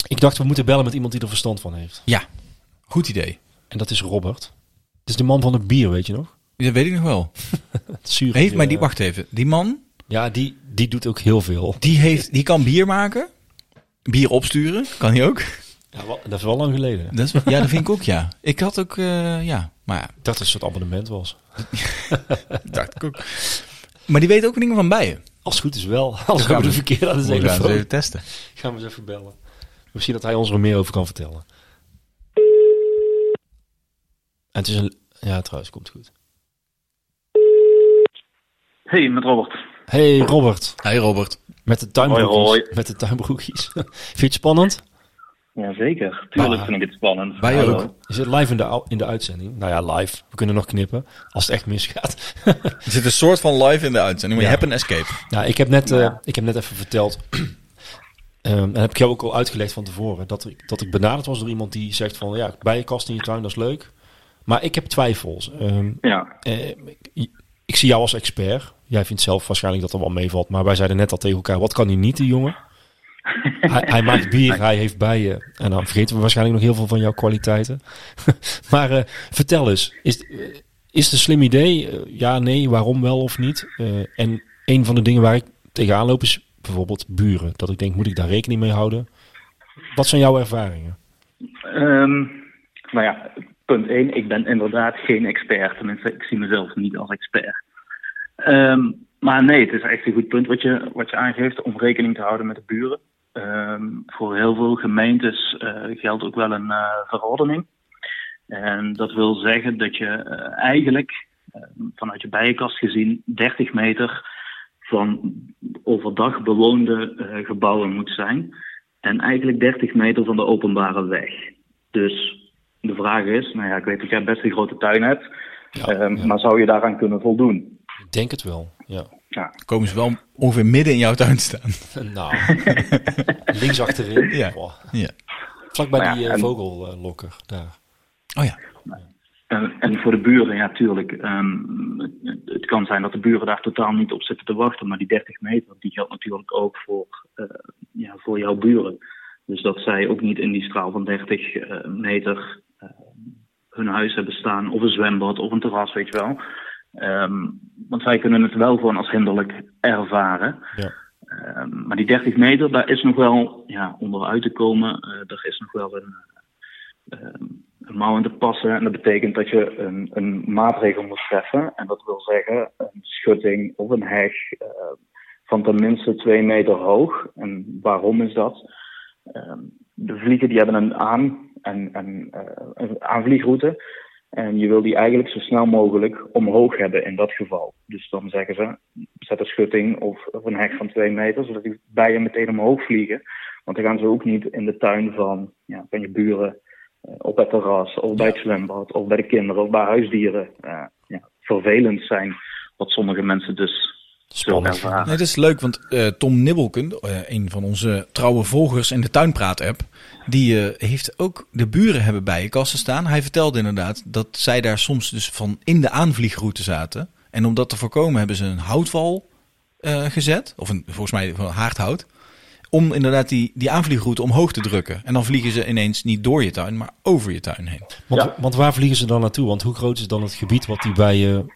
[SPEAKER 5] Ik dacht, we moeten bellen met iemand die er verstand van heeft.
[SPEAKER 1] Goed idee.
[SPEAKER 5] En dat is Robert. Het is de man van het bier, weet je nog?
[SPEAKER 1] Dat weet ik nog wel.
[SPEAKER 5] Het zure
[SPEAKER 1] Heeft
[SPEAKER 5] bier,
[SPEAKER 1] mij die,
[SPEAKER 5] eh.
[SPEAKER 1] wacht even. Die man,
[SPEAKER 5] Ja, die, die doet ook heel veel.
[SPEAKER 1] die, heeft, die kan bier maken. Bier opsturen, kan hij ook.
[SPEAKER 5] Ja, wel- dat is wel lang geleden.
[SPEAKER 1] Dat is, ja, dat vind ik ook, ja. Ik had ook, eh, ja. Maar ja,
[SPEAKER 5] Ik dacht dat het een soort abonnement was.
[SPEAKER 1] dacht ik ook. Maar die weet ook dingen van bijen.
[SPEAKER 5] Als het goed is wel. Als we
[SPEAKER 1] gaan
[SPEAKER 5] de
[SPEAKER 1] we-
[SPEAKER 5] verkeerde aan de
[SPEAKER 1] We gaan ze
[SPEAKER 5] telefoon.
[SPEAKER 1] even testen.
[SPEAKER 5] Gaan we eens even bellen. Misschien dat hij ons er meer over kan vertellen. En het is een... Ja, trouwens, komt goed.
[SPEAKER 7] Hey, met Robert.
[SPEAKER 5] Hey Robert,
[SPEAKER 1] Hey Robert.
[SPEAKER 5] met de tuinbroekjes.
[SPEAKER 9] Hoi, hoi.
[SPEAKER 5] Met de tuinbroekjes. Vind je het spannend?
[SPEAKER 9] Jazeker, tuurlijk
[SPEAKER 5] Ah.
[SPEAKER 9] vind ik het spannend.
[SPEAKER 1] Wij
[SPEAKER 9] Hallo.
[SPEAKER 1] ook.
[SPEAKER 5] Je zit live in de, au- in de uitzending. Nou ja, live. We kunnen nog knippen. Als het echt misgaat.
[SPEAKER 1] Er zit een soort van live in de uitzending, maar
[SPEAKER 5] Ja.
[SPEAKER 1] je hebt een escape.
[SPEAKER 5] Nou, ik heb net, eh,
[SPEAKER 9] Ja.
[SPEAKER 5] ik heb net even verteld. ehm, en heb ik jou ook al uitgelegd van tevoren. Dat ik, dat ik benaderd was door iemand die zegt van ja, bijenkast in je tuin, dat is leuk. Maar ik heb twijfels. Ehm,
[SPEAKER 9] Ja,
[SPEAKER 5] eh, ik- ik zie jou als expert. Jij vindt zelf waarschijnlijk dat er wel meevalt. Maar wij zeiden net al tegen elkaar, wat kan hij niet, die jongen? hij, hij maakt bier, hij heeft bijen. En dan vergeten we waarschijnlijk nog heel veel van jouw kwaliteiten. maar eh, vertel eens, is, eh, is het een slim idee? Eh, ja, nee, waarom wel of niet? Eh, en een van de dingen waar ik tegenaan loop is bijvoorbeeld buren. Dat ik denk, moet ik daar rekening mee houden? Wat zijn jouw ervaringen?
[SPEAKER 9] Ehm nou ja, punt 1. Ik ben inderdaad geen expert. Tenminste, ik zie mezelf niet als expert. Ehm, maar nee, het is echt een goed punt wat je, wat je aangeeft om rekening te houden met de buren. Ehm, voor heel veel gemeentes eh, geldt ook wel een eh, verordening. En Ehm, dat wil zeggen dat je eh, eigenlijk eh, vanuit je bijenkast gezien 30 meter van overdag bewoonde eh, gebouwen moet zijn. En eigenlijk 30 meter van de openbare weg. Dus de vraag is, nou ja, ik weet dat jij best een grote tuin hebt, ehm, maar zou je daaraan kunnen voldoen?
[SPEAKER 5] Ik denk het wel, ja.
[SPEAKER 9] Ja,
[SPEAKER 1] Dan komen ze wel ongeveer midden in jouw tuin te staan.
[SPEAKER 5] Nou, links achterin.
[SPEAKER 1] Ja.
[SPEAKER 5] Boah.
[SPEAKER 1] Ja.
[SPEAKER 5] Vlak bij
[SPEAKER 9] Nou ja,
[SPEAKER 5] die eh,
[SPEAKER 9] en-
[SPEAKER 5] vogellokker daar.
[SPEAKER 1] Oh ja.
[SPEAKER 9] En, en voor de buren, ja, tuurlijk. ehm, het, het kan zijn dat de buren daar totaal niet op zitten te wachten. Maar die 30 meter, die geldt natuurlijk ook voor, eh, ja, voor jouw buren. Dus dat zij ook niet in die straal van 30 eh, meter eh, hun huis hebben staan. Of een zwembad of een terras, weet je wel. Ehm, want zij kunnen het wel gewoon als hinderlijk ervaren.
[SPEAKER 5] Ja.
[SPEAKER 9] Ehm, maar die 30 meter, daar is nog wel ja, onderuit te komen. Eh, er is nog wel een, ehm, een mouw in te passen. En dat betekent dat je een, een maatregel moet treffen. En dat wil zeggen een schutting of een heg eh, van ten minste twee meter hoog. En waarom is dat? Ehm, de vliegen die hebben een, aan, en en eh, een aanvliegroute. En je wil die eigenlijk zo snel mogelijk omhoog hebben in dat geval. Dus dan zeggen ze, zet een schutting of, of een heg van twee meter, zodat die bijen meteen omhoog vliegen. Want dan gaan ze ook niet in de tuin van, ja, van je buren eh, op het terras, of bij het zwembad, of bij de kinderen, of bij huisdieren eh, ja, vervelend zijn. Wat sommige mensen dus zo
[SPEAKER 5] Spannend.
[SPEAKER 9] ervaren.
[SPEAKER 1] Nee, dat is leuk, want eh, Tom Nibbelken, eh, een van onze trouwe volgers in de Tuinpraat-app, die eh, heeft ook de buren hebben bijenkasten staan. Hij vertelde inderdaad dat zij daar soms dus van in de aanvliegroute zaten. En om dat te voorkomen hebben ze een houtwal eh, gezet, of een, volgens mij van haardhout, om inderdaad die, die aanvliegroute omhoog te drukken. En dan vliegen ze ineens niet door je tuin, maar over je tuin heen.
[SPEAKER 5] Want,
[SPEAKER 9] Ja.
[SPEAKER 5] want waar vliegen ze dan naartoe? Want hoe groot is dan het gebied wat die bijen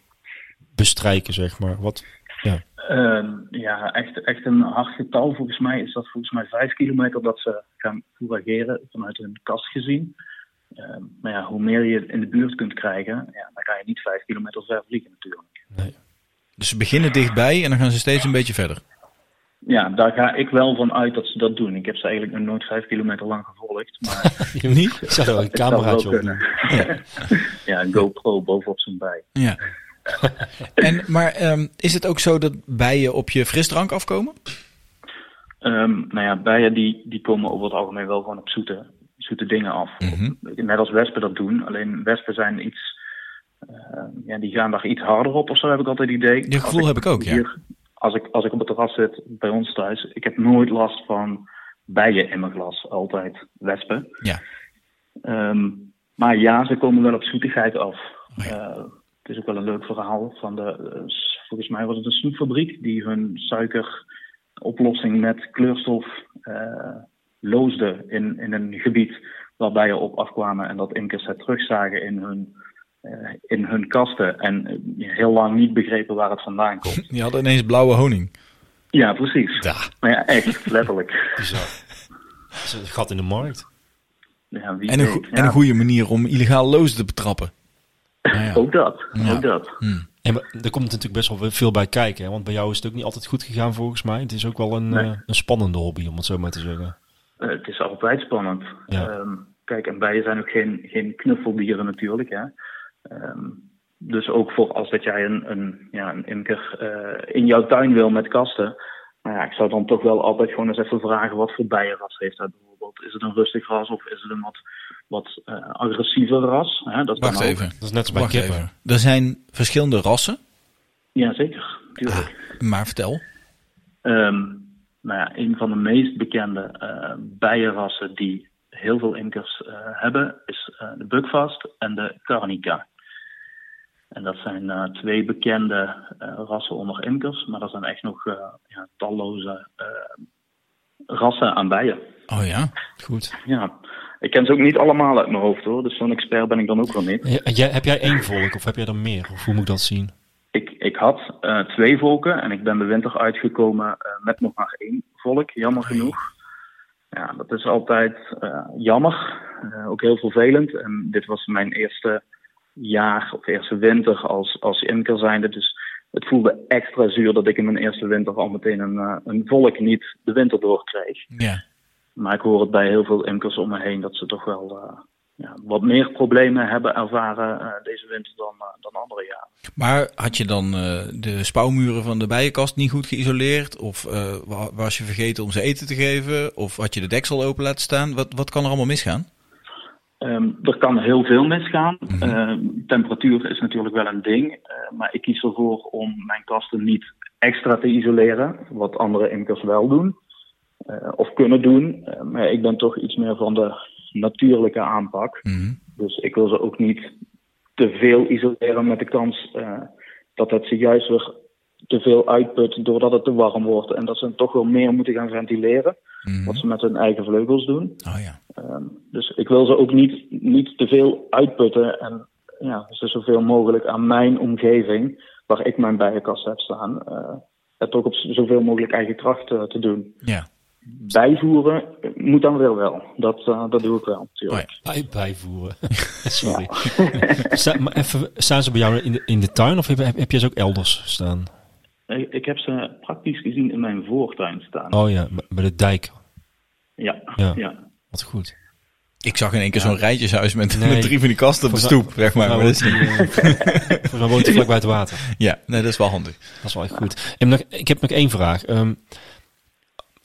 [SPEAKER 5] bestrijken, zeg maar? Wat, ja.
[SPEAKER 9] Eh, ja, echt, echt een hard getal. Volgens mij is dat volgens mij vijf kilometer dat ze gaan fourageren vanuit hun kast gezien. Eh, maar ja, hoe meer je in de buurt kunt krijgen, ja, dan ga je niet vijf kilometer ver vliegen natuurlijk.
[SPEAKER 1] Dus ze beginnen dichtbij en dan gaan ze steeds een beetje verder.
[SPEAKER 9] Ja, daar ga ik wel van uit dat ze dat doen. Ik heb ze eigenlijk nog nooit vijf kilometer lang gevolgd. Maar
[SPEAKER 1] Niet?
[SPEAKER 5] Ik zou er een
[SPEAKER 9] het zou wel
[SPEAKER 5] cameraatje op doen.
[SPEAKER 9] kunnen. ja, een GoPro bovenop zijn bij.
[SPEAKER 1] Ja. En, maar ehm, is het ook zo dat bijen op je frisdrank afkomen?
[SPEAKER 9] Ehm, nou ja, bijen die, die komen over het algemeen wel gewoon op zoete, zoete dingen af.
[SPEAKER 1] Mhm.
[SPEAKER 9] Net als wespen dat doen. Alleen wespen zijn iets... eh, ja, die gaan daar iets harder op of zo, heb ik altijd het idee.
[SPEAKER 1] Dat gevoel
[SPEAKER 9] Als
[SPEAKER 1] heb ik ook, ja.
[SPEAKER 9] als, ik, als ik op het terras zit, bij ons thuis... Ik heb nooit last van bijen in mijn glas. Altijd wespen.
[SPEAKER 1] Ja.
[SPEAKER 9] Ehm, maar ja, ze komen wel op zoetigheid af.
[SPEAKER 1] Oh ja.
[SPEAKER 9] Eh, het is ook wel een leuk verhaal van de, eh, s- volgens mij was het een snoepfabriek die hun suikeroplossing met kleurstof eh, loosde in, in een gebied waarbij je op afkwamen en dat inkers het terugzagen in hun, eh, in hun kasten en eh, heel lang niet begrepen waar het vandaan komt.
[SPEAKER 1] Die hadden ineens blauwe honing.
[SPEAKER 9] ja, precies.
[SPEAKER 1] Hm. Ja.
[SPEAKER 9] Maar ja, echt, letterlijk.
[SPEAKER 5] Bizar. Dat is een gat in de markt.
[SPEAKER 9] Ja, wie
[SPEAKER 1] En een,
[SPEAKER 9] weet.
[SPEAKER 1] goe-
[SPEAKER 9] Ja,
[SPEAKER 1] en een goede manier om illegaal loos te betrappen. Nou ja.
[SPEAKER 5] Oh.
[SPEAKER 9] Ook dat,
[SPEAKER 1] Ja.
[SPEAKER 9] ook dat.
[SPEAKER 5] En we- er komt natuurlijk best wel veel bij kijken. Hè? Want bij jou is het ook niet altijd goed gegaan volgens mij. Het is ook wel een,
[SPEAKER 9] Nee.
[SPEAKER 5] eh, een spannende hobby, om het zo maar te zeggen.
[SPEAKER 9] Eh, het is altijd spannend.
[SPEAKER 5] Ja.
[SPEAKER 9] Ehm, kijk, en bijen zijn ook geen, geen knuffeldieren natuurlijk. Hè? Ehm, dus ook voor als dat jij een, een, ja, een imker eh, in jouw tuin wil met kasten. Nou ja, ik zou dan toch wel altijd gewoon eens even vragen wat voor bijenras heeft hij bijvoorbeeld. Is het een rustig ras of is het een wat, wat eh, agressiever ras? Hè, dat kan
[SPEAKER 1] Wacht
[SPEAKER 9] ook.
[SPEAKER 1] even.
[SPEAKER 5] Nou. Dat is net als bij
[SPEAKER 1] Wacht
[SPEAKER 5] kippen.
[SPEAKER 1] even. Er zijn verschillende rassen,
[SPEAKER 9] Ja, zeker. Tuurlijk.
[SPEAKER 1] Ah. maar vertel.
[SPEAKER 9] Ehm, nou ja, een van de meest bekende eh, bijenrassen die heel veel inkers eh, hebben, is eh, de Bukvast en de Carnica. En dat zijn eh, twee bekende eh, rassen onder imkers, maar er zijn echt nog eh, ja, talloze eh, rassen aan bijen.
[SPEAKER 1] Oh ja.
[SPEAKER 5] Goed.
[SPEAKER 9] Ja, ik ken ze ook niet allemaal uit mijn hoofd hoor, dus zo'n expert ben ik dan ook wel niet.
[SPEAKER 5] Ja, jij, heb jij één volk of heb jij er meer? Of hoe moet ik dat zien?
[SPEAKER 9] Ik, ik had eh, twee volken en ik ben de winter uitgekomen eh, met nog maar één volk, jammer genoeg. Ja, dat is altijd eh, jammer, eh, ook heel vervelend. En dit was mijn eerste jaar of eerste winter als, als imker zijnde. Dus het voelde extra zuur dat ik in mijn eerste winter al meteen een, eh, een volk niet de winter doorkreeg.
[SPEAKER 1] Ja.
[SPEAKER 9] Maar ik hoor het bij heel veel imkers om me heen dat ze toch wel eh, ja, wat meer problemen hebben ervaren eh, deze winter dan, eh, dan andere jaren.
[SPEAKER 1] Maar had je dan eh, de spouwmuren van de bijenkast niet goed geïsoleerd? Of eh, wa- was je vergeten om ze eten te geven? Of had je de deksel open laten staan? Wat, wat kan er allemaal misgaan?
[SPEAKER 9] Ehm, er kan heel veel misgaan. Ehm, temperatuur is natuurlijk wel een ding. eh, maar ik kies ervoor om mijn kasten niet extra te isoleren. Wat andere imkers wel doen. eh, of kunnen doen. Eh, maar ik ben toch iets meer van de natuurlijke aanpak.
[SPEAKER 1] Mhm.
[SPEAKER 9] Dus ik wil ze ook niet te veel isoleren met de kans eh, dat het ze juist weer te veel uitput doordat het te warm wordt. En dat ze toch wel meer moeten gaan ventileren.
[SPEAKER 1] Mhm.
[SPEAKER 9] Wat ze met hun eigen vleugels doen.
[SPEAKER 1] Oh ja.
[SPEAKER 9] Ehm, dus ik wil ze ook niet, niet te veel uitputten en ja, ze zoveel mogelijk aan mijn omgeving, waar ik mijn bijenkast heb staan, eh, het ook op z- zoveel mogelijk eigen kracht eh, te doen.
[SPEAKER 1] Ja.
[SPEAKER 9] Bijvoeren eh, moet dan weer wel. Dat, eh, dat doe ik wel, natuurlijk.
[SPEAKER 1] Oh
[SPEAKER 5] Bij, bijvoeren. Sorry. Sta- maar even, staan ze bij jou in de, in de tuin of heb, heb, heb je ze ook elders staan?
[SPEAKER 9] Ik, ik heb ze praktisch gezien in mijn voortuin staan.
[SPEAKER 5] Oh ja, b- bij de dijk.
[SPEAKER 9] Ja,
[SPEAKER 5] Ja.
[SPEAKER 9] ja.
[SPEAKER 5] Wat goed.
[SPEAKER 1] Ik zag in één keer zo'n rijtjeshuis met,
[SPEAKER 5] Nee.
[SPEAKER 1] met drie van die kasten op de
[SPEAKER 5] Volgens mij-
[SPEAKER 1] stoep, zeg maar. maar dat
[SPEAKER 5] volgens
[SPEAKER 1] is
[SPEAKER 5] mij
[SPEAKER 1] niet-
[SPEAKER 5] woont hij, eh, Volgens mij woont hij vlakbij het water.
[SPEAKER 1] ja, nee, dat is wel handig.
[SPEAKER 5] Dat is wel echt goed. En nog, ik heb nog één vraag. Ehm,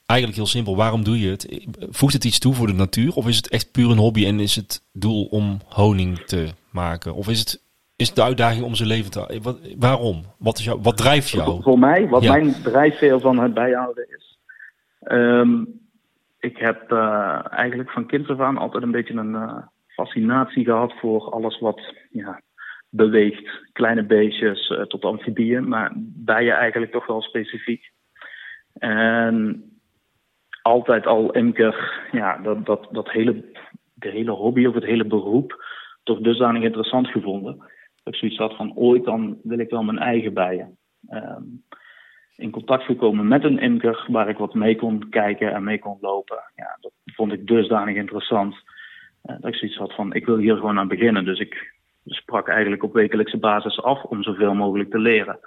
[SPEAKER 5] eigenlijk heel simpel. Waarom doe je het? Voegt het iets toe voor de natuur? Of is het echt puur een hobby en is het doel om honing te maken? Of is het, is het de uitdaging om zijn leven te... eh, Wat, waarom? Wat, is jou, wat drijft
[SPEAKER 9] Voor-
[SPEAKER 5] jou?
[SPEAKER 9] Voor mij, wat
[SPEAKER 5] Ja.
[SPEAKER 9] mijn drijfveer van het bijhouden is. Ehm, ik heb eh, eigenlijk van kind af aan altijd een beetje een eh, fascinatie gehad voor alles wat ja, beweegt. Kleine beestjes eh, tot amfibieën, maar bijen eigenlijk toch wel specifiek. En altijd al imker, ja, dat, dat, dat hele, de hele hobby of het hele beroep toch dusdanig interessant gevonden. Dat ik zoiets had van ooit dan wil ik wel mijn eigen bijen. Ehm, in contact gekomen met een imker waar ik wat mee kon kijken en mee kon lopen. Ja, dat vond ik dusdanig interessant eh, dat ik zoiets had van ik wil hier gewoon aan beginnen. Dus ik sprak eigenlijk op wekelijkse basis af om zoveel mogelijk te leren.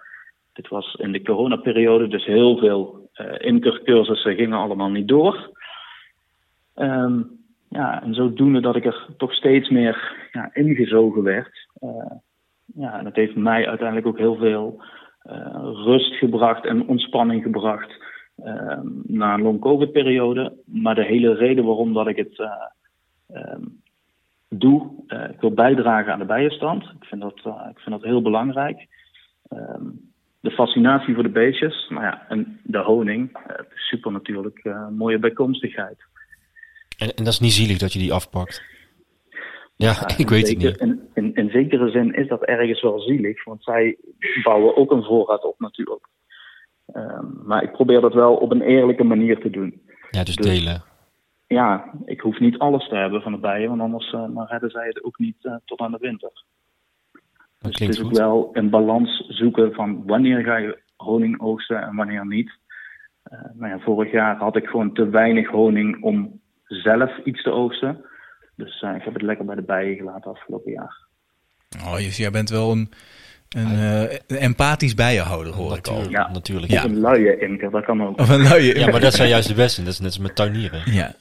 [SPEAKER 9] Dit was in de coronaperiode, dus heel veel eh imkercursussen gingen allemaal niet door. Ehm, ja, en zodoende dat ik er toch steeds meer ja, ingezogen werd. Eh, ja, en dat heeft mij uiteindelijk ook heel veel eh, rust gebracht en ontspanning gebracht eh, na een long-covid-periode. Maar de hele reden waarom dat ik het eh, ehm, doe, eh, ik wil bijdragen aan de bijenstand. Ik vind dat, eh, ik vind dat heel belangrijk. Ehm, de fascinatie voor de beestjes, nou ja, en de honing, eh, het is super natuurlijk, eh, mooie bijkomstigheid.
[SPEAKER 5] En, en dat is niet zielig dat je die afpakt. Ja,
[SPEAKER 9] Ja,
[SPEAKER 5] ik
[SPEAKER 9] in
[SPEAKER 5] weet het
[SPEAKER 9] zeker-
[SPEAKER 5] niet.
[SPEAKER 9] In, in, in zekere zin is dat ergens wel zielig, want zij bouwen ook een voorraad op natuurlijk. Ehm, maar ik probeer dat wel op een eerlijke manier te doen.
[SPEAKER 5] Ja, dus
[SPEAKER 9] dus-
[SPEAKER 5] delen.
[SPEAKER 9] Ja, ik hoef niet alles te hebben van de bijen, want anders eh, dan redden zij het ook niet eh, tot aan de winter.
[SPEAKER 5] Dat
[SPEAKER 9] Dus het
[SPEAKER 5] klinkt
[SPEAKER 9] is ook
[SPEAKER 5] goed.
[SPEAKER 9] wel een balans zoeken van wanneer ga je honing oogsten en wanneer niet. Eh, nou ja, vorig jaar had ik gewoon te weinig honing om zelf iets te oogsten. Dus eh, ik heb het lekker bij de bijen gelaten afgelopen jaar.
[SPEAKER 1] Oh, dus jij bent wel een, een, eh, een empathisch bijenhouder, hoor ik al.
[SPEAKER 5] Natuurlijk.
[SPEAKER 9] Ja.
[SPEAKER 5] natuurlijk.
[SPEAKER 1] Ja.
[SPEAKER 5] Ja. Oh.
[SPEAKER 9] Een luie imker, dat kan ook.
[SPEAKER 1] Of een luie.
[SPEAKER 5] maar dat zijn juist de beste. Dat is net als met tuinieren.
[SPEAKER 1] Ja.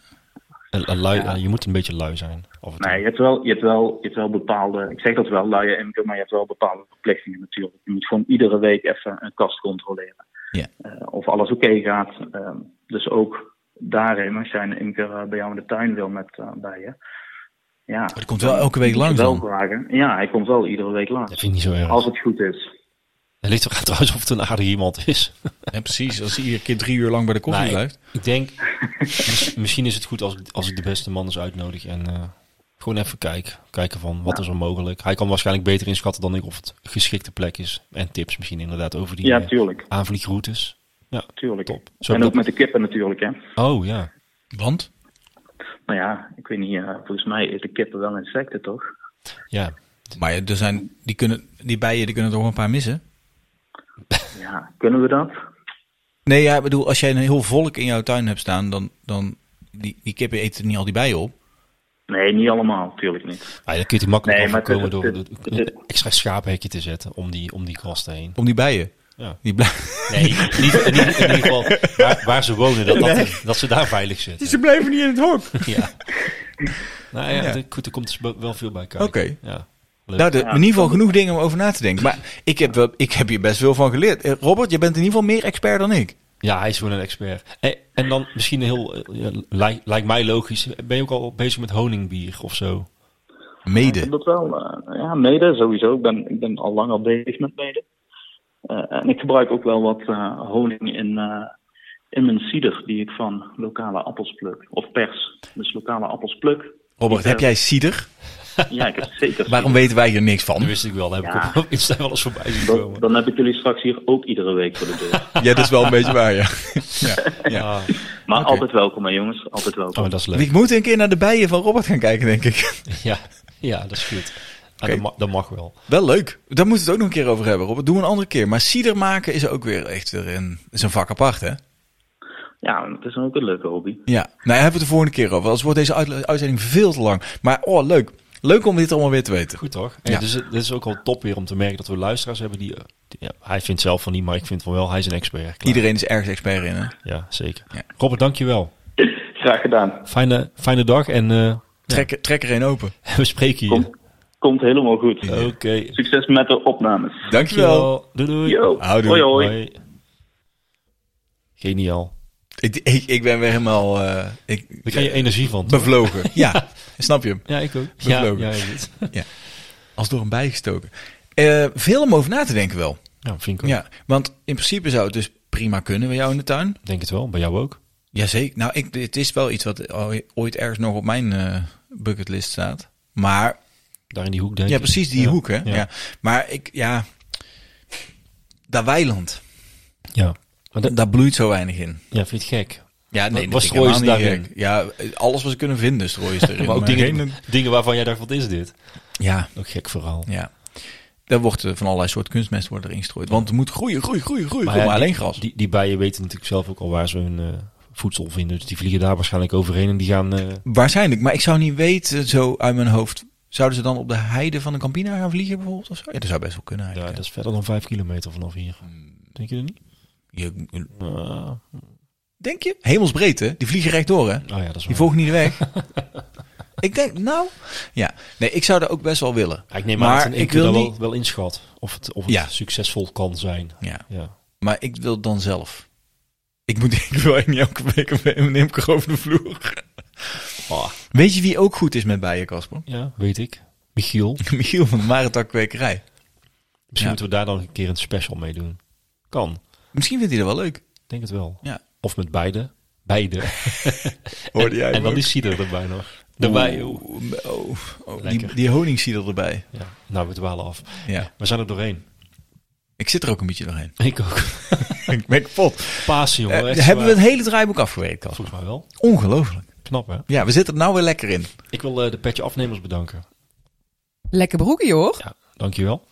[SPEAKER 5] Een- een lui- eh, Je moet een beetje lui zijn. Of het
[SPEAKER 9] Nee, je hebt, wel, je, hebt wel, je hebt wel bepaalde, ik zeg dat wel, luie imker, maar je hebt wel bepaalde verplichtingen natuurlijk. Je moet gewoon iedere week even een kast controleren.
[SPEAKER 1] Ja.
[SPEAKER 9] Eh, of alles oké gaat. Ehm, dus ook daarin, als jij een imker eh, bij jou in de tuin wil met eh, bijen. Ja,
[SPEAKER 5] Oh,
[SPEAKER 1] Het komt wel elke week langs
[SPEAKER 9] wel
[SPEAKER 1] dan.
[SPEAKER 9] vragen. Ja, hij komt wel iedere week
[SPEAKER 5] dat
[SPEAKER 9] langs.
[SPEAKER 5] vind ik niet zo erg.
[SPEAKER 9] Als het goed is.
[SPEAKER 5] Het ligt er trouwens of het een aardig iemand is.
[SPEAKER 1] Ja, precies, als hij iedere keer drie uur lang bij de koffie
[SPEAKER 5] Nee,
[SPEAKER 1] blijft.
[SPEAKER 5] Ik denk, mis- misschien is het goed als, ik- als ik de beste man eens uitnodig en eh, Gewoon even kijken. Kijken van wat is er mogelijk. Hij kan waarschijnlijk beter inschatten dan ik of het een geschikte plek is. En tips misschien inderdaad over die
[SPEAKER 9] Ja,
[SPEAKER 5] eh,
[SPEAKER 9] tuurlijk.
[SPEAKER 5] aanvliegroutes. Ja.
[SPEAKER 9] tuurlijk.
[SPEAKER 5] Top. Zo
[SPEAKER 9] En
[SPEAKER 5] dat-
[SPEAKER 9] ook met de kippen natuurlijk, hè.
[SPEAKER 5] Oh ja.
[SPEAKER 1] Want?
[SPEAKER 9] Nou ja, ik weet niet, eh, volgens mij eten kippen wel insecten, toch?
[SPEAKER 5] Ja.
[SPEAKER 1] Maar ja, er zijn, die, kunnen, die bijen die kunnen er toch een paar missen?
[SPEAKER 9] Ja, kunnen we dat?
[SPEAKER 1] Nee, ja, ik bedoel, als jij een heel volk in jouw tuin hebt staan, dan, dan die, die kippen eten niet al die bijen op.
[SPEAKER 9] Nee, niet allemaal, tuurlijk niet.
[SPEAKER 5] Ah, dan kun je die makkelijk
[SPEAKER 9] Nee, maar het is-
[SPEAKER 5] overkomen door
[SPEAKER 9] het-
[SPEAKER 5] door
[SPEAKER 9] het-
[SPEAKER 5] een extra schaaphekje te zetten om die, om die kasten heen.
[SPEAKER 1] Om die bijen.
[SPEAKER 5] Ja.
[SPEAKER 1] Die blij-
[SPEAKER 5] Nee, in ieder, in ieder- in ieder geval waar, waar ze wonen, dat, dat, dat ze daar veilig zitten.
[SPEAKER 1] Dus Ze blijven niet in het hok.
[SPEAKER 5] Ja. Nou ja,
[SPEAKER 1] Ja.
[SPEAKER 5] dat- goed, er komt dus wel veel bij kijken.
[SPEAKER 1] Oké.
[SPEAKER 5] Ja. Leuk.
[SPEAKER 1] Nou, de, in ieder geval genoeg dingen om over na te denken. Maar ik heb, wel, ik heb hier best veel van geleerd. Eh, Robert, je bent in ieder geval meer expert dan ik.
[SPEAKER 5] Ja, hij is gewoon een expert. En, en dan misschien een heel, eh, ja, lijk- lijkt mij logisch, ben je ook al bezig met honingbier of zo?
[SPEAKER 9] Ik heb
[SPEAKER 1] Mede.
[SPEAKER 9] dat wel. eh, ja, mede sowieso. Ik ben, ik ben al lang al bezig met mede. Eh, en ik gebruik ook wel wat eh, honing in, eh, in mijn cider die ik van lokale appels pluk. Of pers. Dus lokale appels pluk.
[SPEAKER 1] Robert, heb jij cider?
[SPEAKER 9] Ja, ik heb zeker.
[SPEAKER 1] Waarom weten wij hier niks
[SPEAKER 5] Dat
[SPEAKER 1] van?
[SPEAKER 5] wist ik wel, daar heb
[SPEAKER 9] Ja.
[SPEAKER 5] ik op Insta wel eens voorbij zien
[SPEAKER 9] Dan,
[SPEAKER 5] komen.
[SPEAKER 9] dan heb ik jullie straks hier ook iedere week voor de deur.
[SPEAKER 1] Ja, dat is wel een beetje waar, ja. ja.
[SPEAKER 5] Ah,
[SPEAKER 9] Maar
[SPEAKER 1] Oké.
[SPEAKER 9] altijd welkom, hè, jongens. Altijd welkom.
[SPEAKER 5] oh, dat is leuk.
[SPEAKER 1] Ik moet een keer naar de bijen van Robert gaan kijken, denk ik.
[SPEAKER 5] Ja, ja dat is goed. Ah,
[SPEAKER 1] Oké.
[SPEAKER 5] dat, ma- dat mag wel.
[SPEAKER 1] Wel leuk. Daar moeten we het ook nog een keer over hebben, Robert. Doe een andere keer. Maar cider maken is ook weer echt weer een, is een vak apart, hè?
[SPEAKER 9] Ja, het is ook een leuke hobby.
[SPEAKER 1] Ja, nou daar hebben we het de vorige keer over. Anders wordt deze uitle- uitzending veel te lang. Maar oh, leuk. Leuk om dit allemaal weer te weten.
[SPEAKER 5] Goed toch? En
[SPEAKER 1] Ja.
[SPEAKER 5] Dus het dit is ook al top weer om te merken dat we luisteraars hebben die... eh, die- ja, hij vindt zelf van niet, maar ik vind van wel, hij is een expert. Klaar.
[SPEAKER 1] Iedereen is ergens expert in, hè?
[SPEAKER 5] Ja, zeker.
[SPEAKER 1] Ja.
[SPEAKER 5] Robert, dankjewel.
[SPEAKER 9] Graag gedaan.
[SPEAKER 5] Fijne, fijne dag en eh,
[SPEAKER 1] Trek, trek er een open.
[SPEAKER 5] we spreken hier.
[SPEAKER 9] Komt, komt helemaal goed.
[SPEAKER 5] Oké.
[SPEAKER 9] Succes met de opnames.
[SPEAKER 1] Dankjewel.
[SPEAKER 5] Doei doei.
[SPEAKER 9] Yo.
[SPEAKER 1] Houdoe.
[SPEAKER 9] Hoi hoi.
[SPEAKER 5] Hoi. Geniaal.
[SPEAKER 1] Ik, ik, ik ben weer helemaal eh, ik, eh,
[SPEAKER 5] Daar krijg je energie van. toch?
[SPEAKER 1] bevlogen. Ja, snap je hem?
[SPEAKER 5] Ja, ik ook. Ja,
[SPEAKER 1] Bevlogen.
[SPEAKER 5] ja, ik weet het.
[SPEAKER 1] Als door een bijgestoken. Eh, veel om over na te denken wel.
[SPEAKER 5] ja, vind ik ook.
[SPEAKER 1] Ja, want in principe zou het dus prima kunnen bij jou in de tuin.
[SPEAKER 5] Denk het wel. Bij jou ook.
[SPEAKER 1] Jazeker. Nou, ik, het is wel iets wat ooit ergens nog op mijn eh, bucketlist staat. Maar
[SPEAKER 5] Daar in die hoek denk
[SPEAKER 1] Ja,
[SPEAKER 5] ik.
[SPEAKER 1] precies die
[SPEAKER 5] Ja,
[SPEAKER 1] hoek, hè?
[SPEAKER 5] Ja.
[SPEAKER 1] Ja. Maar ik, ja, dat weiland,
[SPEAKER 5] Ja. Maar dat,
[SPEAKER 1] daar bloeit zo weinig in.
[SPEAKER 5] ja, vind je het gek?
[SPEAKER 1] Ja,
[SPEAKER 5] Wat-
[SPEAKER 1] nee,
[SPEAKER 5] wat
[SPEAKER 1] dat
[SPEAKER 5] strooien
[SPEAKER 1] is
[SPEAKER 5] ze daarin?
[SPEAKER 1] Ja, alles wat ze kunnen vinden strooien ze erin.
[SPEAKER 5] Maar ook dingen, dingen waarvan jij dacht, wat is dit?
[SPEAKER 1] Ja,
[SPEAKER 5] Ook gek verhaal.
[SPEAKER 1] ja. Daar wordt eh, van allerlei soort kunstmest worden erin gestrooid. Want het moet groeien, groeien, groeien, groeien. Maar,
[SPEAKER 5] ja, die-
[SPEAKER 1] alleen gras.
[SPEAKER 5] Die, die bijen weten natuurlijk zelf ook al waar ze hun eh, voedsel vinden. Dus die vliegen daar waarschijnlijk overheen en die gaan... eh,
[SPEAKER 1] Waarschijnlijk, maar ik zou niet weten, zo uit mijn hoofd... Zouden ze dan op de heide van de Campina gaan vliegen bijvoorbeeld? Of zo? Ja, dat zou best wel kunnen
[SPEAKER 5] ja,
[SPEAKER 1] eigenlijk.
[SPEAKER 5] dat is verder dan vijf kilometer vanaf hier. Denk je dat niet?
[SPEAKER 1] Hmm. Ja, je-
[SPEAKER 5] Ah,
[SPEAKER 1] denk je? Hemelsbreed, hè? Die vliegen rechtdoor, hè?
[SPEAKER 5] oh ja, dat is
[SPEAKER 1] Die
[SPEAKER 5] waar.
[SPEAKER 1] volgen niet de weg. ik denk, nou, ja. Nee, ik zou dat ook best wel willen.
[SPEAKER 5] Ja, ik neem aan
[SPEAKER 1] maar
[SPEAKER 5] dat ik
[SPEAKER 1] ik
[SPEAKER 5] wil
[SPEAKER 1] wil
[SPEAKER 5] wel,
[SPEAKER 1] niet-
[SPEAKER 5] wel inschat of het, of het
[SPEAKER 1] Ja.
[SPEAKER 5] succesvol kan zijn.
[SPEAKER 1] Ja,
[SPEAKER 5] Ja.
[SPEAKER 1] maar ik wil het dan zelf. Ik moet, ik wil echt niet elke week een neem Imker over de vloer.
[SPEAKER 5] Ah,
[SPEAKER 1] Weet je wie ook goed is met bijen, Casper?
[SPEAKER 5] ja, weet ik. Michiel, misschien
[SPEAKER 1] Michiel van de Marentak Kwekerij. Ja.
[SPEAKER 5] moeten we daar dan een keer een special mee doen. Kan, Ik
[SPEAKER 1] Misschien vindt hij dat wel leuk.
[SPEAKER 5] denk het wel.
[SPEAKER 1] Ja.
[SPEAKER 5] Of met beide. Beide.
[SPEAKER 1] Hoorde jij
[SPEAKER 5] en
[SPEAKER 1] hem
[SPEAKER 5] dan
[SPEAKER 1] ook?
[SPEAKER 5] is Cider erbij nog. Daarbij, joh.
[SPEAKER 1] Oeh, oh, oh, die,
[SPEAKER 5] Lekker.
[SPEAKER 1] die honingsieder erbij.
[SPEAKER 5] Ja. Nou, we dwalen af.
[SPEAKER 1] Ja,
[SPEAKER 5] We zijn er doorheen.
[SPEAKER 1] ik zit er ook een beetje doorheen.
[SPEAKER 5] Ik ook.
[SPEAKER 1] ik ben kapot.
[SPEAKER 5] Paas,
[SPEAKER 1] Eh,
[SPEAKER 5] jongen. echt
[SPEAKER 1] hebben we
[SPEAKER 5] zwaar.
[SPEAKER 1] het hele draaiboek afgewerkt, Casper?
[SPEAKER 5] Volgens mij wel.
[SPEAKER 1] Ongelooflijk.
[SPEAKER 5] Knap, hè?
[SPEAKER 1] Ja, we zitten er nou weer lekker in.
[SPEAKER 5] Ik wil eh, de petje afnemers bedanken.
[SPEAKER 4] Lekker broekje hoor.
[SPEAKER 5] Ja, dankjewel.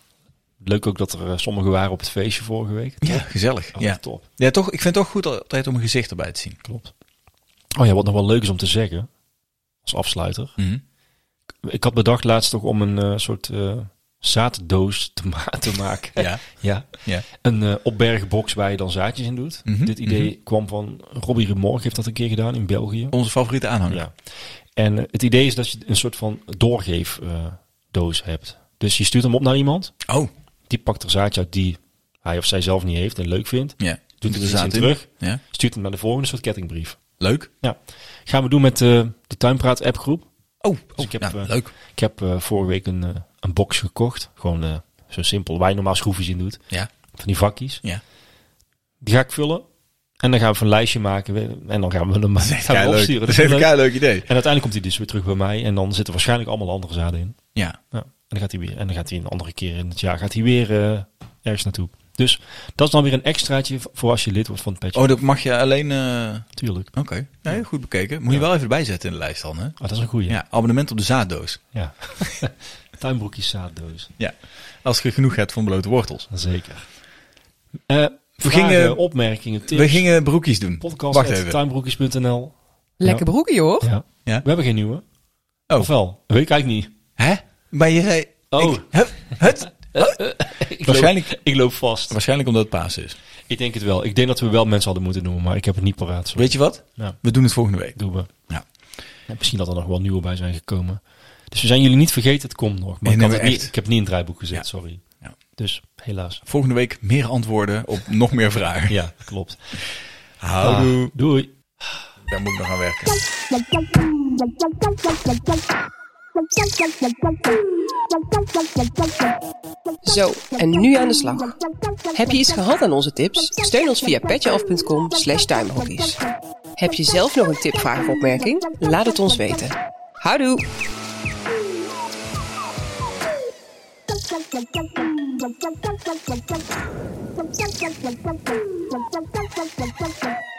[SPEAKER 5] Leuk ook dat er eh, sommigen waren op het feestje vorige week.
[SPEAKER 1] Ja, gezellig.
[SPEAKER 5] Oh,
[SPEAKER 1] ja.
[SPEAKER 5] Top.
[SPEAKER 1] Ja, toch, ik vind het toch goed altijd om een gezicht erbij te zien.
[SPEAKER 5] Klopt. Oh ja, wat nog wel leuk is om te zeggen, als afsluiter. Ik had bedacht laatst toch om een eh, soort eh, zaaddoos te, ma- te maken.
[SPEAKER 1] Ja.
[SPEAKER 5] ja.
[SPEAKER 1] Ja.
[SPEAKER 5] Een eh, opbergbox waar je dan zaadjes in doet.
[SPEAKER 1] Mhm,
[SPEAKER 5] Dit idee kwam van Robbie Remorg, heeft dat een keer gedaan in België.
[SPEAKER 1] Onze favoriete aanhanger.
[SPEAKER 5] Ja. En eh, het idee is dat je een soort van doorgeefdoos hebt. Dus je stuurt hem op naar iemand,
[SPEAKER 1] Oh,
[SPEAKER 5] die pakt er zaadje uit die hij of zij zelf niet heeft en leuk vindt.
[SPEAKER 1] ja.
[SPEAKER 5] Doet er
[SPEAKER 1] de
[SPEAKER 5] iets in
[SPEAKER 1] zaad
[SPEAKER 5] terug,
[SPEAKER 1] Ja.
[SPEAKER 5] stuurt hem naar de volgende soort kettingbrief.
[SPEAKER 1] Leuk.
[SPEAKER 5] Ja, gaan we doen met eh, de Tuinpraat appgroep.
[SPEAKER 1] Oh, oh
[SPEAKER 5] ik heb,
[SPEAKER 1] nou,
[SPEAKER 5] eh,
[SPEAKER 1] leuk.
[SPEAKER 5] Ik heb eh, vorige week een, eh, een box gekocht. Gewoon eh, zo simpel, waar je normaal schroefjes in doet.
[SPEAKER 1] Ja.
[SPEAKER 5] Van die vakjes.
[SPEAKER 1] Ja.
[SPEAKER 5] Die ga ik vullen En dan gaan we een lijstje maken we- en dan gaan we hem, gaan we hem
[SPEAKER 1] Keileuk.
[SPEAKER 5] opsturen.
[SPEAKER 1] Dat is
[SPEAKER 5] Dat
[SPEAKER 1] echt
[SPEAKER 5] is
[SPEAKER 1] een
[SPEAKER 5] leuk.
[SPEAKER 1] keileuk idee.
[SPEAKER 5] En uiteindelijk komt hij dus weer terug bij mij en dan zitten waarschijnlijk allemaal andere zaden in.
[SPEAKER 1] Ja.
[SPEAKER 5] Ja. En dan gaat hij weer, en dan gaat hij een andere keer in het jaar gaat hij weer eh, ergens naartoe. Dus dat is dan weer een extraatje voor als je lid wordt van het petje.
[SPEAKER 1] Oh, dat mag je alleen... eh,
[SPEAKER 5] natuurlijk.
[SPEAKER 1] Oké, nee, goed bekeken. Moet je wel even erbij zetten in de lijst dan, hè?
[SPEAKER 5] Oh, dat is een goeie. Ja.
[SPEAKER 1] Ja, abonnement op de zaaddoos.
[SPEAKER 5] Tuinbroekjes zaaddoos.
[SPEAKER 1] Als je genoeg hebt van blote wortels.
[SPEAKER 5] Zeker. Eh we
[SPEAKER 1] gingen-
[SPEAKER 5] gingen opmerkingen, tips.
[SPEAKER 1] We gingen broekjes doen. Wacht even.
[SPEAKER 5] podcast.tuinbroekjes.nl
[SPEAKER 4] Lekker broekje hoor.
[SPEAKER 5] ja.
[SPEAKER 1] Ja.
[SPEAKER 5] We hebben geen nieuwe.
[SPEAKER 1] Oh.
[SPEAKER 5] Of wel? Weet ik eigenlijk niet.
[SPEAKER 1] Hè? Maar je zei...
[SPEAKER 5] Oh.
[SPEAKER 1] Ik, hup, het?
[SPEAKER 5] Ik
[SPEAKER 1] Waarschijnlijk-
[SPEAKER 5] Loop, ik loop vast.
[SPEAKER 1] Waarschijnlijk omdat het paas is.
[SPEAKER 5] Ik denk het wel. Ik denk dat we wel mensen hadden moeten noemen, maar ik heb het niet paraat. Sorry.
[SPEAKER 1] Weet je wat?
[SPEAKER 5] Ja.
[SPEAKER 1] We doen het volgende week.
[SPEAKER 5] Doen we.
[SPEAKER 1] Ja.
[SPEAKER 5] En misschien dat er nog wel nieuwe bij zijn gekomen. Dus we zijn jullie niet vergeten, het komt nog. Maar
[SPEAKER 1] Nee,
[SPEAKER 5] ik,
[SPEAKER 1] nee,
[SPEAKER 5] had het
[SPEAKER 1] maar
[SPEAKER 5] niet,
[SPEAKER 1] echt.
[SPEAKER 5] ik heb het niet in het draaiboek gezet,
[SPEAKER 1] Ja.
[SPEAKER 5] sorry.
[SPEAKER 1] Ja.
[SPEAKER 5] Dus helaas.
[SPEAKER 1] Volgende week meer antwoorden op nog meer vragen.
[SPEAKER 5] Ja, klopt.
[SPEAKER 1] Houdoe.
[SPEAKER 5] Ah, doei. Ah.
[SPEAKER 1] Daar moet ik nog aan werken.
[SPEAKER 4] Zo, en nu aan de slag. Heb je iets gehad aan onze tips? Steun ons via petjeaf.com slash tuinbroekjes. Heb je zelf nog een tip, vraag of opmerking? Laat het ons weten. Houdoe!
[SPEAKER 10] Thank you.